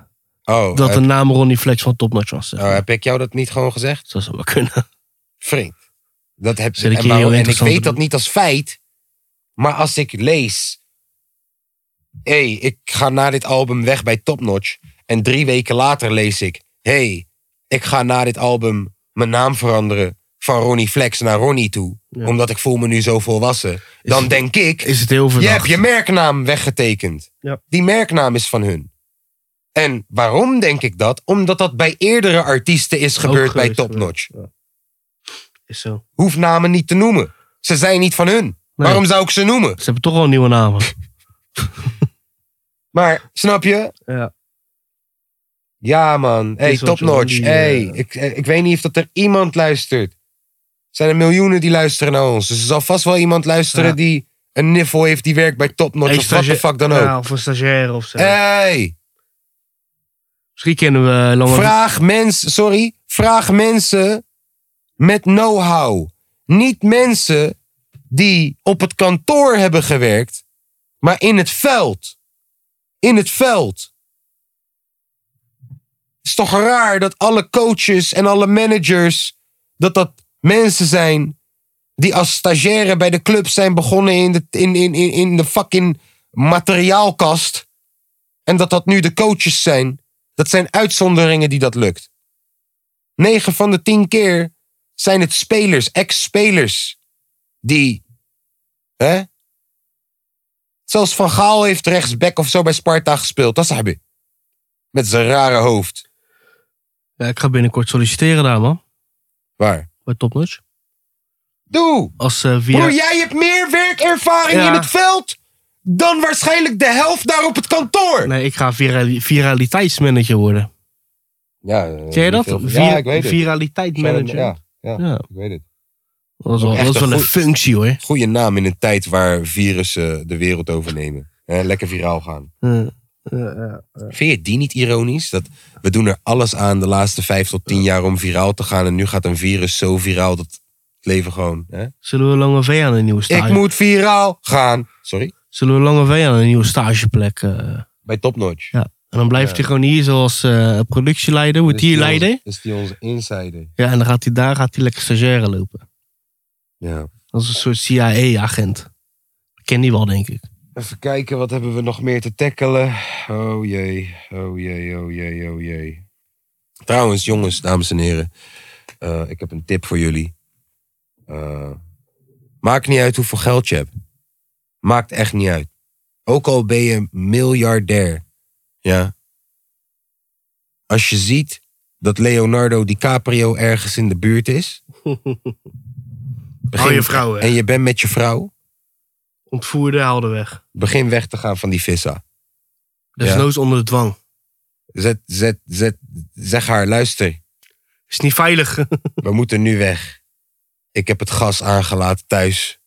S1: Oh,
S2: dat
S1: heb,
S2: de naam Ronnie Flex van Topnotch was. zeg
S1: oh, heb ik jou dat niet gewoon gezegd?
S2: Dat zou wel kunnen.
S1: Vriend. Dat heb
S2: Zit ik
S1: en
S2: hier
S1: waarom-
S2: heel
S1: En ik
S2: interessant
S1: weet
S2: te
S1: dat
S2: doen?
S1: niet als feit. Maar als ik lees... Hé, hey, ik ga na dit album weg bij Topnotch. En drie weken later lees ik... Hé, hey, ik ga na dit album mijn naam veranderen... van Ronnie Flex naar Ronnie toe.
S2: Ja.
S1: Omdat ik voel me nu zo volwassen. Dan
S2: het-
S1: denk ik...
S2: Is het heel
S1: Je
S2: verdacht.
S1: hebt je merknaam weggetekend.
S2: Ja.
S1: Die merknaam is van hun. En waarom denk ik dat? Omdat dat bij eerdere artiesten is gebeurd bij Top Notch.
S2: Is zo.
S1: Hoef namen niet te noemen. Ze zijn niet van hun. Waarom zou ik ze noemen?
S2: Ze hebben toch wel nieuwe namen.
S1: Maar snap je?
S2: Ja.
S1: Ja man, hey
S2: Is wat
S1: Top
S2: je wil,
S1: Notch.
S2: die,
S1: Hey,
S2: eh,
S1: ik, eh, ik weet niet of dat er iemand luistert. Er zijn er miljoenen die luisteren naar ons. Dus er zal vast wel iemand luisteren
S2: Ja.
S1: die een niffel heeft die werkt bij Top Notch.
S2: Hey,
S1: of wat de
S2: stagia-
S1: fuck dan ook. Eh,
S2: Ja, of een stagiaire of zo.
S1: Hey!
S2: Misschien kennen we eh, Lange
S1: Vraag mensen, sorry, vraag mensen met know-how. Niet mensen die op het kantoor hebben gewerkt, maar in het veld. In het veld. Het is toch raar dat alle coaches en alle managers, dat dat mensen zijn die als stagiaire bij de club zijn begonnen in de, in, in, in, in de fucking materiaalkast. En dat dat nu de coaches zijn. Dat zijn uitzonderingen die dat lukt. 9 van de 10 keer zijn het spelers, ex-spelers, die. Hè? Zelfs Van Gaal heeft rechtsback of zo bij Sparta gespeeld. Dat heb je. Met zijn rare hoofd.
S2: Ja, ik ga binnenkort solliciteren daar, man.
S1: Waar?
S2: Bij Topnotch.
S1: Doe!
S2: Als eh via...
S1: Broer, jij hebt meer werkervaring
S2: Ja.
S1: in het veld dan waarschijnlijk de helft daar op het kantoor.
S2: Nee, ik ga virali viraliteitsmanager worden.
S1: Ja, eh,
S2: Ken je dat?
S1: niet veel-
S2: Vira-
S1: Ja, ik weet het.
S2: Viraliteitsmanager.
S1: Ja, ja,
S2: Ja.
S1: ik weet het.
S2: Dat is wel,
S1: Echt
S2: dat is wel
S1: een
S2: een
S1: goed-
S2: functie, hoor.
S1: Goede naam in een tijd waar virussen de wereld overnemen. Eh, lekker viraal gaan.
S2: Ja, Hmm. ja, ja.
S1: Vind je die niet ironisch? Dat we doen er alles aan de laatste vijf tot tien jaar om viraal te gaan. En nu gaat een virus zo viraal dat het leven gewoon... Hè?
S2: Zullen we Lange V aan een nieuwe stage...
S1: Ik moet viraal gaan. Sorry?
S2: Zullen we Lange V aan een nieuwe stageplek... eh,
S1: Bij Topnotch.
S2: Ja. En dan blijft
S1: Ja.
S2: hij gewoon hier zoals eh, productieleider, wordt hier leider.
S1: Is die onze insider?
S2: Ja, en dan gaat hij daar gaat hij lekker stagiaire lopen.
S1: Ja.
S2: Als een soort CIA-agent. Dat ken die wel, denk ik.
S1: Even kijken, wat hebben we nog meer te tackelen? Oh jee, oh jee, oh jee, oh jee. Trouwens, jongens, dames en heren. eh, ik heb een tip voor jullie. Eh, maakt niet uit hoeveel geld je hebt. Maakt echt niet uit. Ook al ben je miljardair. Ja. Als je ziet dat Leonardo DiCaprio ergens in de buurt is. begin-
S2: Hou je vrouw weg.
S1: En je bent met je vrouw.
S2: Ontvoerde, haalde weg.
S1: Begin weg te gaan van die vissa.
S2: Desnoods onder de dwang.
S1: Zet, zet, zet, zeg haar, luister,
S2: Is niet veilig.
S1: we moeten nu weg. Ik heb het gas aangelaten thuis.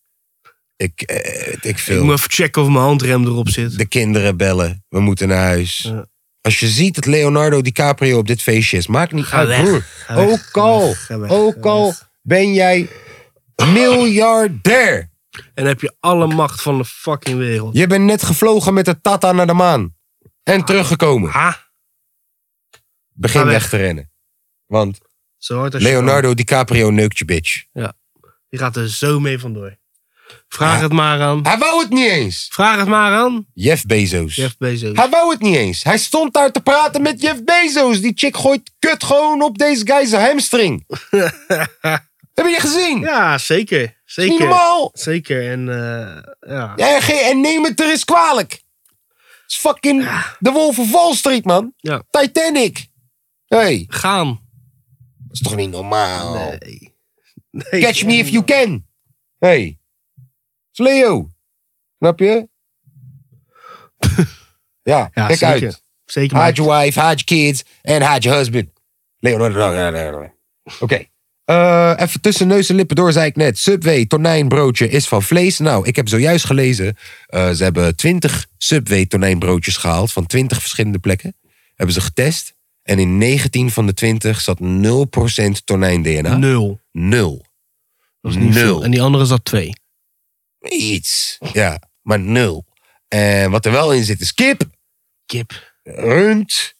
S1: Ik, eh, ik
S2: Ik moet
S1: film.
S2: even checken of mijn handrem erop zit.
S1: De kinderen bellen. We moeten naar huis.
S2: Ja.
S1: Als je ziet dat Leonardo DiCaprio op dit feestje is, maakt niet
S2: Ga
S1: uit,
S2: weg.
S1: broer.
S2: Ga weg,
S1: Ook
S2: ga
S1: al,
S2: weg, ga weg,
S1: ook
S2: ga
S1: al
S2: weg.
S1: ben jij miljardair.
S2: En heb je alle macht van de fucking wereld.
S1: Je bent net gevlogen met de Tata naar de maan. En teruggekomen.
S2: Ha,
S1: Begin
S2: Ga weg.
S1: weg te rennen. Want
S2: zo hard als je kan.
S1: Leonardo DiCaprio neukt je bitch.
S2: Je gaat er zo mee vandoor. Vraag
S1: Ja.
S2: het maar aan.
S1: Hij wou het niet eens.
S2: Vraag het maar aan.
S1: Jeff Bezos.
S2: Jeff Bezos.
S1: Hij wou het niet eens. Hij stond daar te praten met Jeff Bezos. Die chick gooit kut gewoon op deze guy's hamstring. Heb je gezien?
S2: Ja, zeker.
S1: Niet
S2: Zeker.
S1: normaal.
S2: Zeker. En eh, ja.
S1: Ja, ge- en neem het er eens kwalijk. Het is fucking de Wolf of Wall Street, man.
S2: Ja.
S1: Titanic. hey,
S2: gaan.
S1: dat is toch niet normaal?
S2: Nee. Nee.
S1: Oh. Catch me if you can. hey. dat is Leo. Snap je? ja,
S2: Ja,
S1: kijk
S2: zeker.
S1: uit.
S2: Zeker.
S1: Hide
S2: Maar.
S1: your wife, hide your kids en hide your husband. Leonardo. Oké. Eh, even tussen neus en lippen door, zei ik net. Subway tonijnbroodje is van vlees. Nou, ik heb zojuist gelezen. eh, ze hebben 20 Subway tonijnbroodjes gehaald van 20 verschillende plekken. Hebben ze getest. En in 19 van de 20 zat 0% tonijn-DNA.
S2: Nul.
S1: Nul.
S2: Dat is niet
S1: Nul.
S2: veel. En die andere zat twee.
S1: Iets. Ja, maar nul. En wat er wel in zit is kip,
S2: Kip.
S1: rund,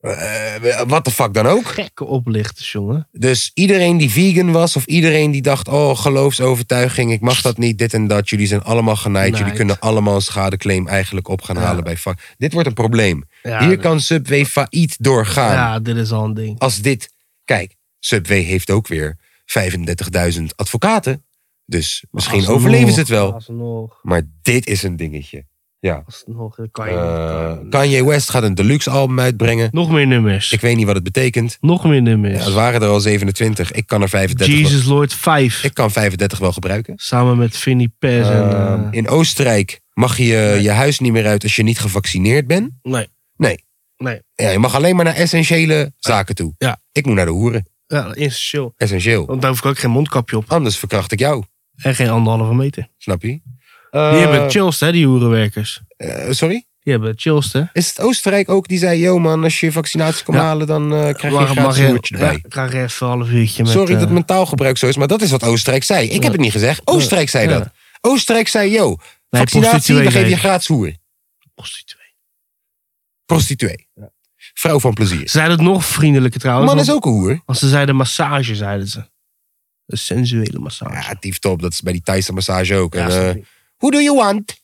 S1: eh wat de fuck dan ook.
S2: Gekke oplichters, jongen.
S1: Dus iedereen die vegan was of iedereen die dacht... oh, geloofsovertuiging, ik mag dat niet, dit en dat. Jullie zijn allemaal genaaid. Jullie
S2: Genaaid.
S1: kunnen allemaal een schadeclaim eigenlijk op gaan
S2: Ja.
S1: halen bij... fa- Dit wordt een probleem.
S2: Ja,
S1: Hier
S2: dit-
S1: kan Subway failliet doorgaan.
S2: Ja, dit is al een ding.
S1: Als dit... Kijk, Subway heeft ook weer 35.000 advocaten. Dus misschien
S2: Alsnog,
S1: overleven ze het wel.
S2: Alsnog.
S1: Maar dit is een dingetje.
S2: Alsnog. dat Kan je
S1: Eh
S2: niet.
S1: Kanye West gaat een deluxe album uitbrengen.
S2: Nog meer nummers.
S1: Ik weet niet wat het betekent.
S2: Nog meer
S1: Ja,
S2: nummers.
S1: het waren er al 27. Ik kan er 35 wel-
S2: Jesus Lord 5.
S1: Ik kan 35 wel gebruiken.
S2: Samen met Vinnie Pez en...
S1: Ehm,
S2: eh,
S1: in Oostenrijk mag je eh, je huis niet meer uit als je niet gevaccineerd bent.
S2: nee.
S1: Nee.
S2: Nee.
S1: Ja, je mag alleen maar naar essentiële zaken toe.
S2: Ja.
S1: Ik moet naar de hoeren.
S2: Ja, essentieel.
S1: Essentieel.
S2: Want daar hoef ik ook geen mondkapje op.
S1: Anders verkracht ik jou.
S2: En geen anderhalve meter.
S1: Snap je?
S2: Die hebben het chillst, hè, die hoerenwerkers.
S1: Eh, sorry?
S2: Die hebben het chillst, hè.
S1: Is het Oostenrijk ook die zei... Yo man, als je je vaccinatie kan
S2: Ja.
S1: halen... dan eh, krijg je een
S2: Waarom
S1: gratis hoertje
S2: ja,
S1: erbij.
S2: ik krijg er even een half uurtje met...
S1: Sorry
S2: eh,
S1: dat mijn taalgebruik zo is, maar dat is wat Oostenrijk zei. Ik heb het niet gezegd. Oostenrijk zei
S2: Ja.
S1: dat. Oostenrijk zei, yo, vaccinatie,
S2: prostituee
S1: we geven je
S2: nee.
S1: gratis hoer.
S2: prostituee.
S1: Prostituee. Vrouw van plezier.
S2: Ze zeiden het nog vriendelijker trouwens.
S1: Man
S2: want
S1: is ook een hoer.
S2: Als ze zeiden massage, zeiden ze. Een sensuele massage.
S1: Ja, dief top. Dat is bij die Thaise massage ook.
S2: Ja,
S1: En,
S2: snap
S1: eh,
S2: ik.
S1: who do you want?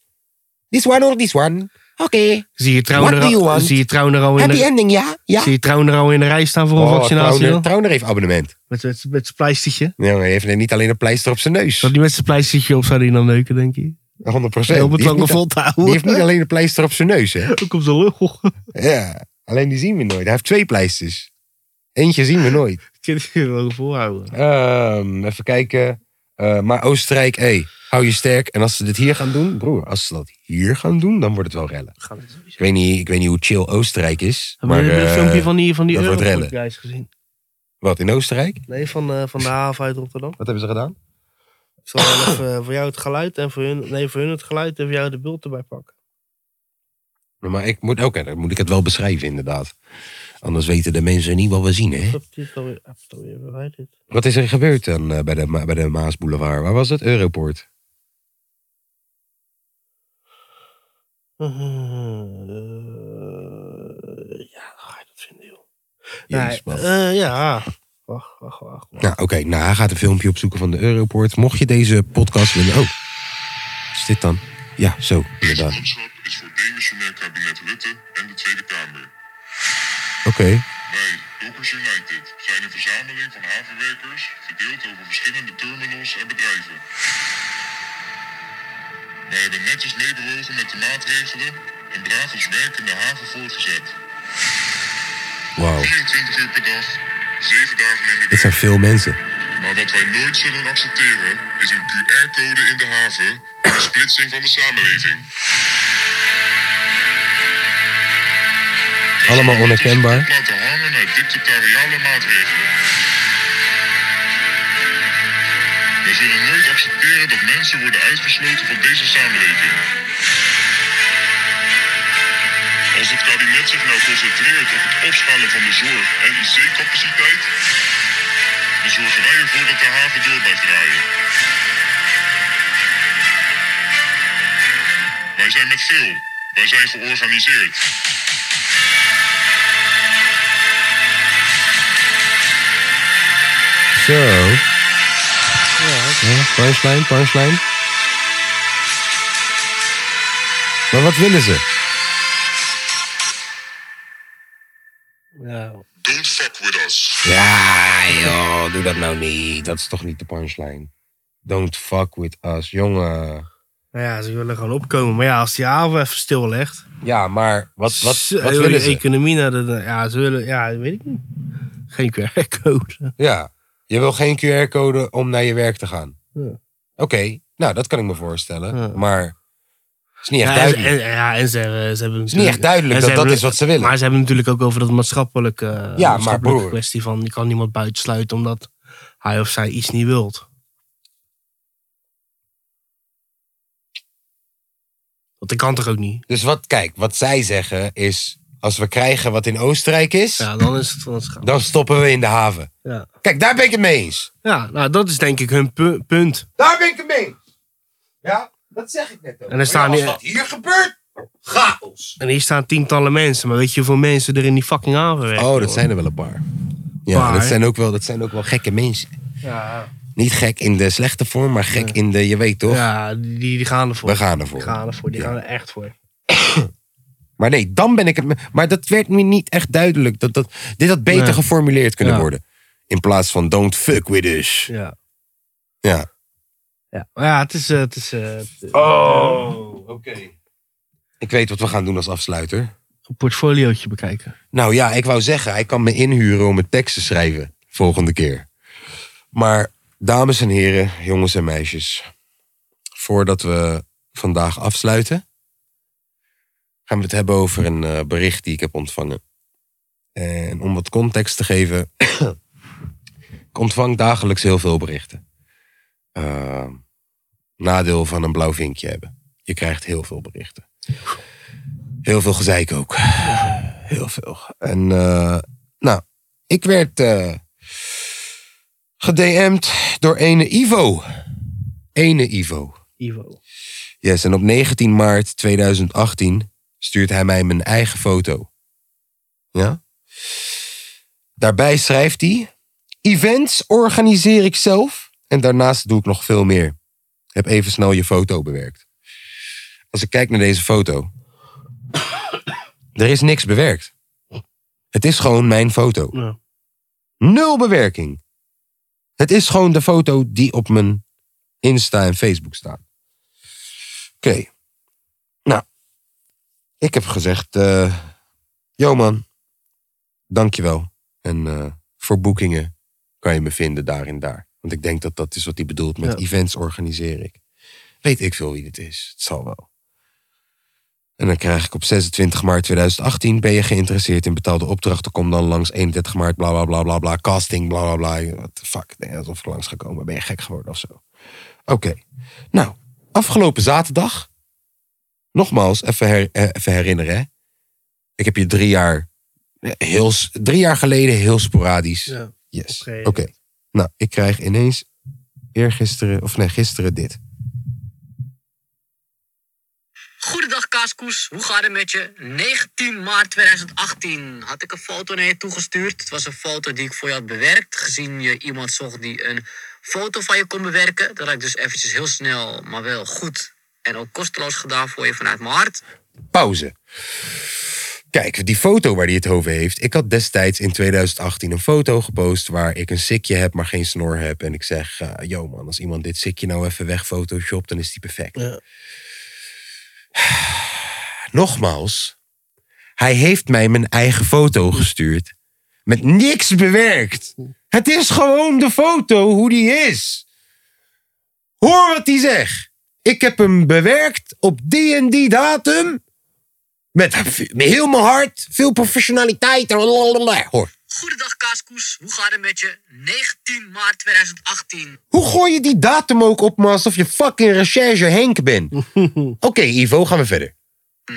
S1: This one or this one? Oké.
S2: zie je trouwen
S1: what do
S2: er
S1: you
S2: al-
S1: want?
S2: zie je trouwen er al in
S1: Happy
S2: de...
S1: ending, ja? Ja?
S2: Zie je trouwen er al in de rij staan voor een
S1: Oh,
S2: vaccinatie?
S1: Trauner,
S2: joh?
S1: Trauner heeft abonnement.
S2: Met, met, met zijn pleistertje.
S1: Nee, maar hij heeft niet alleen een pleister op zijn neus. 100%.
S2: Zou die met zijn pleistertje op zou die dan neuken, denk je?
S1: 100%.
S2: Om het
S1: Die
S2: lang
S1: heeft,
S2: maar
S1: niet,
S2: vol te
S1: die heeft niet
S2: houden.
S1: alleen een pleister op zijn neus, hè?
S2: Ook op zijn lucht.
S1: Ja. Alleen die zien we nooit. Hij heeft twee pleisters. Eentje zien we nooit.
S2: Ik kan het hier wel volhouden.
S1: Ehm, even kijken. Eh, maar Oostenrijk, hé, hou je sterk. En als ze dit hier gaan doen, broer, als ze dat hier gaan doen, dan wordt het wel rellen.
S2: Gaan we sowieso.
S1: Ik weet niet, ik weet niet hoe chill Oostenrijk is.
S2: Hebben
S1: Maar
S2: jullie het
S1: eh,
S2: filmpje van die, van die
S1: dat wordt rellen.
S2: Eurofood-guys gezien?
S1: wat, in Oostenrijk?
S2: Nee, van, eh, van de haven uit Rotterdam.
S1: Wat hebben ze gedaan?
S2: Ik zal wel even eh, voor jou het geluid en voor hun, nee, voor hun het geluid en voor jou de bult erbij pakken.
S1: Maar ik moet, oké, dan moet ik het wel beschrijven inderdaad. Anders weten de mensen niet wat we zien, hè?
S2: Subtitel weer, afstel weer, waar wij dit.
S1: Wat is er gebeurd dan eh, bij, de, Ma- bij de Maasboulevard? Waar was het? Europort.
S2: Eh,
S1: Jezus, man.
S2: Nee, eh, ja. Wacht, wacht, wacht. wacht.
S1: Nou, oké. Nou, hij gaat een filmpje opzoeken van de Europort. Mocht je deze podcast willen... Oh, wat is dit dan? Ja, zo, inderdaad. Oké.
S3: Lidmaatschap is voor demissionair kabinet Rutte en de Tweede Kamer. Bij Dockers United zijn een verzameling van havenwerkers verdeeld over verschillende terminals en bedrijven. Wij hebben netjes meebewogen met de maatregelen en draag ons werk in de haven voortgezet.
S1: Wauw.
S3: 24 uur per dag, 7 dagen in de
S1: Dit zijn
S3: week.
S1: veel mensen.
S3: Maar wat wij nooit zullen accepteren is een QR-code in de haven en een splitsing van de samenleving.
S1: Allemaal onherkenbaar.
S3: Laten hangen naar dictatoriale maatregelen. We zullen nooit accepteren dat mensen worden uitgesloten van deze samenleving. Als het kabinet zich nou concentreert op het opschalen van de zorg en IC-capaciteit, dan zorgen wij ervoor dat de haven door blijft draaien. Wij zijn met veel. Wij zijn georganiseerd.
S1: Zo.
S2: Ja,
S1: Ja, punchline, punchline. Maar wat willen ze?
S2: ja. Nou
S3: Don't fuck with us.
S1: Ja, joh, doe dat nou niet. Dat is toch niet de punchline. Don't fuck with us, jongen.
S2: Nou ja, ze willen gewoon opkomen. Maar ja, als die haven even stillegt.
S1: Ja, maar wat, wat,
S2: Zo,
S1: wat
S2: heel
S1: willen
S2: die
S1: ze?
S2: economie naar de. Ja, ze willen. Ja, weet ik niet. Geen QR-code.
S1: Ja, je wil geen QR-code om naar je werk te gaan.
S2: Ja.
S1: Oké, nou, dat kan ik me voorstellen.
S2: Ja.
S1: Maar het is niet echt
S2: Ja, en,
S1: duidelijk.
S2: en, ja, en ze, hebben- ze hebben
S1: het is niet echt duidelijk
S2: en ze
S1: dat dat
S2: hebben-
S1: is wat ze willen.
S2: Maar ze hebben natuurlijk ook over dat maatschappelijke, eh,
S1: maar
S2: maatschappelijke
S1: broer.
S2: kwestie van je kan niemand buitensluiten omdat hij of zij iets niet wilt. Want dat kan toch ook niet?
S1: Dus wat, kijk, wat zij zeggen is... als we krijgen wat in Oostenrijk is...
S2: Ja, dan is het van ons
S1: dan stoppen we in de haven.
S2: Ja.
S1: Kijk, daar ben ik het mee eens.
S2: ja, nou dat is denk ik hun pu- punt.
S1: Daar ben ik het mee eens. Ja, dat zeg ik net ook.
S2: En er staan
S1: Maar ja,
S2: hier-
S1: als dat hier gebeurt, chaos.
S2: En hier staan tientallen mensen, maar weet je hoeveel mensen er in die fucking haven werken?
S1: Oh,
S2: joh?
S1: dat zijn er wel een paar. Ja,
S2: Paar.
S1: dat zijn, ook wel, dat zijn ook wel gekke mensen.
S2: Ja,
S1: Niet gek in de slechte vorm, maar gek in de, je weet toch?
S2: ja die, die gaan ervoor.
S1: We gaan
S2: Die
S1: ervoor.
S2: gaan ervoor, die
S1: Ja.
S2: gaan er echt voor.
S1: Maar nee, dan ben ik het. me- Maar dat werd me niet echt duidelijk. Dat, dat, dit had beter
S2: Nee.
S1: geformuleerd kunnen
S2: Ja.
S1: worden. In plaats van don't fuck with us.
S2: Ja.
S1: Ja.
S2: Ja, maar ja het is... eh, het is eh, het-
S1: Oh, oké. Ik weet wat we gaan doen als afsluiter.
S2: een portfoliootje bekijken.
S1: Nou ja, ik wou zeggen, hij kan me inhuren om een tekst te schrijven. Volgende keer. Maar, dames en heren, jongens en meisjes. Voordat we vandaag afsluiten. Gaan we het hebben over een eh, bericht die ik heb ontvangen. En om wat context te geven. ik ontvang dagelijks heel veel berichten. Ehm, nadeel van een blauw vinkje hebben. Je krijgt heel veel berichten. Heel veel gezeik ook. Heel veel. En eh, nou, ik werd eh gedm'd door ene Ivo. Ene Ivo.
S2: Ivo.
S1: Yes, en op 19 maart 2018 stuurt hij mij mijn eigen foto. Ja? Daarbij schrijft hij: Events organiseer ik zelf en daarnaast doe ik nog veel meer. Heb even snel je foto bewerkt. Als ik kijk naar deze foto, er is niks bewerkt. Het is gewoon mijn foto.
S2: Ja.
S1: Nul bewerking. Het is gewoon de foto die op mijn Insta en Facebook staat. Oké. Nou, ik heb gezegd, eh yo man, dankjewel. En eh, voor boekingen kan je me vinden daar en daar. Want ik denk dat dat is wat hij bedoelt met
S2: Ja.
S1: events organiseer ik. Weet ik veel wie dit is, het zal wel. En dan krijg ik op 26 maart 2018, ben je geïnteresseerd in betaalde opdrachten, kom dan langs 31 maart, bla bla bla bla bla, casting, bla bla bla. What the fuck, nee, alsof ik langs ga komen, ben je gek geworden of zo. Oké, nou, afgelopen zaterdag nogmaals, even, her- eh, even herinneren. Hè? Ik heb je drie jaar, eh, heel, s- drie jaar geleden heel sporadisch.
S2: Ja.
S1: Yes. Oké.
S2: Oké.
S1: Nou, ik krijg ineens eergisteren, of nee, gisteren dit.
S4: Goedendag Pindakaaskoes, hoe gaat het met je? 19 maart 2018 had ik een foto naar je toegestuurd. Het was een foto die ik voor je had bewerkt, gezien je iemand zocht die een foto van je kon bewerken. Dat had ik dus eventjes heel snel, maar wel goed en ook kosteloos gedaan voor je vanuit mijn hart.
S1: Pauze. Kijk, die foto waar hij het over heeft. Ik had destijds in 2018 een foto gepost waar ik een sikje heb, maar geen snor heb. En ik zeg, eh, yo man, als iemand dit sikje nou even wegphotoshopt, dan is die perfect.
S2: Ja.
S1: Nogmaals, hij heeft mij mijn eigen foto gestuurd. Met niks bewerkt. Het is gewoon de foto hoe die is. Hoor wat hij zegt. Ik heb hem bewerkt op die en die datum. Met, met heel mijn hart, veel professionaliteit. Lalalala. Hoor.
S4: Goedendag Kaaskoes, hoe gaat het met je? 19 maart 2018.
S1: Hoe gooi je die datum ook op me alsof je fucking recherche Henk bent? Oké, Ivo, gaan we verder.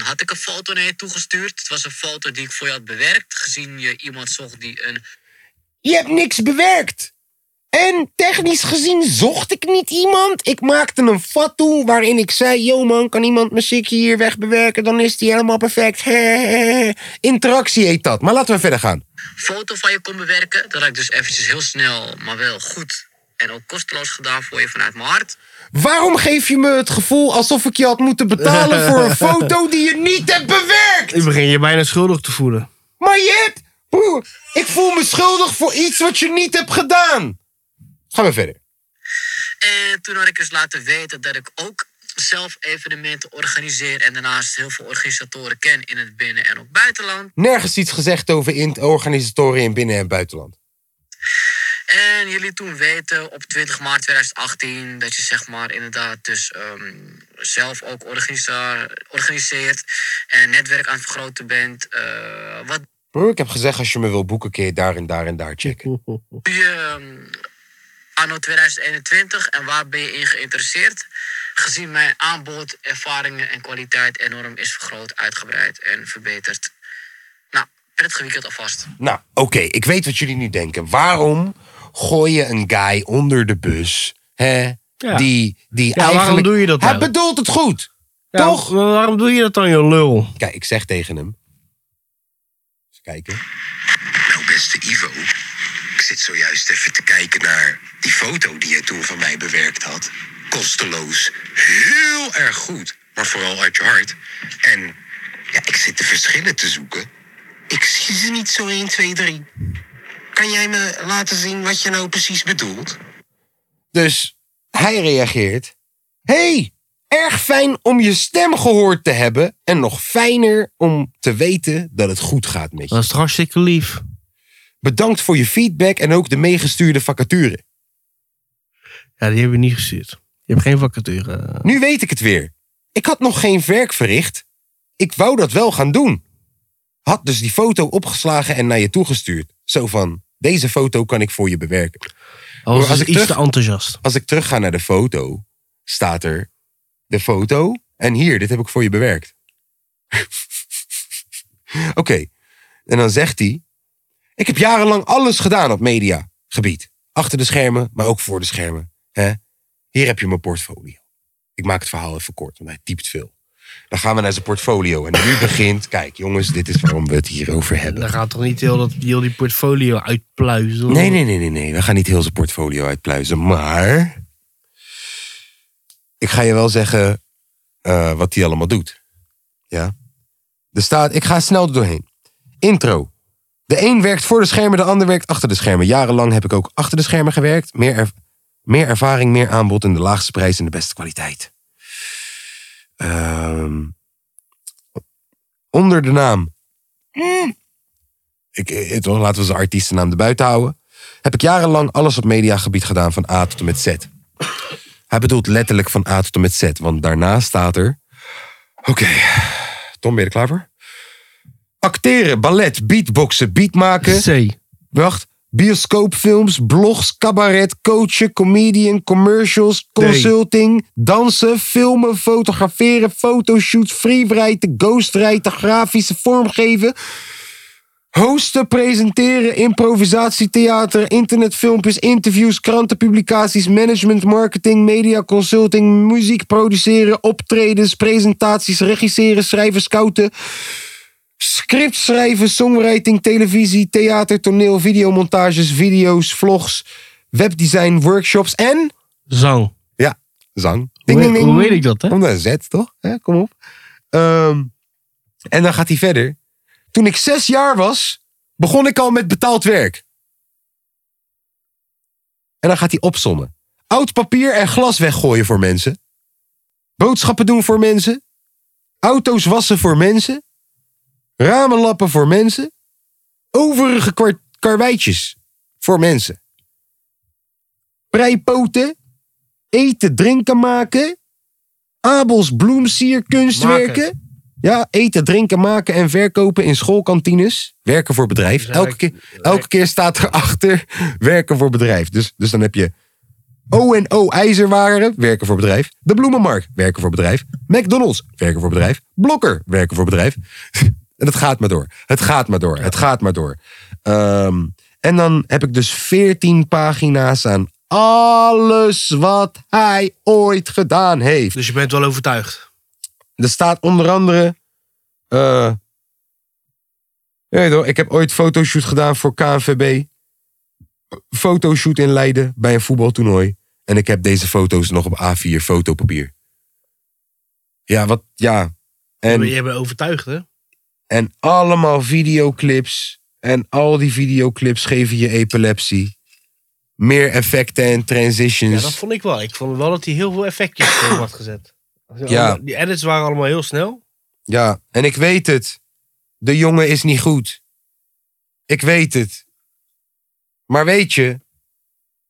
S4: Had ik een foto naar je toegestuurd. Het was een foto die ik voor je had bewerkt, gezien je iemand zocht die een
S1: Je hebt niks bewerkt. En technisch gezien zocht ik niet iemand. Ik maakte een fatsoen waarin ik zei: Yo man, kan iemand mijn sikje hier wegbewerken? Dan is die helemaal perfect. Interactie heet dat. Maar laten we verder gaan.
S4: foto van je kon bewerken. Dat had ik dus eventjes heel snel, maar wel goed en ook kosteloos gedaan voor je vanuit mijn hart.
S1: Waarom geef je me het gevoel alsof ik je had moeten betalen voor een foto die je niet hebt bewerkt?
S2: Ik begin je bijna schuldig te voelen.
S1: Maar je hebt... Broer, ik voel me schuldig voor iets wat je niet hebt gedaan. Gaan we verder.
S4: En toen had ik eens laten weten dat ik ook zelf evenementen organiseer en daarnaast heel veel organisatoren ken in het binnen- en ook buitenland.
S1: Nergens iets gezegd over in organisatoren in binnen- en buitenland.
S4: En jullie toen weten op 20 maart 2018 dat je zeg maar inderdaad dus ehm, zelf ook organisa- organiseert en netwerk aan het vergroten bent. Eh, wat
S1: Broer, ik heb gezegd als je me wil boeken, kun je daar en daar en daar checken.
S4: doe je ehm, anno 2021 en waar ben je in geïnteresseerd? Gezien mijn aanbod, ervaringen en kwaliteit enorm is vergroot, uitgebreid en verbeterd. Nou, prettig weekend alvast.
S2: Mhm.
S1: Nou, oké, ik weet wat jullie nu denken. Waarom gooi je een guy onder de bus? Hè?
S2: Ja.
S1: Die, die
S2: waarom
S1: eigenlijk...
S2: doe je dat
S1: Hij
S2: nou?
S1: bedoelt het goed,
S2: Ja,
S1: toch?
S2: maar Waarom doe je dat dan, je lul?
S1: Kijk, ik zeg tegen hem. Even kijken.
S5: Nou, beste Ivo, ik zit zojuist even te kijken naar die foto die jij toen van mij bewerkt had. Kosteloos. Heel erg goed, maar vooral uit je hart. En ja, ik zit de verschillen te zoeken. Ik zie ze niet zo 1, 2, 3. Kan jij me laten zien wat je nou precies bedoelt?
S1: Dus hij reageert. hey, erg fijn om je stem gehoord te hebben. En nog fijner om te weten dat het goed gaat met je.
S2: Dat is toch hartstikke lief.
S1: Bedankt voor je feedback en ook de meegestuurde vacature.
S2: Ja, die heb je niet gestuurd. Je hebt geen vacature.
S1: Nu weet ik het weer. Ik had nog geen werk verricht. Ik wou dat wel gaan doen. Had dus die foto opgeslagen en naar je toegestuurd. Zo van, deze foto kan ik voor je bewerken.
S2: Al
S1: Als
S2: was het
S1: ik
S2: iets
S1: terug-
S2: te enthousiast.
S1: Als ik terugga naar de foto, staat er de foto. En hier, dit heb ik voor je bewerkt. Oké. En dan zegt hij: Ik heb jarenlang alles gedaan op mediagebied. Achter de schermen, maar ook voor de schermen. Hè? Hier heb je mijn portfolio. Ik maak het verhaal even kort, want hij typt veel. Dan gaan we naar zijn portfolio. En nu begint, kijk jongens, dit is waarom we het hierover hebben.
S2: Dan gaat toch niet heel, dat, heel die portfolio uitpluizen?
S1: Nee, nee, nee, nee, nee. We gaan niet heel zijn portfolio uitpluizen. Maar. Ik ga je wel zeggen. eh, wat hij allemaal doet. Ja. Er staat. Ik ga snel er doorheen. Intro. De een werkt voor de schermen, de ander werkt achter de schermen. Jarenlang heb ik ook achter de schermen gewerkt. Meer, er- meer ervaring, meer aanbod en de laagste prijs en de beste kwaliteit. Ehm, onder de naam ik, eh, toch, laten we zijn artiestennaam erbuiten houden. Heb ik jarenlang alles op mediagebied gedaan van A tot en met Z. Hij bedoelt letterlijk van A tot en met Z, want daarna staat er. Oké, Tom, ben je er klaar voor? Acteren, ballet, beatboxen, beat maken.
S2: C.
S1: Wacht. Bioscoopfilms, blogs, cabaret, coachen, comedian, commercials, consulting, dansen, filmen, fotograferen, fotoshoots, freeride, ghostrijden, grafische vormgeven. Hosten, presenteren, improvisatietheater, internetfilmpjes, interviews, krantenpublicaties, management, marketing, media, consulting, muziek produceren, optredens, presentaties, regisseren, schrijven, scouten, script schrijven, songwriting, televisie, theater, toneel, videomontages, video's, vlogs, webdesign, workshops en
S2: Zang.
S1: zang.
S2: Hoe
S1: Ding,
S2: weet,
S1: ding, ding.
S2: hoe weet ik dat, hè?
S1: Omdat een Z, toch? Hè, kom op. Ehm, en dan gaat hij verder. Toen ik zes jaar was, begon ik al met betaald werk. En dan gaat hij opsommen. Oud papier en glas weggooien voor mensen. Boodschappen doen voor mensen. Auto's wassen voor mensen. Ramen lappen voor mensen. Overige kwart- karweitjes voor mensen. Preipoten. Eten, drinken maken. Abels bloemsier kunstwerken. Ja, eten, drinken, maken en verkopen in schoolkantines. Werken voor bedrijf.
S2: Dus
S1: Elke
S2: hij-
S1: keer, elke keer staat erachter werken voor bedrijf. Dus, dus dan heb je O&O IJzerwaren, werken voor bedrijf. De Bloemenmarkt, werken voor bedrijf. McDonald's, werken voor bedrijf. Blokker, werken voor bedrijf. En het gaat maar door. Het gaat maar door. Het gaat maar door. Ehm, en dan heb ik dus 14 pagina's aan alles wat hij ooit gedaan heeft.
S2: Dus je bent wel overtuigd.
S1: Er staat onder andere. eh, ja, joh, ik heb ooit fotoshoot gedaan voor KNVB. Fotoshoot in Leiden bij een voetbaltoernooi. En ik heb deze foto's nog op A4 fotopapier. Ja, wat. Ja. En,
S2: je bent overtuigd, hè?
S1: en allemaal videoclips. En al die videoclips geven je epilepsie. Meer effecten en
S2: Ja,
S1: transitions.
S2: dat vond ik wel. Ik vond wel dat hij heel veel effectjes erin had gezet.
S1: Ja.
S2: Die edits waren allemaal heel snel.
S1: Ja, en ik weet het. De jongen is niet goed. Ik weet het. Maar weet je,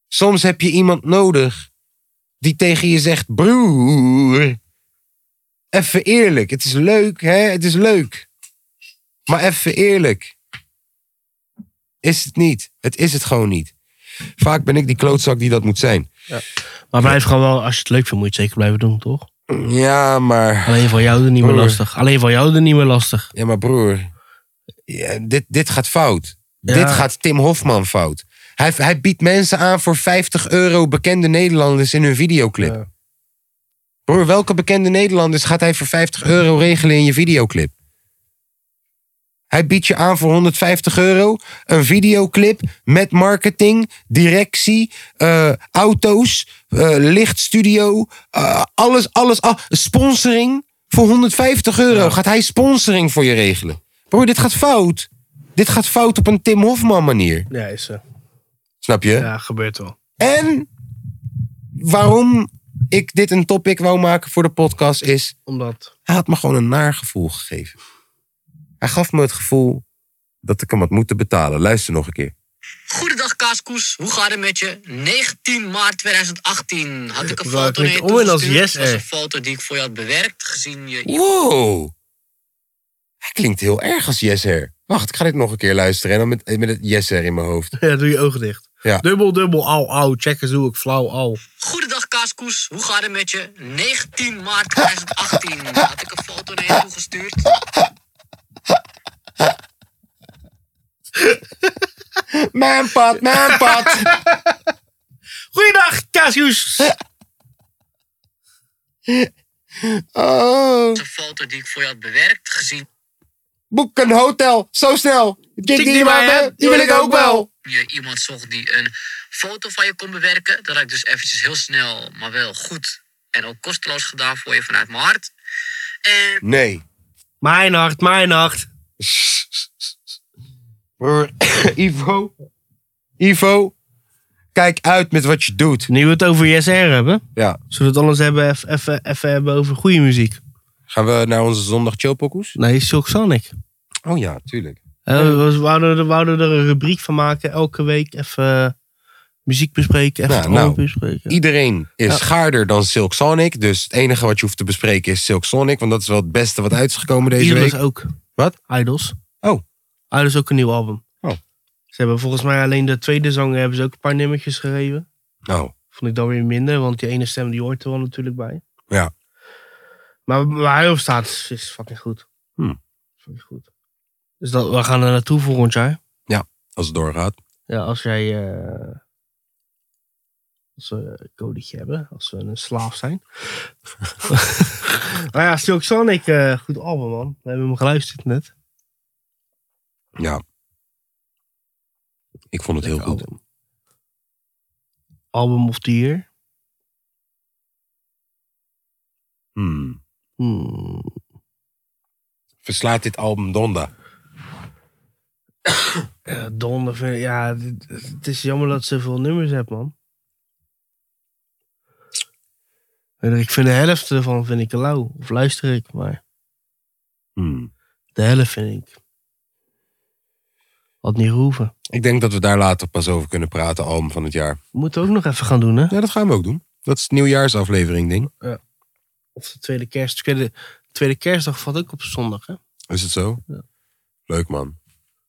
S1: soms heb je iemand nodig die tegen je zegt: broer, even eerlijk. Het is leuk, hè? Het is leuk. Maar even eerlijk. Is het niet? Het is het gewoon niet. Vaak ben ik die klootzak die dat moet zijn.
S2: Maar blijf gewoon wel, als je het leuk vindt, moet je het zeker blijven doen, toch?
S1: Ja, maar.
S2: Alleen van jou er niet meer
S1: Broer.
S2: lastig. Alleen van jou er niet meer lastig.
S1: Ja, maar broer, ja, dit, dit gaat fout.
S2: Ja.
S1: Dit gaat Tim Hofman fout. Hij, hij biedt mensen aan voor 50 euro bekende Nederlanders in hun videoclip.
S2: Ja.
S1: Broer, welke bekende Nederlanders gaat hij voor 50 euro regelen in je videoclip? Hij biedt je aan voor 150 euro een videoclip met marketing, directie, eh, auto's, eh, lichtstudio, eh, alles, alles, al- sponsoring. Voor 150 euro gaat hij sponsoring voor je regelen. Broer, dit gaat fout. Dit gaat fout op een Tim Hofman manier.
S2: Ja, is zo.
S1: Snap je?
S2: Ja, gebeurt wel.
S1: En waarom ik dit een topic wou maken voor de podcast is...
S2: Omdat.
S1: Hij had me gewoon een naar gevoel gegeven. Hij gaf me het gevoel dat ik hem had moeten betalen. Luister nog een keer.
S4: Goedendag Kaaskoes, hoe gaat het met je? 19 maart 2018 had ik een
S2: Waar
S4: foto naar je
S2: klinkt Owen als
S4: toegestuurd.
S2: yes,
S4: was
S2: eh.
S4: een foto die ik voor je had bewerkt, gezien je
S1: Wow! Hij klinkt heel erg als Yes Hair. Wacht, ik ga dit nog een keer luisteren. En dan met, met het Yes Hair in mijn hoofd.
S2: Ja, doe je ogen dicht.
S1: Ja.
S2: Dubbel, dubbel, au, au. Check eens hoe ik flauw, au.
S4: Goedendag Kaaskoes, hoe gaat het met je? 19 maart 2018 had ik een foto naar je toegestuurd.
S1: Mijn pad, mijn pad.
S2: Goeiedag, Cassius.
S1: Oh,
S4: was een foto die ik voor je had bewerkt, gezien
S1: boek een hotel. Zo snel. Dik die,
S2: die
S1: die,
S2: wij hebben,
S1: die wil ik ook wel.
S4: je iemand zocht die een foto van je kon bewerken. Dat had ik dus eventjes heel snel, maar wel goed en ook kosteloos gedaan voor je vanuit mijn hart. En
S1: Nee.
S2: Mijn hart, mijn hart.
S1: Broer, Ivo. Ivo. Kijk uit met wat je doet.
S2: Nu we het over JSR hebben.
S1: Ja.
S2: Zullen we het anders hebben, eff- effen effen hebben over goede muziek? Nou,
S1: Gaan we naar onze zondag chillpokoes?
S2: Nee, Silk Sonic.
S1: Oh ja, tuurlijk.
S2: Eh, we- we wouden er, wouden er een rubriek van maken. Elke week even eh, muziek bespreken. Even
S1: Nou,
S2: het album
S1: nou.
S2: bespreken.
S1: Iedereen is
S2: Ja.
S1: gaarder dan Silk Sonic. Dus het enige wat je hoeft te bespreken is Silk Sonic. Want dat is wel het beste wat uit is gekomen deze
S2: Idols
S1: week.
S2: ook.
S1: Wat?
S2: Idols.
S1: Oh.
S2: Idols ook een nieuw album.
S1: Oh.
S2: Ze hebben volgens mij alleen de tweede zang hebben ze ook een paar nummertjes gegeven.
S1: Nou,
S2: Vond ik dan weer minder, want die ene stem die hoort er wel natuurlijk bij.
S1: Ja.
S2: Maar waar hij op staat is, is fucking goed.
S1: Hmm.
S2: Fucking goed. Dus dat, we gaan er naartoe volgend jaar.
S1: Als het doorgaat.
S2: Ja, als jij. eh, als we een codetje hebben, als we een slaaf zijn. nou ja, Silk Sonic, eh, goed album man. We hebben hem geluisterd net.
S1: Ja. Ik vond het heel goed.
S2: Album. Album of the year.
S1: Hmm.
S2: Hmm.
S1: Verslaat dit album Donda?
S2: Eh, donder, vind ik- ja, dit- het is jammer dat ze veel nummers hebt, man. En Ik vind de helft ervan vind ik lauw. Of luister ik, maar
S1: Hmm.
S2: de helft vind ik. Had niet hoeven.
S1: Ik denk dat we daar later pas over kunnen praten, album van het jaar.
S2: We moeten ook nog even gaan doen, hè?
S1: Ja, dat gaan we ook doen. Dat is het nieuwjaarsaflevering ding.
S2: Of de tweede kerst. Tweede, tweede kerstdag valt ook op zondag, hè?
S1: Is het zo? Leuk man.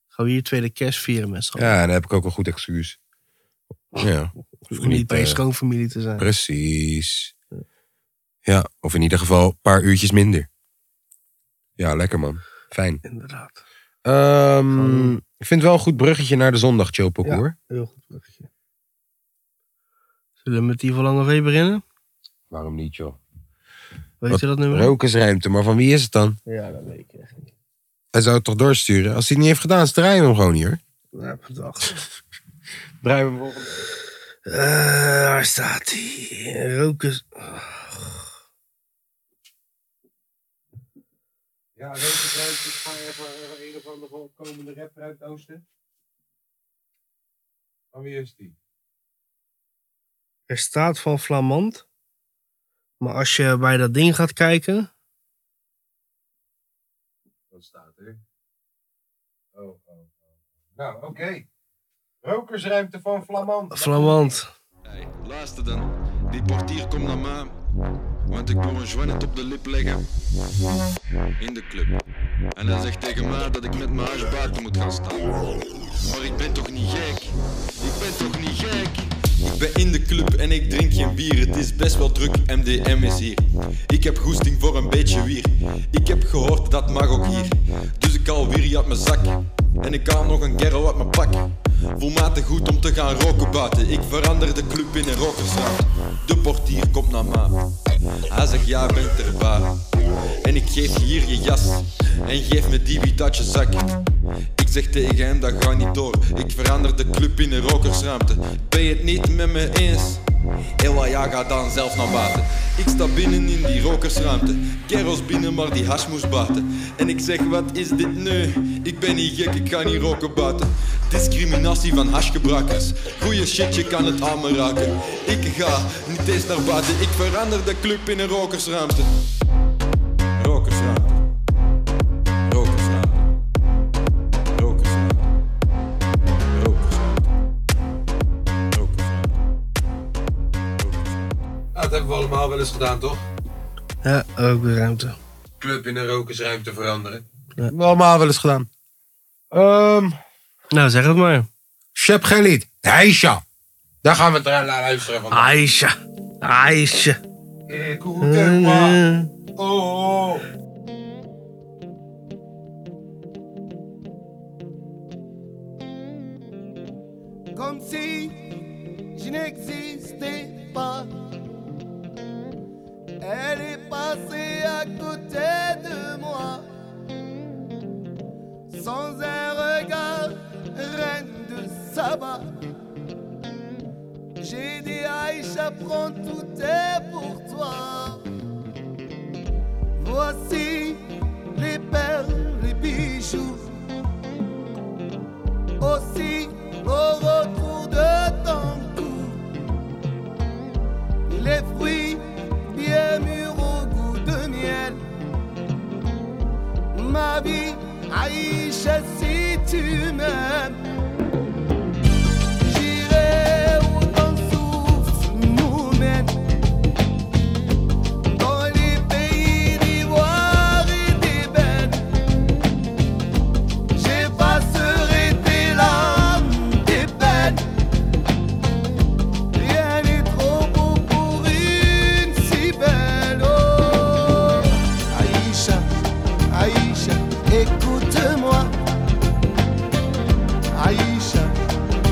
S2: Gaan we hier tweede kerst vieren met z'n allen.
S1: Ja, en dan heb ik ook een goed excuus. Ja. Hoef ik
S2: Om niet bij je
S1: eh,
S2: schoonfamilie te zijn.
S1: Precies. Ja, of in ieder geval een paar uurtjes minder. Ja, lekker man. Fijn.
S2: Inderdaad.
S1: Ehm,
S2: Gewoon-
S1: ik vind wel een goed bruggetje naar de zondag, Chopo.
S2: Ja.
S1: hoor.
S2: Heel goed bruggetje. Zullen we met die van Lange V beginnen?
S1: Waarom niet, joh?
S2: Weet
S1: Wat
S2: je dat nummer?
S1: Rokersruimte, maar van wie is het dan?
S2: Ja, dat weet ik echt niet.
S1: Hij zou het toch doorsturen? Als hij het niet heeft gedaan, draaien we hem gewoon hier.
S2: Ja, bedacht.
S1: Draaien we hem volgende
S2: Eh, waar staat hij? Rokus.
S1: Ja, Rokersruimte is van een of andere komende rapper uit het oosten. Van wie is die?
S2: Er staat van Flamand. Maar als je bij dat ding gaat kijken.
S1: Dat staat er. Oh, oh, oh. Nou, oké. Rokersruimte van Flamand.
S2: Flamand.
S6: Hey, luister dan. Die portier komt naar mij, want ik wil een joint op de lip leggen in de club. En hij zegt tegen mij dat ik met mijn huis buiten moet gaan staan. Maar ik ben toch niet gek? Ik ben toch niet gek? Ik ben in de club en ik drink geen bier. Het is best wel druk, MDM is hier. Ik heb goesting voor een beetje wier. Ik heb gehoord dat mag ook hier. Dus ik haal wierie uit mijn zak. En ik haal nog een kerel uit mijn pak. Volmatig goed om te gaan roken buiten. Ik verander de club in een rokersraad. De portier komt naar ma. Hij zegt ja, bent erbij. En ik geef je hier je jas. En geef me die wiet uit je zak. Ik zeg tegen hem, dat gaat niet door. Ik verander de club in een rokersruimte. Ben je het niet met me eens? Ella, ja, ga dan zelf naar buiten. Ik sta binnen in die rokersruimte. Kerels binnen, maar die hash moest buiten. En ik zeg, wat is dit nu? Ik ben niet gek, ik ga niet roken buiten. Discriminatie van hashgebruikers. Goeie shit, je kan het aan me raken. Ik ga niet eens naar buiten. Ik verander de club in een rokersruimte. Rokersruimte. Rokersruimte. Rokersruimte. Rokersruimte. Rokersruimte.
S1: dat hebben we allemaal wel eens gedaan, toch?
S2: Ja, ook de ruimte.
S1: Club in een rokersruimte veranderen. Dat hebben we allemaal wel eens gedaan. Ehm,
S2: Nou, zeg het maar.
S1: Shep Gelit. Heisha. Daar gaan we het naar luisteren van.
S2: Aisha. Aisha.
S1: Ik
S2: Eh,
S1: Oh.
S7: comme si je n'existais pas. Elle est passée à côté de moi, sans un regard, reine de Saba. J'ai dit Aïcha, prends tout est pour toi. Voici les perles, les bijoux aussi au retour de ton cou. Les fruits bien mûrs au goût de miel. Ma vie, Aïcha, si tu m'aimes. J'irai où ton souffle nous mène. Dans les pays d'ivoire et d'ébène. J'effacerai tes larmes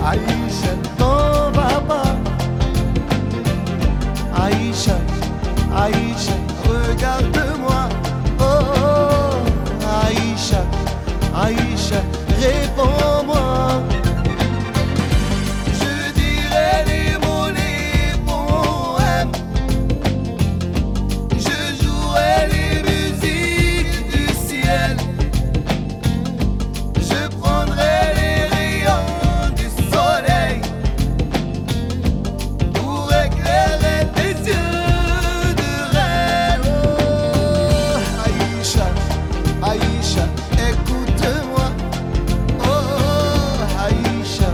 S7: Aïcha, non papa. Aïcha, Aïcha, regarde-moi. Oh, oh, Aïcha, Aïcha, réponds-moi. Je dirai les mots, les poèmes. Je jouerai les musiques du ciel. Je prendrai les rayons du soleil pour éclairer tes yeux de rêve. Oh, Aïcha, Aïcha, écoute-moi. Oh, oh, Aïcha,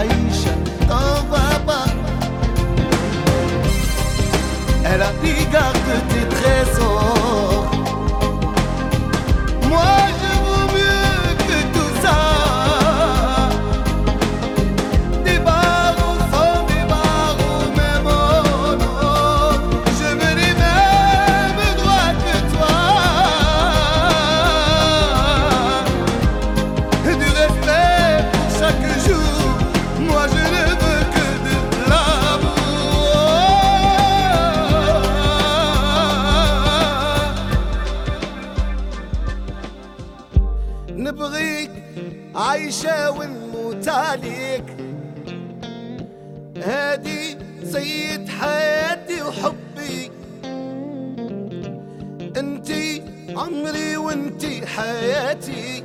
S7: Aïcha, t'en vas pas. Elle a pris garde de tes trésors. Moi je vaux mieux que tout ça Des barreaux sans des barreaux même en or Je veux les mêmes droits que toi Du respect pour chaque jour Moi je ne veux que de l'amour نبغيك عايشة ونموت عليك هادي سيد حياتي وحبي انتي عمري وانتي حياتي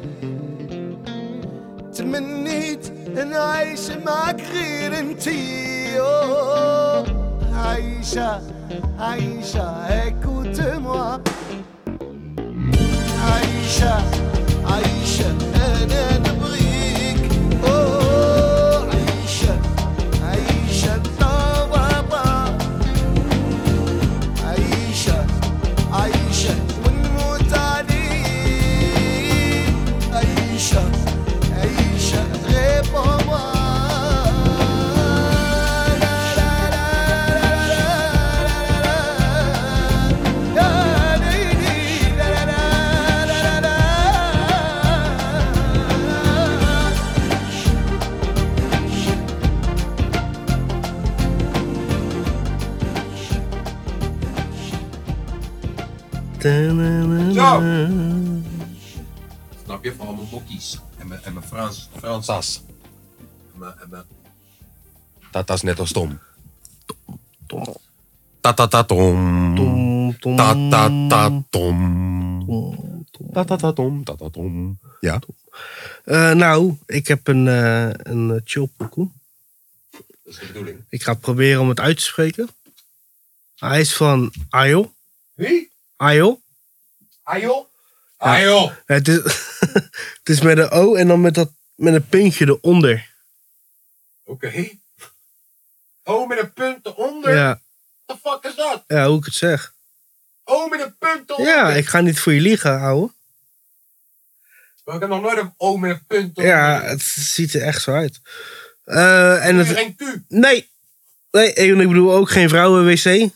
S7: تمنيت نعيش معك غير انتي أوه، عايشة عايشة écoute-moi عايشة عايشة أنا نبغيك أوه عايشة عايشة طبابة عايشة عايشة ونموت عليك عايشة عايشة غير بابا لا لا
S5: Zo. Snap je? Van al mijn mokkies. En mijn, en mijn Frans, Fransas. En mijn, en mijn...
S1: Dat is net als Tom. Ta-ta-ta-tom. Ta-ta-ta-tom. Ta-ta-ta-tom. Ta-ta-tom. Ja.
S2: Eh, nou, ik heb een, eh een eh, chillpokoe.
S5: Dat is de bedoeling.
S2: Ik ga proberen om het uit te spreken. Hij is van Ayo.
S5: Wie?
S2: Ayo.
S5: Ayo? Ayo!
S2: Het is, het is met een O en dan met, dat, met een puntje eronder.
S5: Oké. Oh, met een punt eronder? What
S2: Ja,
S5: the fuck is dat?
S2: ja, hoe ik het zeg.
S5: Oh, met een punt eronder?
S2: Ja, ik ga niet voor je liegen, ouwe.
S5: Maar ik heb nog nooit een O met een punt eronder.
S2: Ja, het ziet er echt zo uit. Eh, en het,
S5: Geen Q.
S2: nee. Nee, en ik bedoel ook geen vrouwenwc.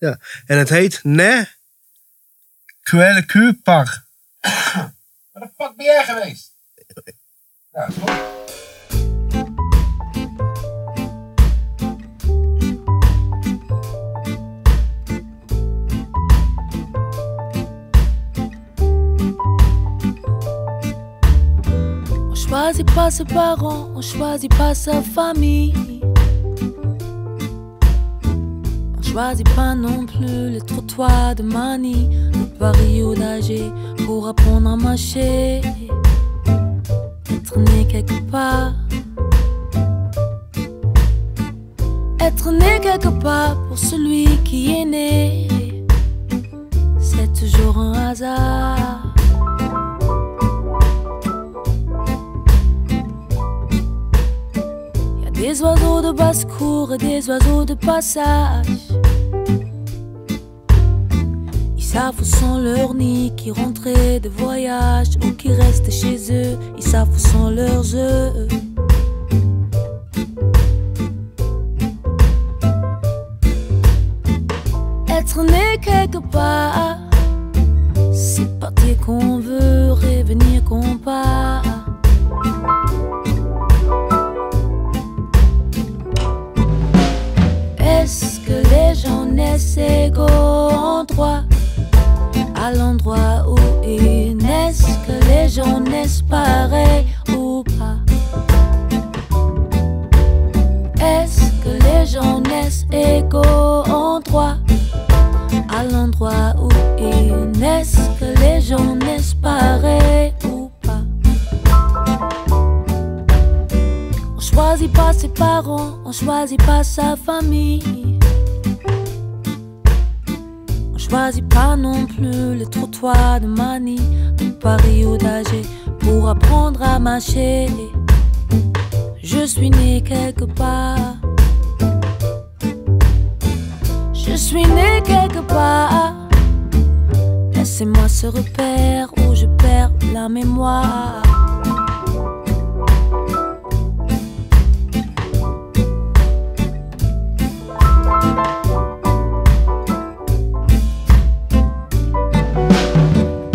S2: Ja. En het heet Ne Kwelle Kupar.
S5: Waar de fuck ben jij geweest? Ja, toch?
S8: On choisit pas ses parents, on choisit pas sa famille. On choisit pas non plus les trottoirs de Mani, le barrio d'Alger pour apprendre à marcher. Être né quelque part. Être né quelque part pour celui qui est né, c'est toujours un hasard. Y a des oiseaux de basse-cour et des oiseaux de passage. Ils savent où sont leurs nids qui rentraient de voyage ou qui restent chez eux. Ils savent où sont leurs œufs. Être né quelque part, c'est partir qu'on veut, revenir qu'on part.
S7: naissent égaux en droit à l'endroit où ils naissent, que les gens naissent pareils ou pas. Est-ce que les gens naissent égaux en droit à l'endroit où ils naissent, que les gens naissent pareils ou pas? On choisit pas ses parents, on choisit pas sa famille. On choisit pas non plus les trottoirs de Mani, de Paris ou d'Alger pour apprendre à marcher. Je suis né quelque part. Je suis né quelque part. Laissez-moi ce repère où je perds la mémoire.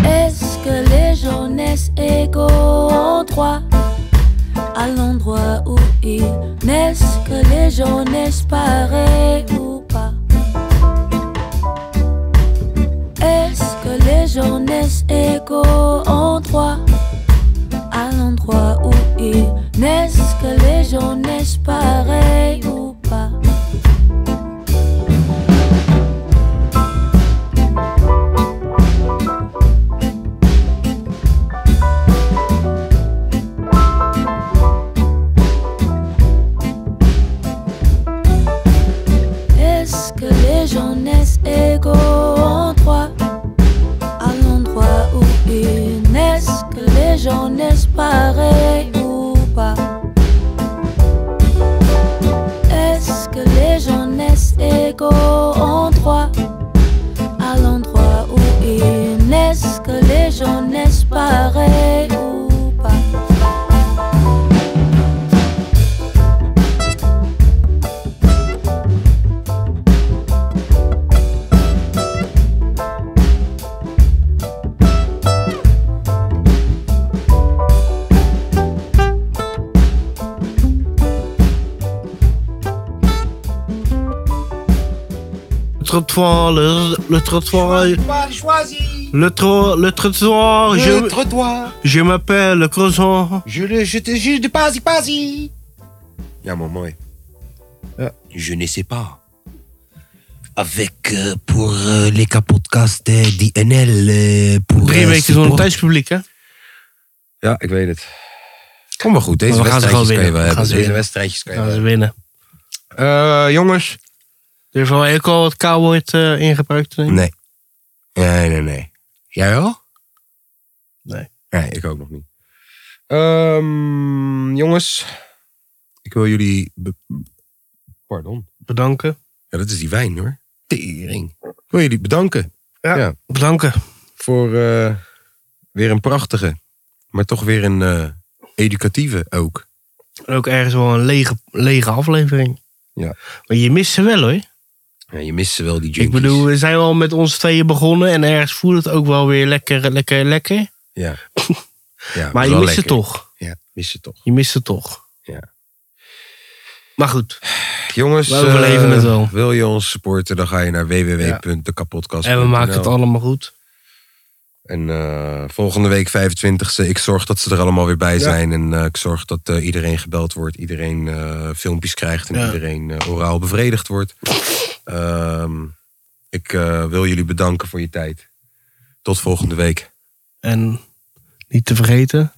S7: Est-ce que les gens naissent égaux en droit à l'endroit où ils naissent Que les gens naissent pareils ou pas Est-ce que les gens naissent égaux en droit à l'endroit où ils naissent Que les gens naissent pareils ou pas Est-ce que les gens naissent égaux en droit À l'endroit où ils naissent, que les gens naissent pareils ou pas Est-ce que les gens naissent égaux en droit À l'endroit où ils naissent, que les gens naissent pareils ou pas
S2: Le trottoir, le, le trottoir,
S9: Choisis.
S2: le, tro, le trottoir,
S9: Je
S2: je,
S9: trottoir.
S2: je m'appelle le croissant.
S9: Je le, je te, je de pasie, pasie. Ja, man, mooi. Je ne sais pas.
S1: Avec euh, pour euh, les kapotcast eh, die NL eh, pour
S2: Drie
S1: eh,
S2: weken
S1: support.
S2: zonder thuispubliek, hè?
S9: Ja, ik weet het.
S1: Kom maar goed, deze
S2: Maar we gaan ze gewoon
S1: wedstrijdjes kan je wel hebben.
S2: winnen. We gaan ze
S1: Deze
S2: winnen.
S1: wedstrijdjes kan je
S2: Gaan
S1: wel
S2: ze winnen.
S9: Eh, jongens.
S2: Er is wel ook al wat cowboy eh ingebruikt. denk ik.
S1: Nee. Nee, nee, nee. Jij wel?
S2: Nee.
S1: Nee, ik ook nog niet.
S9: Ehm, jongens. Ik wil jullie... be- Pardon.
S2: Bedanken.
S1: Ja, dat is die wijn hoor. Tering. Ik wil jullie bedanken
S2: Bedanken.
S1: voor eh, weer een prachtige, maar toch weer een eh, educatieve ook.
S2: Ook ergens wel een lege, lege aflevering.
S1: Ja.
S2: Maar je mist ze wel hoor.
S1: Ja, je mist wel die
S2: Ik
S1: junkies.
S2: bedoel, we zijn wel met ons tweeën begonnen. En ergens voelde het ook wel weer lekker, lekker, lekker.
S1: Ja. ja
S2: Maar je
S1: wel lekker.
S2: mist het toch.
S1: Ja, mist het toch.
S2: Je mist het toch.
S1: Ja.
S2: Maar goed.
S1: Jongens,
S2: We overleven
S1: eh,
S2: het wel.
S1: wil je ons supporten, dan ga je naar www.dekapotkast.nl.
S2: En we maken het allemaal goed.
S1: En eh, volgende week 25e, ik zorg dat ze er allemaal weer bij zijn. En eh, ik zorg dat eh, iedereen gebeld wordt, iedereen eh, filmpjes krijgt en
S2: Ja.
S1: iedereen eh, oraal bevredigd wordt. Ehm, ik eh, wil jullie bedanken voor je tijd. Tot volgende week.
S2: En niet te vergeten.